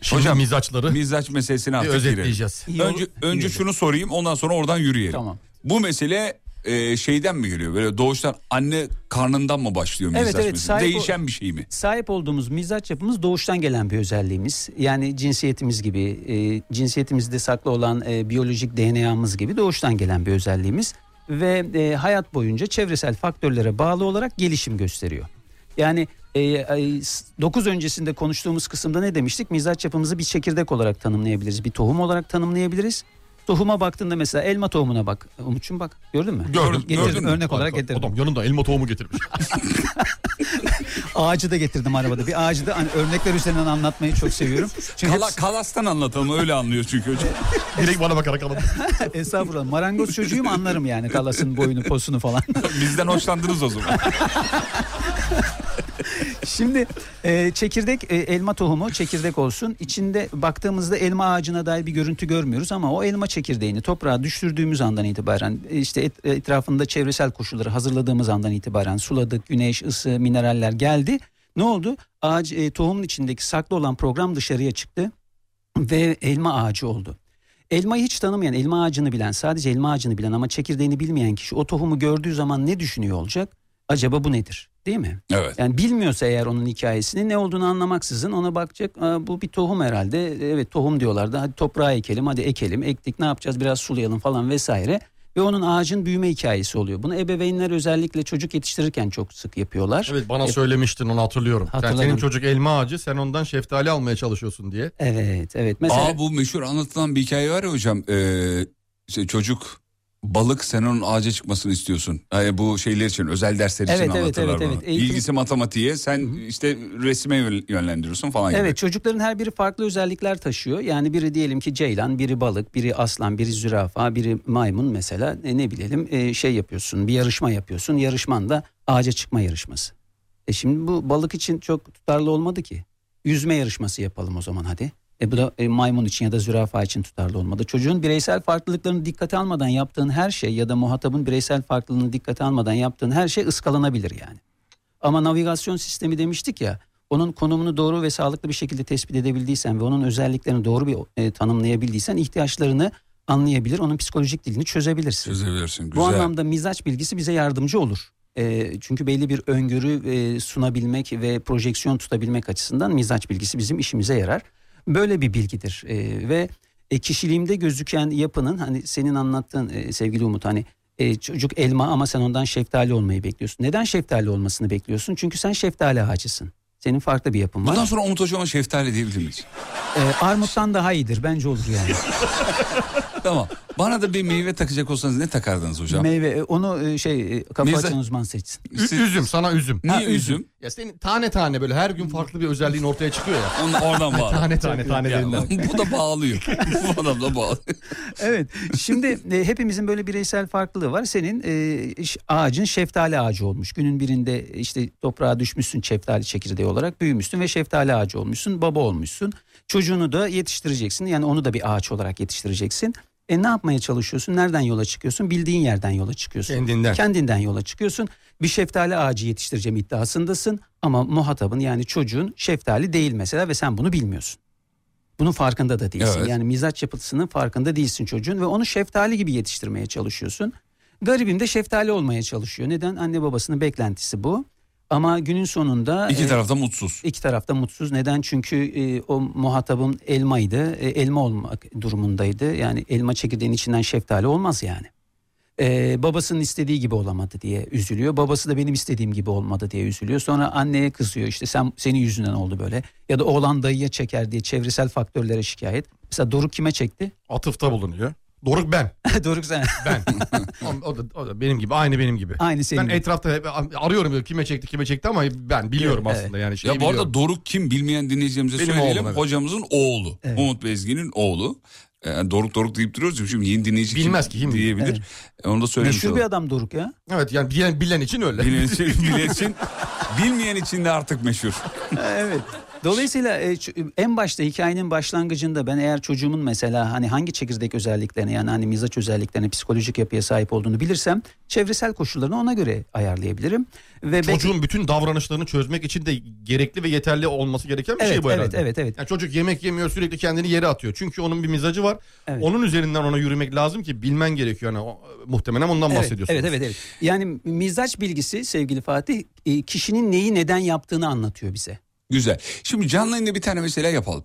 Şimdi Hocam, mizaçları Mizaç meselesini artık özetleyeceğiz. girelim. Önce, önce şunu sorayım ondan sonra oradan yürüyelim. Tamam. Bu mesele e, şeyden mi geliyor? Böyle doğuştan anne karnından mı başlıyor Evet, mizaç evet, meselesi? sahip o- Değişen bir şey mi? Sahip olduğumuz mizaç yapımız doğuştan gelen bir özelliğimiz. Yani cinsiyetimiz gibi, e, cinsiyetimizde saklı olan e, biyolojik DNA'mız gibi doğuştan gelen bir özelliğimiz. ve e, hayat boyunca çevresel faktörlere bağlı olarak gelişim gösteriyor. Yani e, 9 öncesinde konuştuğumuz kısımda ne demiştik? Mizaç yapımızı bir çekirdek olarak tanımlayabiliriz. Bir tohum olarak tanımlayabiliriz. Tohuma baktığında mesela elma tohumuna bak. Umut'cum bak gördün mü? Gördüm, Getirdim, gördüm. Örnek olarak Adam- getirdim. adam yanında elma tohumu getirmiş. ağacı da getirdim arabada. Bir ağacı da hani örnekler üzerinden anlatmayı çok seviyorum. Kala- kalastan anlatalım öyle anlıyor çünkü *laughs* hocam. Direkt bana bakarak anlat. Estağfurullah. Marangoz çocuğum anlarım yani kalasın boyunu posunu falan. Bizden hoşlandınız o zaman. Şimdi e, çekirdek e, elma tohumu çekirdek olsun. İçinde baktığımızda elma ağacına dair bir görüntü görmüyoruz ama o elma çekirdeğini toprağa düşürdüğümüz andan itibaren e, işte et- etrafında çevresel koşulları hazırladığımız andan itibaren suladık, güneş, ısı, mineraller geldi. Ne oldu? Ağaç e, tohumun içindeki saklı olan program dışarıya çıktı ve elma ağacı oldu. Elmayı hiç tanımayan, elma ağacını bilen, sadece elma ağacını bilen ama çekirdeğini bilmeyen kişi o tohumu gördüğü zaman ne düşünüyor olacak? Acaba bu nedir? Değil mi? Evet. Yani bilmiyorsa eğer onun hikayesini ne olduğunu anlamaksızın ona bakacak. "Aa, bu bir tohum herhalde. Evet tohum diyorlardı. Hadi toprağa ekelim, hadi ekelim. Ektik ne yapacağız? Biraz sulayalım falan vesaire. Ve onun ağacın büyüme hikayesi oluyor. Bunu ebeveynler özellikle çocuk yetiştirirken çok sık yapıyorlar. Evet bana Yap- söylemiştin onu hatırlıyorum. Sen, Hatırladım. senin çocuk elma ağacı sen ondan şeftali almaya çalışıyorsun diye. Evet evet. Aa bu meşhur anlatılan bir hikaye var ya hocam. Ee, işte çocuk balık sen onun ağaca çıkmasını istiyorsun. Yani bu şeyler için özel dersler için Evet, evet, anlatırlar evet, bunu. evet. Eğitim- İlgisi matematiğe sen işte resme yön- yönlendiriyorsun falan gibi. Evet çocukların her biri farklı özellikler taşıyor. Yani biri diyelim ki ceylan, biri balık, biri aslan, biri zürafa, biri maymun mesela E, ne bilelim e, şey yapıyorsun bir yarışma yapıyorsun. Yarışman da ağaca çıkma yarışması. E şimdi bu balık için çok tutarlı olmadı ki. Yüzme yarışması yapalım o zaman hadi. E bu da e, maymun için ya da zürafa için tutarlı olmadı. Çocuğun bireysel farklılıklarını dikkate almadan yaptığın her şey ya da muhatabın bireysel farklılığını dikkate almadan yaptığın her şey ıskalanabilir yani. Ama navigasyon sistemi demiştik ya. Onun konumunu doğru ve sağlıklı bir şekilde tespit edebildiysen ve onun özelliklerini doğru bir e, tanımlayabildiysen ihtiyaçlarını anlayabilir, onun psikolojik dilini çözebilirsin. Çözebilirsin, Bu güzel. anlamda mizaç bilgisi bize yardımcı olur. E, çünkü belli bir öngörü e, sunabilmek ve projeksiyon tutabilmek açısından mizaç bilgisi bizim işimize yarar. Böyle bir bilgidir E, ve e, kişiliğimde gözüken yapının hani senin anlattığın e, sevgili Umut hani e, çocuk elma ama sen ondan şeftali olmayı bekliyorsun. Neden şeftali olmasını bekliyorsun? Çünkü sen şeftali ağacısın. Senin farklı bir yapın var. Bundan sonra Umut Hocam'a şeftali diyebilir miyiz? *laughs* E, armuttan daha iyidir bence olur yani. tamam. Bana da bir meyve takacak olsanız ne takardınız hocam? Meyve e, onu e, şey e, kafa Meze- açan uzman seçsin. Ü- üzüm sana üzüm. Niye üzüm? Ya senin tane tane böyle her gün farklı bir özelliğin ortaya çıkıyor ya. Onu oradan bağlı. tane tane tane derinden. Bu da bağlıyor. Bu adam da *laughs* bağlı. evet. Şimdi e, hepimizin böyle bireysel farklılığı var. Senin e, ş- ağacın şeftali ağacı olmuş. Günün birinde işte toprağa düşmüşsün şeftali çekirdeği olarak büyümüşsün ve şeftali ağacı olmuşsun, baba olmuşsun. Çocuğunu da yetiştireceksin. Yani onu da bir ağaç olarak yetiştireceksin. E ne yapmaya çalışıyorsun? Nereden yola çıkıyorsun? Bildiğin yerden yola çıkıyorsun. Kendinden. Kendinden yola çıkıyorsun. Bir şeftali ağacı yetiştireceğim iddiasındasın ama muhatabın yani çocuğun şeftali değil mesela ve sen bunu bilmiyorsun. Bunun farkında da değilsin. Evet. Yani mizaç yapısının farkında değilsin çocuğun ve onu şeftali gibi yetiştirmeye çalışıyorsun. Garibim de şeftali olmaya çalışıyor. Neden? Anne babasının beklentisi bu. Ama günün sonunda İki e, taraf da mutsuz. İki taraf da mutsuz. Neden? Çünkü e, o muhatabım elmaydı. E, elma olmak durumundaydı. Yani elma çekirdeğin içinden şeftali olmaz yani. E, babasının istediği gibi olamadı diye üzülüyor. Babası da benim istediğim gibi olmadı diye üzülüyor. Sonra anneye kızıyor işte sen senin yüzünden oldu böyle. Ya da oğlan dayıya çeker diye çevresel faktörlere şikayet. Mesela Doruk kime çekti? *laughs* Atıfta bulunuyor. Doruk ben. Doruk sen. Ben. o, o da, o da benim gibi aynı benim gibi. Aynı senin Ben gibi. etrafta hep arıyorum böyle kime çekti kime çekti ama ben biliyorum aslında yani şeyi ya bu Şey biliyorum. arada Doruk kim bilmeyen dinleyicilerimize Benim söyleyelim. oğlum, evet. Hocamızın oğlu. Umut Bezgin'in oğlu. Ee, doruk Doruk deyip duruyoruz ya şimdi yeni dinleyici Bilmez kim ki, kim bilir? diyebilir. E, Onu da söylemiş Meşhur bir olalım. adam Doruk ya. Evet yani bilen, bilen için öyle. *laughs* Bilen için, *laughs* bilen için, bilmeyen için de artık meşhur. evet. Dolayısıyla e, ç- en başta hikayenin başlangıcında ben eğer çocuğumun mesela hani hangi çekirdek özelliklerini yani hani mizaç özelliklerini psikolojik yapıya sahip olduğunu bilirsem çevresel koşullarını ona göre ayarlayabilirim. Ve Çocuğun bütün davranışlarını çözmek için de gerekli ve yeterli olması gereken bir Evet, şey bu evet, herhalde. evet, evet. Yani çocuk yemek yemiyor sürekli kendini yere atıyor. Çünkü onun bir mizacı var. Onun üzerinden ona yürümek lazım ki bilmen gerekiyor. Yani o- muhtemelen ondan Evet, bahsediyorsunuz. Evet evet evet. Yani mizaç bilgisi sevgili Fatih e, kişinin neyi neden yaptığını anlatıyor bize. Güzel. Şimdi canlı yayında bir tane mesela yapalım.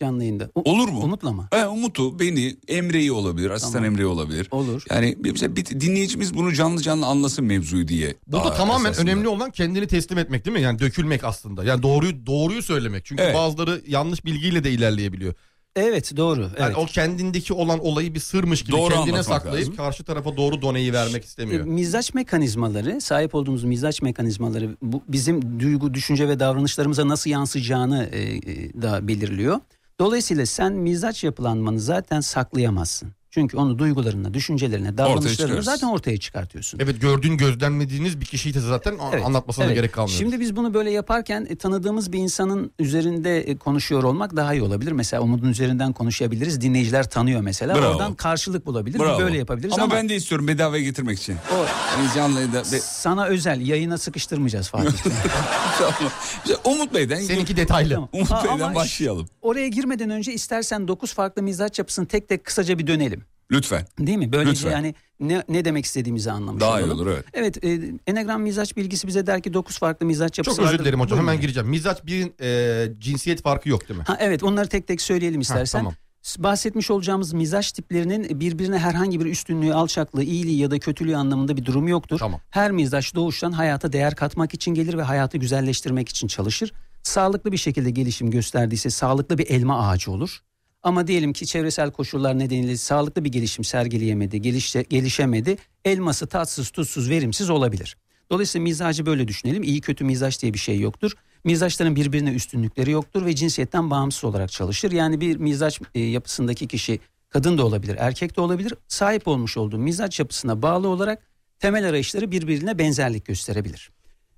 Canlı yayında. U- Olur mu? Umut'la mı? He, Umut'u, beni, Emre'yi olabilir, asistan Tamam. Emre'yi olabilir. Olur. Yani bize bir dinleyicimiz bunu canlı canlı anlasın mevzuyu diye. Burada Aa, tamamen esasında. önemli olan kendini teslim etmek değil mi? Yani dökülmek aslında. Yani doğruyu doğruyu söylemek. Çünkü Evet. bazıları yanlış bilgiyle de ilerleyebiliyor. Evet doğru. Yani o kendindeki olan olayı bir sırmış gibi Doğru kendine anlatmak saklayıp lazım. karşı tarafa doğru doneyi vermek istemiyor. E, Mizaç mekanizmaları, sahip olduğumuz mizaç mekanizmaları bu bizim duygu, düşünce ve davranışlarımıza nasıl yansıyacağını e, e, da belirliyor. Dolayısıyla sen mizaç yapılanmanı zaten saklayamazsın. Çünkü onu duygularına, düşüncelerine, davranışlarına çıkarırsın. zaten ortaya çıkartıyorsun. Evet gördüğün gözlemlediğiniz bir kişiyi de zaten a- Evet, E, anlatmasına evet. gerek kalmıyor. Şimdi biz bunu böyle yaparken e, tanıdığımız bir insanın üzerinde e, konuşuyor olmak daha iyi olabilir. Mesela Umut'un üzerinden konuşabiliriz. Dinleyiciler tanıyor mesela. Bravo. Oradan karşılık bulabilir. Bravo. Böyle yapabiliriz ama, ama, ben de istiyorum bedavaya getirmek için. O- Yani canlı yayında- *laughs* be- sana özel yayına sıkıştırmayacağız Fatih. Güzel, Umut Bey'den. Seninki detaylı. Umut Aa, Bey'den ama- başlayalım. Oraya girmeden önce istersen 9 farklı mizaç yapısını tek tek kısaca bir dönelim. Lütfen. Değil mi? Böylece Lütfen. yani ne, ne demek istediğimizi anlamış Daha iyi olalım. olur, evet. Evet e, Enegram mizaç bilgisi bize der ki 9 farklı mizaç yapısı Çok özür vardır. dilerim hocam Buyurun. hemen gireceğim. Mizaç bir e, cinsiyet farkı yok değil mi? Ha, evet onları tek tek söyleyelim istersen. tamam. Bahsetmiş olacağımız mizaç tiplerinin birbirine herhangi bir üstünlüğü, alçaklığı, iyiliği ya da kötülüğü anlamında bir durum yoktur. Her mizaç doğuştan hayata değer katmak için gelir ve hayatı güzelleştirmek için çalışır. Sağlıklı bir şekilde gelişim gösterdiyse sağlıklı bir elma ağacı olur. Ama diyelim ki çevresel koşullar nedeniyle sağlıklı bir gelişim sergileyemedi, gelişe, gelişemedi. Elması tatsız, tuzsuz, verimsiz olabilir. Dolayısıyla mizacı böyle düşünelim. İyi kötü mizaç diye bir şey yoktur. Mizaçların birbirine üstünlükleri yoktur ve cinsiyetten bağımsız olarak çalışır. Yani bir mizaç e, yapısındaki kişi kadın da olabilir, erkek de olabilir. Sahip olmuş olduğu mizaç yapısına bağlı olarak temel arayışları birbirine benzerlik gösterebilir.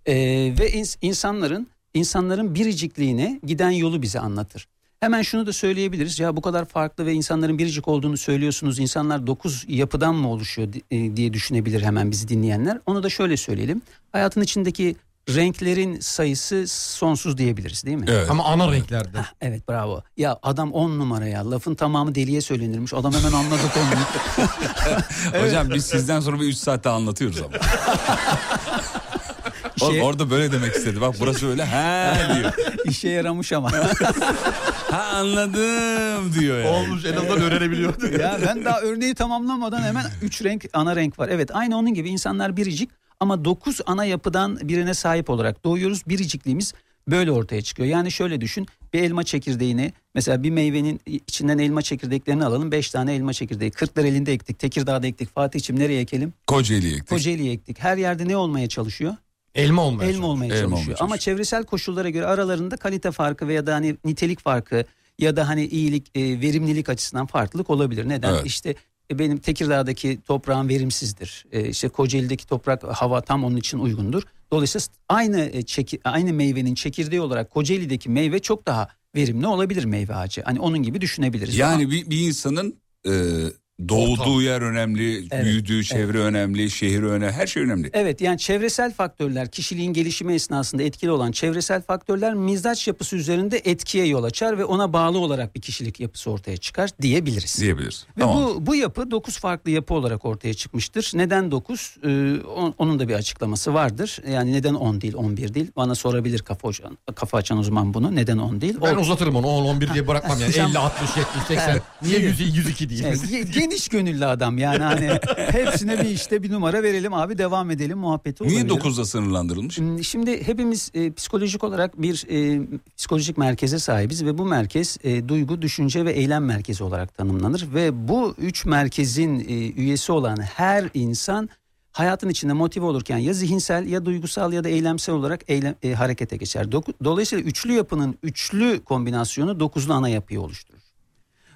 Ee, ve ins- insanların insanların biricikliğine giden yolu bize anlatır. Hemen şunu da söyleyebiliriz. Ya bu kadar farklı ve insanların biricik olduğunu söylüyorsunuz. İnsanlar dokuz yapıdan mı oluşuyor di- e, diye düşünebilir hemen bizi dinleyenler. Onu da şöyle söyleyelim. Hayatın içindeki renklerin sayısı sonsuz diyebiliriz değil mi? Ama ana renklerde. Evet bravo. Ya adam on numara ya. Lafın tamamı deliye söylenirmiş. Adam hemen anladı konuyu. Hocam biz sizden sonra bir 3 saatte anlatıyoruz *laughs* ama. Şey- Oğlum orada böyle demek istedi. Bak burası öyle. He *laughs* diyor. İşe yaramış ama. ha anladım diyor yani. Olmuş en azından öğrenebiliyor. ya ben daha örneği tamamlamadan hemen üç renk ana renk var. Evet aynı onun gibi insanlar biricik ama dokuz ana yapıdan birine sahip olarak doğuyoruz. Biricikliğimiz böyle ortaya çıkıyor. Yani şöyle düşün bir elma çekirdeğini mesela bir meyvenin içinden elma çekirdeklerini alalım. Beş tane elma çekirdeği. Kırklar elinde ektik. Tekirdağ'da ektik. Fatih'im nereye ekelim? Kocaeli'ye gittik. Kocaeli'ye ektik. Her yerde ne olmaya çalışıyor? Elma olmaya Elma çalışıyor. olmaya Elma çalışıyor. olmaya Ama çevresel koşullara göre aralarında kalite farkı veya da hani nitelik farkı ya da hani iyilik, e, verimlilik açısından farklılık olabilir. Neden? Evet. İşte e, benim Tekirdağ'daki toprağım verimsizdir. E, işte Kocaeli'deki toprak e, hava tam onun için uygundur. Dolayısıyla aynı e, çeki- aynı meyvenin çekirdeği olarak Kocaeli'deki meyve çok daha verimli olabilir meyve ağacı. Hani onun gibi düşünebiliriz. Yani bir, bir insanın e, doğduğu yer önemli, Evet, büyüdüğü çevre önemli, şehir önemli, her şey önemli. Evet yani çevresel faktörler kişiliğin gelişimi esnasında etkili olan çevresel faktörler mizaç yapısı üzerinde etkiye yol açar ve ona bağlı olarak bir kişilik yapısı ortaya çıkar diyebiliriz. Diyebiliriz. Ve bu, bu yapı 9 farklı yapı olarak ortaya çıkmıştır. Neden 9? onun da bir açıklaması vardır. Yani neden 10 değil 11 değil? Bana sorabilir kafa, hoca- kafa açan uzman bunu. Neden 10 değil? Ben O- uzatırım onu 10 11 diye bırakmam *laughs* yani. Sen- 50 60 70 80. Evet. Niye 100 102 değil? Evet, ge- geniş gönüllü adam yani hani hepsine bir işte bir numara verelim abi devam edelim muhabbeti Niye olabilir. 9'da sınırlandırılmış? Hmm, Şimdi hepimiz e, psikolojik olarak bir e, psikolojik merkeze sahibiz ve bu merkez e, duygu, düşünce ve eylem merkezi olarak tanımlanır ve bu üç merkezin e, üyesi olan her insan hayatın içinde motive olurken ya zihinsel ya duygusal ya da eylemsel olarak eylem, e, harekete geçer. Doku- Dolayısıyla üçlü yapının üçlü kombinasyonu dokuzlu ana yapıyı oluşturur.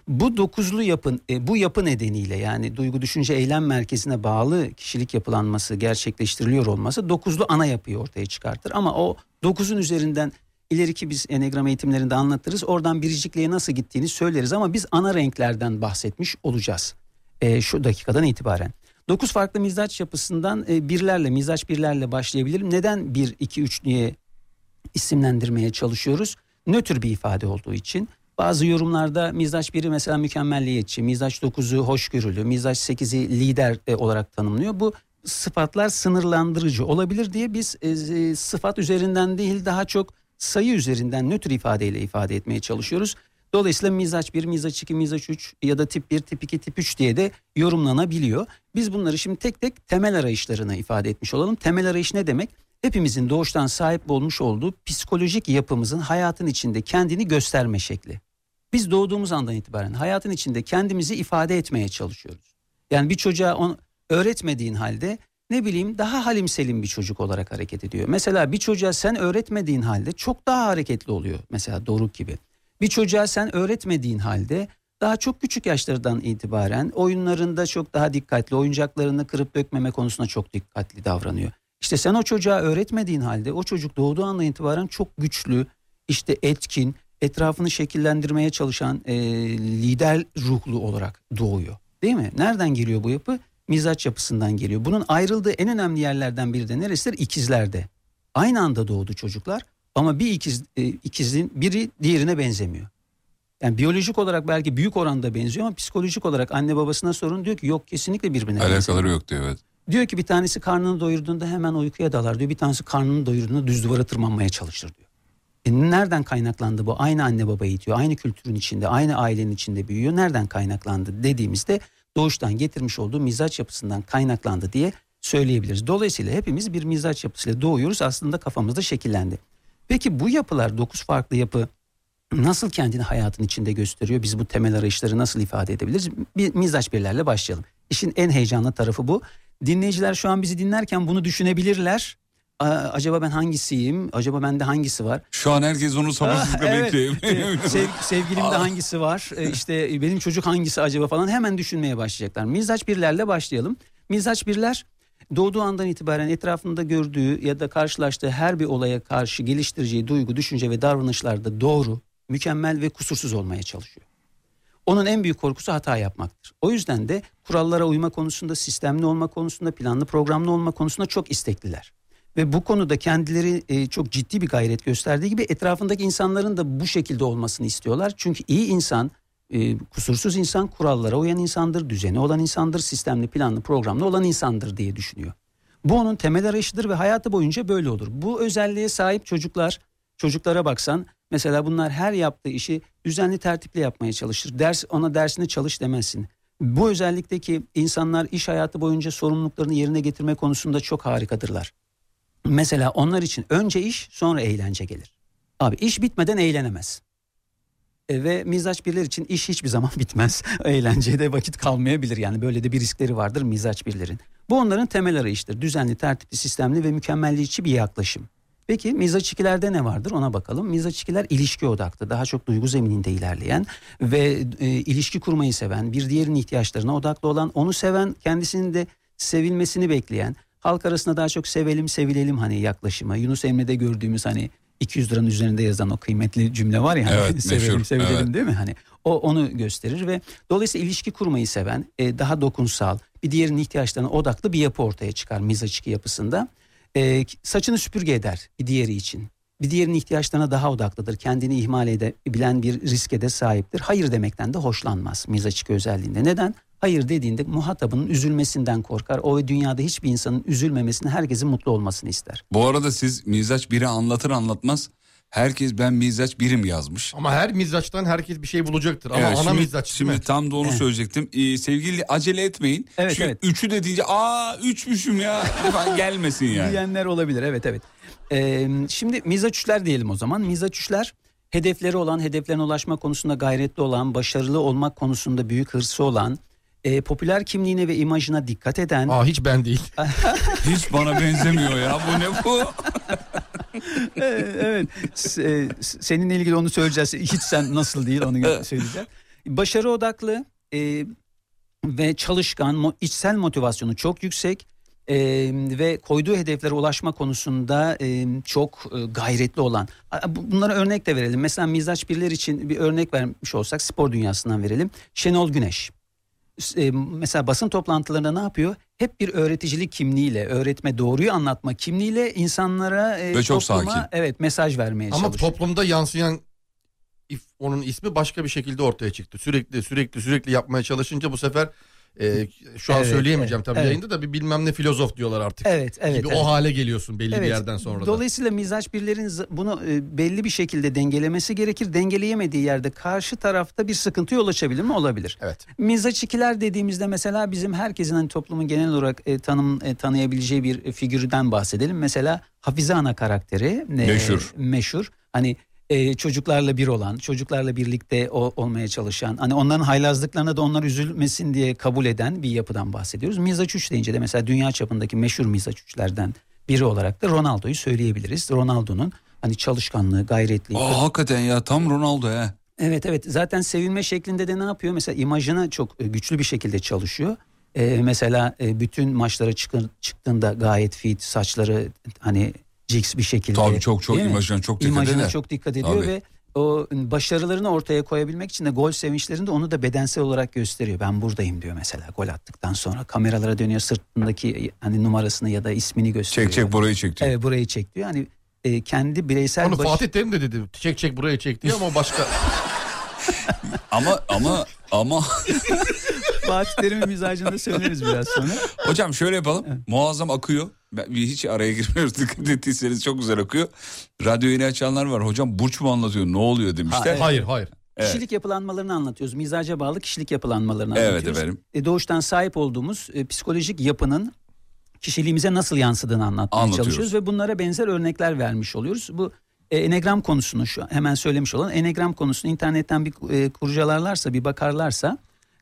Bu dokuzlu yapın, e, bu yapı nedeniyle yani duygu düşünce eylem merkezine bağlı kişilik yapılanması gerçekleştiriliyor olması dokuzlu ana yapıyı ortaya çıkartır. Ama o dokuzun üzerinden ileriki biz enegram eğitimlerinde anlatırız. Oradan biricikliğe nasıl gittiğini söyleriz ama biz ana renklerden bahsetmiş olacağız e, şu dakikadan itibaren. 9 farklı mizaç yapısından e, birlerle, mizaç birlerle başlayabilirim. Neden 1, 2, 3 diye isimlendirmeye çalışıyoruz. Nötr bir ifade olduğu için. Bazı yorumlarda mizaç biri mesela mükemmelliyetçi, mizaç 9'u hoşgörülü, mizaç 8'i lider e, olarak tanımlıyor. Bu sıfatlar sınırlandırıcı olabilir diye biz e, e, sıfat üzerinden değil daha çok sayı üzerinden nötr ifadeyle ifade etmeye çalışıyoruz. Dolayısıyla mizaç 1, mizaç 2, mizaç 3 ya da tip 1, tip 2, tip 3 diye de yorumlanabiliyor. Biz bunları şimdi tek tek temel arayışlarına ifade etmiş olalım. Temel arayış ne demek? Hepimizin doğuştan sahip olmuş olduğu psikolojik yapımızın hayatın içinde kendini gösterme şekli. Biz doğduğumuz andan itibaren hayatın içinde kendimizi ifade etmeye çalışıyoruz. Yani bir çocuğa on, öğretmediğin halde ne bileyim daha halim selim bir çocuk olarak hareket ediyor. Mesela bir çocuğa sen öğretmediğin halde çok daha hareketli oluyor. Mesela Doruk gibi. Bir çocuğa sen öğretmediğin halde daha çok küçük yaşlardan itibaren oyunlarında çok daha dikkatli, oyuncaklarını kırıp dökmeme konusunda çok dikkatli davranıyor. İşte sen o çocuğa öğretmediğin halde o çocuk doğduğu andan itibaren çok güçlü, işte etkin, etrafını şekillendirmeye çalışan e, lider ruhlu olarak doğuyor. Değil mi? Nereden geliyor bu yapı? Mizaç yapısından geliyor. Bunun ayrıldığı en önemli yerlerden biri de neresidir? İkizlerde. Aynı anda doğdu çocuklar ama bir ikiz, e, ikizin biri diğerine benzemiyor. Yani biyolojik olarak belki büyük oranda benziyor ama psikolojik olarak anne babasına sorun diyor ki yok kesinlikle birbirine Alakaları yok diyor evet. Diyor ki bir tanesi karnını doyurduğunda hemen uykuya dalar diyor. Bir tanesi karnını doyurduğunda düz duvara tırmanmaya çalışır diyor. E nereden kaynaklandı bu? Aynı anne baba eğitiyor. Aynı kültürün içinde, aynı ailenin içinde büyüyor. Nereden kaynaklandı dediğimizde doğuştan getirmiş olduğu mizaç yapısından kaynaklandı diye söyleyebiliriz. Dolayısıyla hepimiz bir mizaç yapısıyla doğuyoruz. Aslında kafamızda şekillendi. Peki bu yapılar, dokuz farklı yapı nasıl kendini hayatın içinde gösteriyor? Biz bu temel arayışları nasıl ifade edebiliriz? Bir mizaç birlerle başlayalım. İşin en heyecanlı tarafı bu. Dinleyiciler şu an bizi dinlerken bunu düşünebilirler. Aa, acaba ben hangisiyim? Acaba bende hangisi var? Şu an herkes onu sabırsızlıkla Aa, evet. bekliyor. *laughs* Ee, sev- sevgilimde hangisi var? Ee, işte benim çocuk hangisi acaba falan hemen düşünmeye başlayacaklar. Mizaç birlerle başlayalım. Mizaç birler doğduğu andan itibaren etrafında gördüğü ya da karşılaştığı her bir olaya karşı geliştireceği duygu, düşünce ve davranışlarda doğru, mükemmel ve kusursuz olmaya çalışıyor. Onun en büyük korkusu hata yapmaktır. O yüzden de kurallara uyma konusunda, sistemli olma konusunda, planlı programlı olma konusunda çok istekliler. Ve bu konuda kendileri e, çok ciddi bir gayret gösterdiği gibi etrafındaki insanların da bu şekilde olmasını istiyorlar. Çünkü iyi insan, e, kusursuz insan kurallara uyan insandır, düzeni olan insandır, sistemli, planlı, programlı olan insandır diye düşünüyor. Bu onun temel arayışıdır ve hayatı boyunca böyle olur. Bu özelliğe sahip çocuklar, çocuklara baksan mesela bunlar her yaptığı işi düzenli tertipli yapmaya çalışır. Ders ona dersini çalış demezsin. Bu özellikteki insanlar iş hayatı boyunca sorumluluklarını yerine getirme konusunda çok harikadırlar. Mesela onlar için önce iş sonra eğlence gelir. Abi iş bitmeden eğlenemez. E, ve mizaç birler için iş hiçbir zaman *laughs* bitmez. Eğlenceye de vakit kalmayabilir yani böyle de bir riskleri vardır mizaç birlerin. Bu onların temel arayıştır. Düzenli, tertipli, sistemli ve mükemmelliyetçi bir yaklaşım. Peki mizaç ikilerde ne vardır ona bakalım. Mizaç ikiler ilişki odaklı daha çok duygu zemininde ilerleyen ve e, ilişki kurmayı seven bir diğerinin ihtiyaçlarına odaklı olan onu seven kendisinin de sevilmesini bekleyen halk arasında daha çok sevelim sevilelim hani yaklaşımı Yunus Emre'de gördüğümüz hani 200 liranın üzerinde yazan o kıymetli cümle var ya hani, Evet, *laughs* sevelim meşhur, sevilelim evet. değil mi hani o onu gösterir ve dolayısıyla ilişki kurmayı seven e, daha dokunsal bir diğerinin ihtiyaçlarına odaklı bir yapı ortaya çıkar mizaç iki yapısında e, saçını süpürge eder bir diğeri için. Bir diğerinin ihtiyaçlarına daha odaklıdır. Kendini ihmal edebilen bir riske de sahiptir. Hayır demekten de hoşlanmaz mizaçık özelliğinde. Neden? Hayır dediğinde muhatabının üzülmesinden korkar. O ve dünyada hiçbir insanın üzülmemesini, herkesin mutlu olmasını ister. Bu arada siz mizaç biri anlatır anlatmaz herkes ben mizaç birim yazmış. Ama her mizaçtan herkes bir şey bulacaktır. Ama Evet, ana şimdi, mizaç değil Şimdi mi? tam da onu söyleyecektim. Ee, sevgili acele etmeyin. Evet, Çünkü evet. üçü de deyince aa üçmüşüm ya falan gelmesin *laughs* yani. diyenler olabilir. Evet evet. Ee, şimdi mizaç üçler diyelim o zaman. Mizaç üçler hedefleri olan, hedeflerine ulaşma konusunda gayretli olan, başarılı olmak konusunda büyük hırsı olan, e, popüler kimliğine ve imajına dikkat eden. Aa hiç ben değil. hiç bana benzemiyor ya. Bu ne *laughs* bu? evet. S- e, s- Seninle ilgili onu söyleyeceğiz. Hiç sen nasıl değil onu gö- söyleyeceğim. Başarı odaklı e, ve çalışkan, mo- içsel motivasyonu çok yüksek e, ve koyduğu hedeflere ulaşma konusunda e, çok e, gayretli olan. A- bu- Bunlara örnek de verelim. Mesela mizaç birler için bir örnek vermiş olsak spor dünyasından verelim. Şenol Güneş e, mesela basın toplantılarında ne yapıyor? Hep bir öğreticilik kimliğiyle, öğretme doğruyu anlatma kimliğiyle insanlara e, Ve çok topluma, sakin. evet mesaj vermeye Ama çalışıyor. toplumda yansıyan if- onun ismi başka bir şekilde ortaya çıktı. Sürekli sürekli sürekli yapmaya çalışınca bu sefer e, şu an Evet, söyleyemeyeceğim evet, tabii evet. yayında da bir bilmem ne filozof diyorlar artık. Evet, evet, Gibi evet. o hale geliyorsun belli bir Evet, yerden sonra da. Dolayısıyla mizaç birlerin z- bunu e, belli bir şekilde dengelemesi gerekir. Dengeleyemediği yerde karşı tarafta bir sıkıntı yol açabilir mi? Olabilir. Evet. Mizaç ikiler dediğimizde mesela bizim herkesin hani toplumun genel olarak e, tanım e, tanıyabileceği bir e, figürden bahsedelim. Mesela Hafize ana karakteri e, Meşhur. Meşhur. Hani e, çocuklarla bir olan, çocuklarla birlikte o, olmaya çalışan, hani onların haylazlıklarına da onlar üzülmesin diye kabul eden bir yapıdan bahsediyoruz. Mizaç 3 deyince de mesela dünya çapındaki meşhur Mizaç 3'lerden biri olarak da Ronaldo'yu söyleyebiliriz. Ronaldo'nun hani çalışkanlığı, gayretliği. Aa, hakikaten ya tam Ronaldo he. Evet evet zaten sevilme şeklinde de ne yapıyor? Mesela imajına çok e, güçlü bir şekilde çalışıyor. E, mesela e, bütün maçlara çıkın, çıktığında gayet fit, saçları hani cix bir şekilde. Tabii çok çok Değil mi? imajına çok dikkat İmajına eder. çok dikkat ediyor Tabii. ve o başarılarını ortaya koyabilmek için de gol sevinçlerinde onu da bedensel olarak gösteriyor. Ben buradayım diyor mesela gol attıktan sonra kameralara dönüyor sırtındaki hani numarasını ya da ismini gösteriyor. Çek çek burayı çek diyor. Evet burayı çek diyor. Hani e, kendi bireysel Onu baş- Fatih Terim de dedi. Çek çek buraya çek diye ama başka. Ama ama ama Fatih Terim'in mizacını da söyleriz biraz sonra. Hocam şöyle yapalım. Muazzam akıyor. Ben, bir hiç araya girmiyoruz *laughs* dikkat ettiyseniz çok güzel akıyor. Radyo yeni açanlar var. Hocam burç mu anlatıyor ne oluyor demişler. Ha, *laughs* evet. Hayır, hayır. Kişilik yapılanmalarını anlatıyoruz. Mizaca bağlı kişilik yapılanmalarını Evet anlatıyoruz. efendim. E, doğuştan sahip olduğumuz e, psikolojik yapının kişiliğimize nasıl yansıdığını anlatmaya Anlatıyoruz. çalışıyoruz ve bunlara benzer örnekler vermiş oluyoruz. Bu e, enegram konusunu şu hemen söylemiş olan enegram konusunu internetten bir e, kurcalarlarsa bir bakarlarsa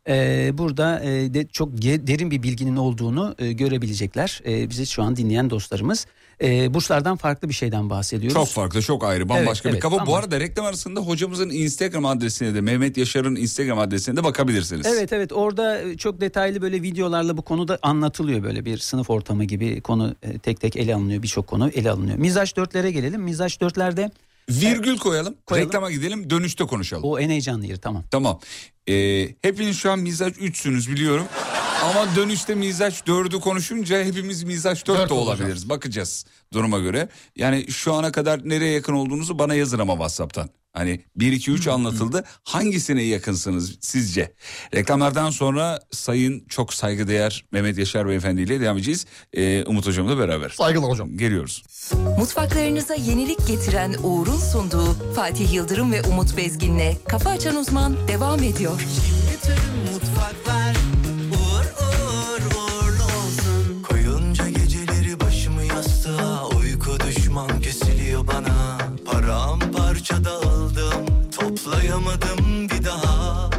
e, burada e, de çok ge- derin bir bilginin olduğunu e, görebilecekler. E, bizi şu an dinleyen dostlarımız. E, burçlardan farklı bir şeyden bahsediyoruz. Çok farklı çok ayrı bambaşka Evet, bir evet, kafa. Bu bambaşka. arada reklam arasında hocamızın Instagram adresine de Mehmet Yaşar'ın Instagram adresine de bakabilirsiniz. Evet evet orada e, çok detaylı böyle videolarla bu konuda anlatılıyor böyle bir sınıf ortamı gibi konu e, tek tek ele alınıyor birçok konu ele alınıyor. Mizaç dörtlere gelelim. Mizaç dörtlerde Virgül koyalım, reklama gidelim dönüşte konuşalım. O en heyecanlı yeri tamam. Tamam. Ee, hepiniz şu an mizaç 3'sünüz biliyorum. Ama dönüşte mizaç 4'ü konuşunca hepimiz mizaç 4 Dört de olacağız. olabiliriz. Bakacağız duruma göre. Yani şu ana kadar nereye yakın olduğunuzu bana yazın ama WhatsApp'tan. Hani 1 2 3 anlatıldı. Hangisine yakınsınız sizce? Reklamlardan sonra sayın çok saygıdeğer Mehmet Yaşar Beyefendi ile devam edeceğiz. Ee, Umut hocamla beraber. Saygılar hocam. Geliyoruz. Mutfaklarınıza yenilik getiren Uğur'un sunduğu Fatih Yıldırım ve Umut Bezgin'le Kafa Açan Uzman devam ediyor. Mutfaklar uğur uğur uğurlu olsun. Koyunca geceleri başımı yastığa Uyku düşman kesiliyor bana Paramparça dağıldım Toplayamadım bir daha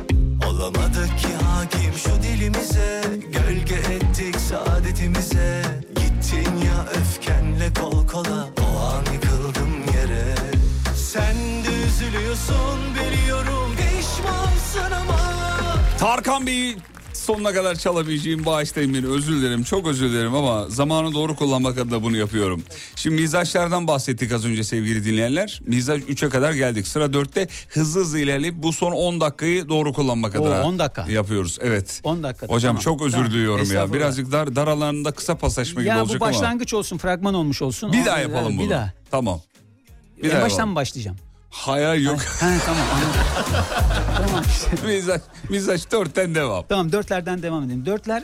Olamadık ki hakim şu dilimize Gölge ettik saadetimize Gittin ya öfkenle kol kola O an yıkıldım yere Sen de üzülüyorsun biliyorum Pişmansın ama Tarkan Bey'i sonuna kadar çalabileceğim bağışlayın beni özür dilerim çok özür dilerim ama zamanı doğru kullanmak adına bunu yapıyorum. Şimdi mizaçlardan bahsettik az önce sevgili dinleyenler. Mizaç 3'e kadar geldik sıra 4'te hızlı hızlı ilerleyip bu son 10 dakikayı doğru kullanmak O adına 10 dakika. yapıyoruz. Evet. 10 dakika. Hocam tamam. çok özür Tamam. diliyorum ya Estağfurullah. birazcık dar, dar alanında kısa paslaşma gibi Ya bu olacak ama. başlangıç olsun fragman olmuş olsun. Bir O- daha yapalım bunu. Bir daha. Tamam. Bir en daha baştan yapalım. mı başlayacağım? Hayır *laughs* yok. tamam *laughs* mizaç, mizaç 4'ten devam. Tamam dörtlerden devam edelim. Dörtler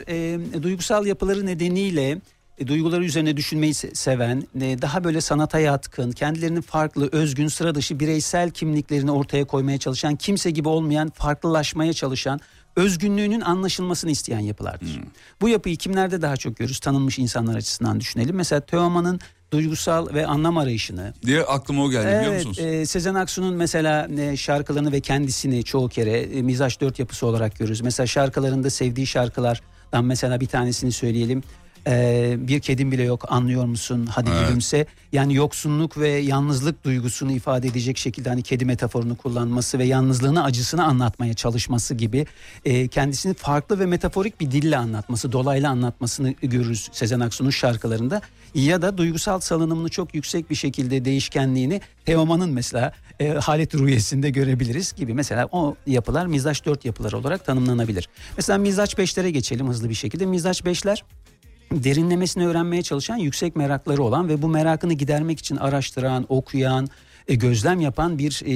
e, duygusal yapıları nedeniyle e, duyguları üzerine düşünmeyi se- seven, e, daha böyle sanata yatkın, kendilerinin farklı, özgün, sıra dışı bireysel kimliklerini ortaya koymaya çalışan, kimse gibi olmayan, farklılaşmaya çalışan, özgünlüğünün anlaşılmasını isteyen yapılardır. Bu yapıyı kimlerde daha çok görürüz? Tanınmış insanlar açısından düşünelim. Mesela Teoman'ın duygusal ve anlam arayışını, Diye aklıma o geldi biliyor Evet, musunuz? e, Sezen Aksu'nun mesela e, şarkılarını ve kendisini çoğu kere e, mizaç dört yapısı olarak görürüz. Mesela şarkılarında sevdiği şarkılardan mesela bir tanesini söyleyelim. E, bir kedim bile yok anlıyor musun hadi Evet. gülümse. Yani yoksunluk ve yalnızlık duygusunu ifade edecek şekilde hani kedi metaforunu kullanması ve yalnızlığını acısını anlatmaya çalışması gibi e, kendisini farklı ve metaforik bir dille anlatması, dolaylı anlatmasını görürüz Sezen Aksu'nun şarkılarında. Ya da duygusal salınımını çok yüksek bir şekilde değişkenliğini Teoman'ın mesela e, Halet Ruhiyesi'nde görebiliriz gibi. Mesela o yapılar mizaç 4 yapılar olarak tanımlanabilir. Mesela mizaç 5'lere geçelim hızlı bir şekilde. Mizaç 5'ler derinlemesine öğrenmeye çalışan yüksek merakları olan ve bu merakını gidermek için araştıran, okuyan, e, gözlem yapan bir e,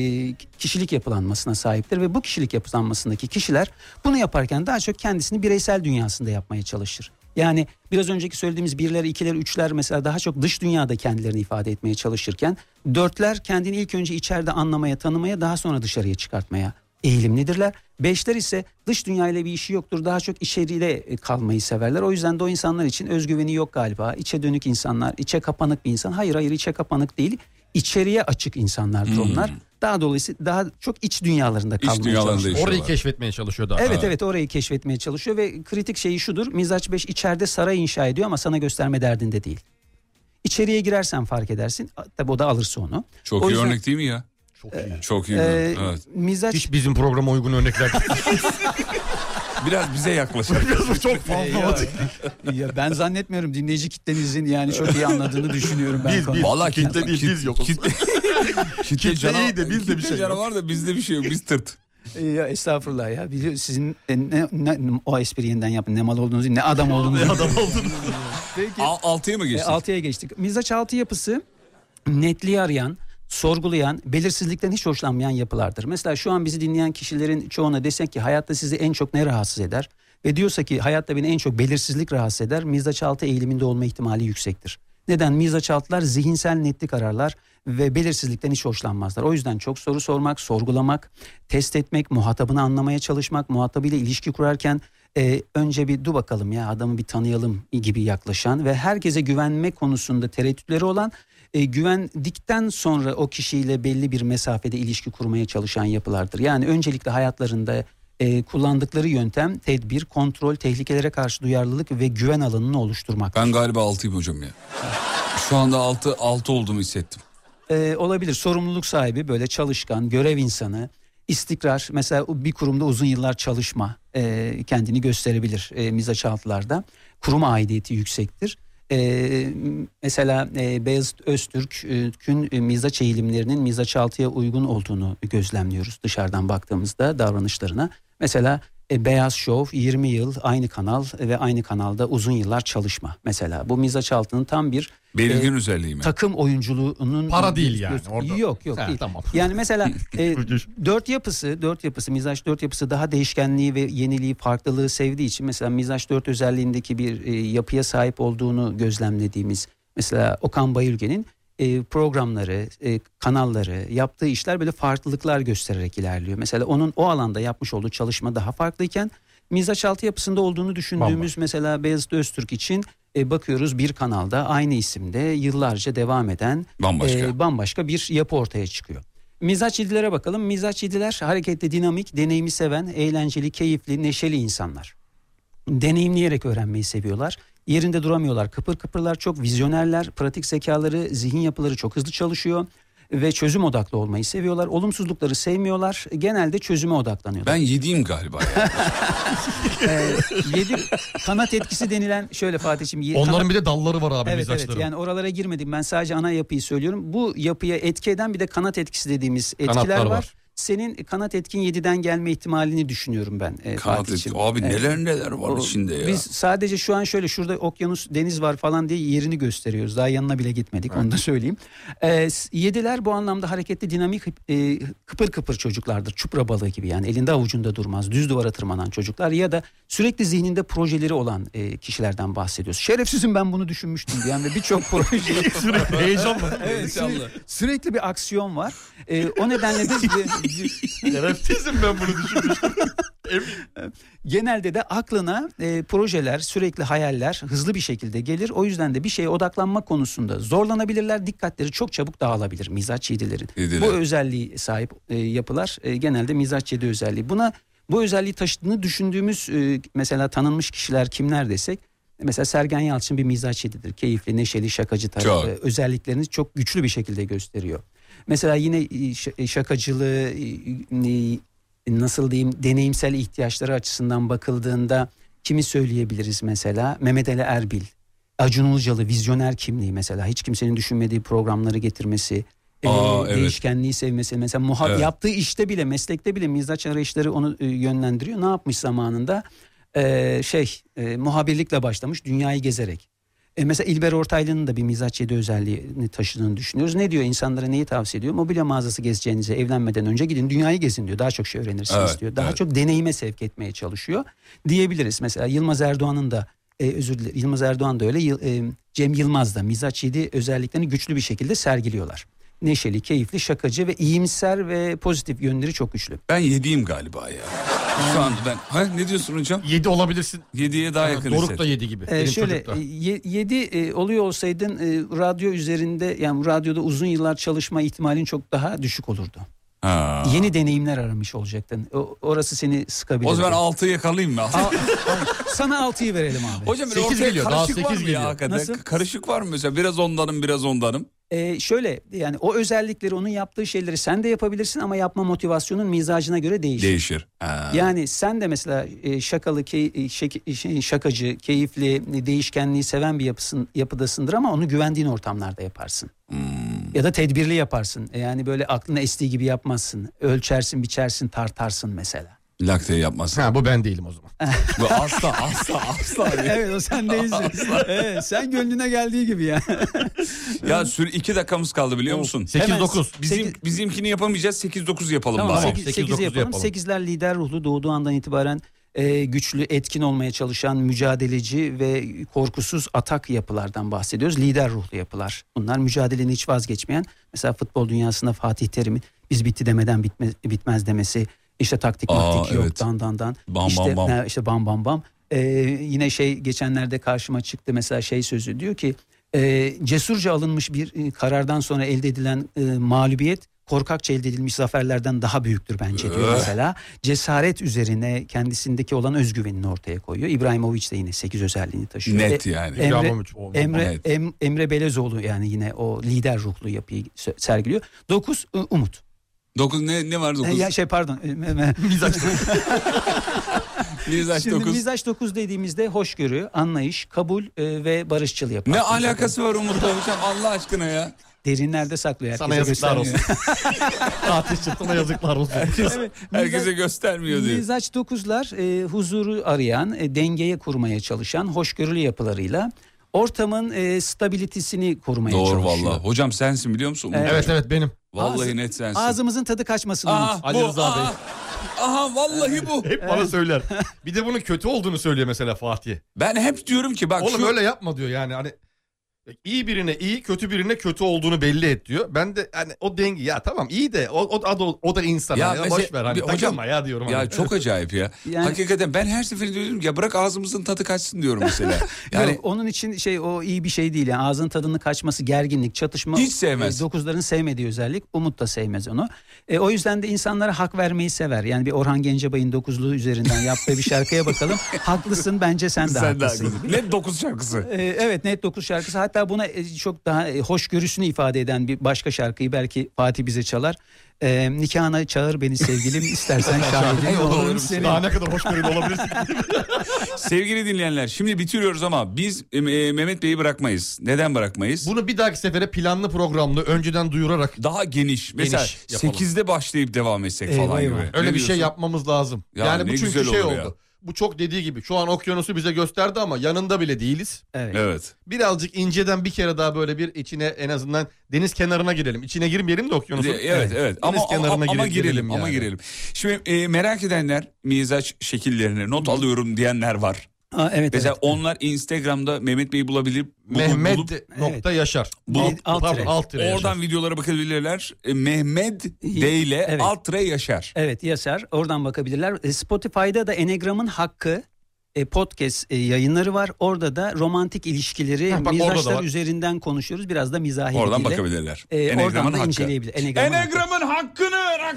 kişilik yapılanmasına sahiptir ve bu kişilik yapılanmasındaki kişiler bunu yaparken daha çok kendisini bireysel dünyasında yapmaya çalışır. Yani biraz önceki söylediğimiz birler, ikiler, üçler mesela daha çok dış dünyada kendilerini ifade etmeye çalışırken dörtler kendini ilk önce içeride anlamaya, tanımaya daha sonra dışarıya çıkartmaya eğilimlidirler. Beşler ise dış dünyayla bir işi yoktur. Daha çok içeriyle e, kalmayı severler. O yüzden de o insanlar için özgüveni yok galiba. İçe dönük insanlar, içe kapanık bir insan. Hayır hayır içe kapanık değil. İçeriye açık Hmm. insanlardır onlar. Daha dolayısıyla daha çok iç dünyalarında kalmaya çalışırlar. Orayı keşfetmeye çalışıyor daha. Evet evet orayı keşfetmeye çalışıyor ve kritik şeyi şudur. Mizaç 5 içeride saray inşa ediyor ama sana gösterme derdinde değil. İçeriye girersen fark edersin. Tabi o da alırsa onu. Çok iyi O yüzden- örnek değil mi ya? Çok iyi. Çok iyi. Ee, evet. Mizaç... Hiç bizim programa uygun örnekler. *laughs* Biraz bize yaklaşalım. çok ya, *laughs* ya ben zannetmiyorum dinleyici kitlenizin yani çok iyi anladığını düşünüyorum ben. Biz- biz. Vallahi kitle değil, biz yokuz. Kitle cana- iyi de bizde bir kitle şey yok. canavar da bizde bir şey yok. *laughs* Biz tırt. Ya estağfurullah ya. Biliyor, sizin e, ne, ne- o espri yeniden yapın. Ne mal olduğunuzu ne adam olduğunuzu. Ne adam olduğunuzu. Peki. Al- altıya mı geçtik? E, altıya geçtik. Mizaç altı yapısı netliği arayan, sorgulayan, belirsizlikten hiç hoşlanmayan yapılardır. Mesela şu an bizi dinleyen kişilerin çoğuna desek ki hayatta sizi en çok ne rahatsız eder? Ve diyorsa ki hayatta beni en çok belirsizlik rahatsız eder. Mizaç altı eğiliminde olma ihtimali yüksektir. Neden? Mizaç altılar zihinsel netlik ararlar ve belirsizlikten hiç hoşlanmazlar. O yüzden çok soru sormak, sorgulamak, test etmek, muhatabını anlamaya çalışmak, muhatabıyla ilişki kurarken e, önce bir dur bakalım ya adamı bir tanıyalım gibi yaklaşan ve herkese güvenme konusunda tereddütleri olan e, güvendikten sonra o kişiyle belli bir mesafede ilişki kurmaya çalışan yapılardır. Yani öncelikle hayatlarında e, kullandıkları yöntem tedbir, kontrol, tehlikelere karşı duyarlılık ve güven alanını oluşturmak. Ben galiba altıyım hocam ya. Şu anda altı, altı olduğumu hissettim. Ee, olabilir. Sorumluluk sahibi, böyle çalışkan, görev insanı, istikrar. Mesela bir kurumda uzun yıllar çalışma e, kendini gösterebilir e, mizaçaltılarda. Kurum aidiyeti yüksektir. E, mesela e, Beyazıt Öztürk'ün e, mizaç eğilimlerinin mizaçaltıya uygun olduğunu gözlemliyoruz dışarıdan baktığımızda davranışlarına. Mesela e, Beyaz Şov 20 yıl aynı kanal ve aynı kanalda uzun yıllar çalışma. Mesela bu mizaçaltının tam bir Belirgin özelliği mi? Takım oyunculuğunun Para değil yani orada. Yok yok Ha, değil. tamam. Yani mesela e, dört yapısı, dört yapısı, mizaç dört yapısı daha değişkenliği ve yeniliği, farklılığı sevdiği için mesela mizaç dört özelliğindeki bir e, yapıya sahip olduğunu gözlemlediğimiz mesela Okan Bayülgen'in e, programları, e, kanalları, yaptığı işler böyle farklılıklar göstererek ilerliyor. Mesela onun o alanda yapmış olduğu çalışma daha farklıyken mizaç altı yapısında olduğunu düşündüğümüz mesela Beyazıt Öztürk için e, bakıyoruz bir kanalda aynı isimde yıllarca devam eden e, Bambaşka. bambaşka bir yapı ortaya çıkıyor. Mizaç yedilere bakalım. Mizaç yediler hareketli, dinamik, deneyimi seven, eğlenceli, keyifli, neşeli insanlar. Deneyimleyerek öğrenmeyi seviyorlar. Yerinde duramıyorlar. Kıpır kıpırlar çok vizyonerler. Pratik zekaları, zihin yapıları çok hızlı çalışıyor. Ve çözüm odaklı olmayı seviyorlar. Olumsuzlukları sevmiyorlar. Genelde çözüme odaklanıyorlar. Ben yediğim galiba *laughs* ya. Ee, yedi kanat etkisi denilen şöyle Fatih'im. ye- Onların kanat- bir de dalları var abi evet, mizaçların. *laughs* Evet yani oralara girmedim ben sadece ana yapıyı söylüyorum. Bu yapıya etki eden bir de kanat etkisi dediğimiz etkiler Kanatlar var. var. Senin kanat etkin 7'den gelme ihtimalini düşünüyorum ben. e, Kanat Fatih'ciğim. etki- Abi Evet. neler neler var O- içinde ya. Biz sadece şu an şöyle şurada okyanus deniz var falan diye yerini gösteriyoruz. Daha yanına bile gitmedik onu da söyleyeyim. Ee, s- yediler bu anlamda hareketli dinamik e, kıpır kıpır çocuklardır. Çupra balığı gibi yani elinde avucunda durmaz düz duvara tırmanan çocuklar ya da sürekli zihninde projeleri olan e, kişilerden bahsediyoruz. Şerefsizim ben bunu düşünmüştüm diyen ve birçok *laughs* proje. Sürekli heyecan var. Evet, Heyecanlı. *laughs* sürekli, sürekli bir aksiyon var. E, o nedenle de... Şerefsizim ben bunu genelde de aklına e, projeler, sürekli hayaller hızlı bir şekilde gelir. O yüzden de bir şeye odaklanma konusunda zorlanabilirler. Dikkatleri çok çabuk dağılabilir mizaç yedilerin. Yediler. Bu özelliği sahip e, yapılar e, genelde mizaç yedi özelliği. Buna bu özelliği taşıdığını düşündüğümüz e, mesela tanınmış kişiler kimler desek Mesela Sergen Yalçın bir mizaç yedidir. Keyifli, neşeli, şakacı tarafı. Çok. Özelliklerini çok güçlü bir şekilde gösteriyor. Mesela yine e, ş- e, şakacılığı e, e, nasıl diyeyim deneyimsel ihtiyaçları açısından bakıldığında kimi söyleyebiliriz mesela? Mehmet Ali Erbil, Acun Ilıcalı vizyoner kimliği mesela hiç kimsenin düşünmediği programları getirmesi, e, Aa, evet. değişkenliği sevmesi mesela muha- Evet. yaptığı işte bile meslekte bile mizaç arayışları onu e, yönlendiriyor. Ne yapmış zamanında? e, şey e, muhabirlikle başlamış dünyayı gezerek. E, mesela İlber Ortaylı'nın da bir mizaç yedi özelliğini taşıdığını düşünüyoruz. Ne diyor insanlara neyi tavsiye ediyor? Mobilya mağazası gezeceğinize evlenmeden önce gidin dünyayı gezin diyor. Daha çok şey öğrenirsiniz Evet, diyor. Daha evet. çok deneyime sevk etmeye çalışıyor diyebiliriz. Mesela Yılmaz Erdoğan'ın da e, özür dilerim Yılmaz Erdoğan da öyle Yıl- e, Cem Yılmaz da mizaç yedi özelliklerini güçlü bir şekilde sergiliyorlar. Neşeli, keyifli, şakacı ve iyimser ve pozitif yönleri çok güçlü. Ben yediyim galiba ya. Şu anda ben. Ha, ne diyorsun hocam? Yedi olabilirsin. Yediye daha yakın Doruk hisset. da yedi gibi. Ee, şöyle 7 oluyor olsaydın e, radyo üzerinde yani radyoda uzun yıllar çalışma ihtimalin çok daha düşük olurdu. Ha. Yeni deneyimler aramış olacaktın. O- orası seni sıkabilir. O zaman 6'yı yakalayayım mı? *laughs* Sana 6'yı verelim *laughs* abi. Hocam böyle ortaya karışık var mı ya hakikaten? Karışık var mı mesela? Biraz ondanım biraz ondanım. Ee, şöyle yani o özellikleri onun yaptığı şeyleri sen de yapabilirsin ama yapma motivasyonun mizacına göre değişir. Değişir. Ha. Yani sen de mesela e, şakalı, key- e, şek- şey, şakacı, keyifli, e, değişkenliği seven bir yapısın, yapıdasındır ama onu güvendiğin ortamlarda yaparsın. Ya da tedbirli yaparsın. E, Yani böyle aklına estiği gibi yapmazsın. Ölçersin, biçersin, tartarsın mesela. Lakteyi *laughs* yapmaz. Ha bu ben değilim o zaman. bu asla asla asla. evet o sen değilsin. *laughs* evet, sen gönlüne geldiği gibi ya. Ya süre 2 dakikamız kaldı biliyor musun? Sekiz, Hemen. dokuz. Bizim bizimkini yapamayacağız. 8 9 yapalım Tamam, bari. 8, 8'i yapalım. 8'ler lider ruhlu doğduğu andan itibaren e, güçlü, etkin olmaya çalışan, mücadeleci ve korkusuz atak yapılardan bahsediyoruz. Lider ruhlu yapılar. Bunlar mücadelenin hiç vazgeçmeyen. Mesela futbol dünyasında Fatih Terim'in biz bitti demeden bitme, bitmez demesi. işte taktik Aa, maktik yok evet. dan dan dan. Bam, bam, işte, bam. e, işte bam bam bam. E, yine şey geçenlerde karşıma çıktı mesela şey sözü diyor ki e, cesurca alınmış bir e, karardan sonra elde edilen e, mağlubiyet korkakça elde edilmiş zaferlerden daha büyüktür bence diyor Ee? mesela. Cesaret üzerine kendisindeki olan özgüvenini ortaya koyuyor. İbrahimovic de yine 8 özelliğini taşıyor. Net E, yani. Emre, İbrahimovic, o- Emre, Net. Em- Emre Belezoğlu yani yine o lider ruhlu yapıyı sö- sergiliyor. 9 umut. 9 ne ne var 9? E, Ya şey pardon. *laughs* Mizaç 9. Mizaç Şimdi 9. mizaç 9 dediğimizde hoşgörü, anlayış, kabul e, ve barışçıl yapar. Ne alakası var Umut'la hocam Allah aşkına ya. Derinlerde saklıyor. Sana herkese yazıklar göstermiyor. *laughs* Fatih çıktığına yazıklar olsun. Evet, Herkese göstermiyor diyor. Mizaç 9'lar e, huzuru arayan, e, dengeye kurmaya çalışan hoşgörülü yapılarıyla ortamın e, stabilitesini korumaya Doğru çalışıyor. valla. Hocam sensin biliyor musun? Umut? Evet. Evet, evet, benim. Vallahi Ağzı- net sensin. Ağzımızın tadı kaçmasın. Aa, Umut. Ali Rıza Bey. Aha vallahi bu. Hep bana *laughs* söyler. Bir de bunun kötü olduğunu söylüyor mesela Fatih. Ben hep diyorum ki bak Oğlum şu- öyle yapma diyor yani hani iyi birine iyi kötü birine kötü olduğunu belli et diyor. Ben de hani o denge ya tamam iyi de o, o, o da, o da insan ya, hani, mesela- boş ver hani bir- takılma ya diyorum. Ya hani. *laughs* çok acayip ya. Yani- Hakikaten ben her seferinde diyorum ki, ya bırak ağzımızın tadı kaçsın diyorum mesela. *laughs* Yani Yok, onun için şey o iyi bir şey değil. Yani ağzın tadının kaçması, gerginlik, çatışma. Hiç sevmez. e, dokuzların sevmediği özellik. Umut da sevmez onu. E, o yüzden de insanlara hak vermeyi sever. Yani bir Orhan Gencebay'ın dokuzluğu üzerinden yaptığı bir *laughs* şarkıya bakalım. Haklısın bence sen de sen de haklısın. haklısın. Net 9 şarkısı. E, Evet net 9 şarkısı hatta buna e, çok daha e, hoşgörüsünü ifade eden bir başka şarkıyı belki Fatih bize çalar. E, nikahına çağır beni sevgilim istersen *laughs* şahidim olurum senin. Daha ne kadar hoşgörülü olabilirsin. Sevgili dinleyenler şimdi bitiriyoruz ama biz e, e, Mehmet Bey'i bırakmayız. Neden bırakmayız? Bunu bir dahaki sefere planlı programlı önceden duyurarak daha geniş. Mesela 8'de başlayıp devam etsek falan gibi. Ne Öyle bir şey diyorsun? yapmamız lazım. Ya yani ne bu çünkü güzel şey olur oldu. ya. Bu çok dediği gibi şu an okyanusu bize gösterdi ama yanında bile değiliz. Evet. Evet. Birazcık inceden bir kere daha böyle bir içine en azından deniz kenarına girelim. İçine girmeyelim de okyanusun. Evet evet. Ama, Deniz ama, kenarına ama girelim, gire- ama yani. girelim. Şimdi e, merak edenler mizaç şekillerini not alıyorum diyenler var. Aa, evet, Mesela onlar Instagram'da Mehmet Bey'i bulabilir. bulu- Mehmet bulup- nokta Yaşar. Bulup- pardon, alt tire Oradan Yaşar. videolara bakabilirler. E, Mehmet D ile Evet. alt tire Yaşar. Evet Yaşar oradan bakabilirler. E, Spotify'da da Enegram'ın hakkı e, podcast e, yayınları var. Orada da romantik ilişkileri Ha, bak orada da var. mizaçlar üzerinden konuşuyoruz. Biraz da mizahi Oradan diliyle. bakabilirler. E, Enegram'ın oradan da hakkı. inceleyebilir. Enegram'ın hakkı. Enegram'ın hakkını ver. hak-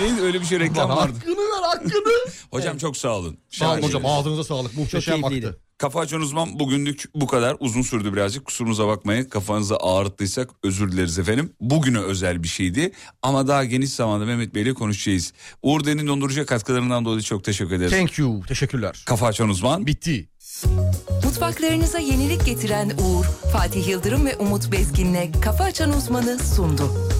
Neydi öyle bir şey reklam vardı. Hakkını ver *laughs* hakkını. Hocam çok sağ olun. Sağ olun Şahane. hocam ağzınıza sağlık. Muhteşem aktı. Kafa açan uzman bugünlük bu kadar. Uzun sürdü birazcık. Kusurumuza bakmayın. Kafanızı ağrıttıysak özür dileriz efendim. Bugüne özel bir şeydi. Ama daha geniş zamanda Mehmet Bey ile konuşacağız. Uğur Derin Dondurucu'ya katkılarından dolayı çok teşekkür ederiz. Thank you. Teşekkürler. Kafa açan uzman. Bitti. Mutfaklarınıza yenilik getiren Uğur, Fatih Yıldırım ve Umut Bezgin'le Kafa Açan Uzman'ı sundu.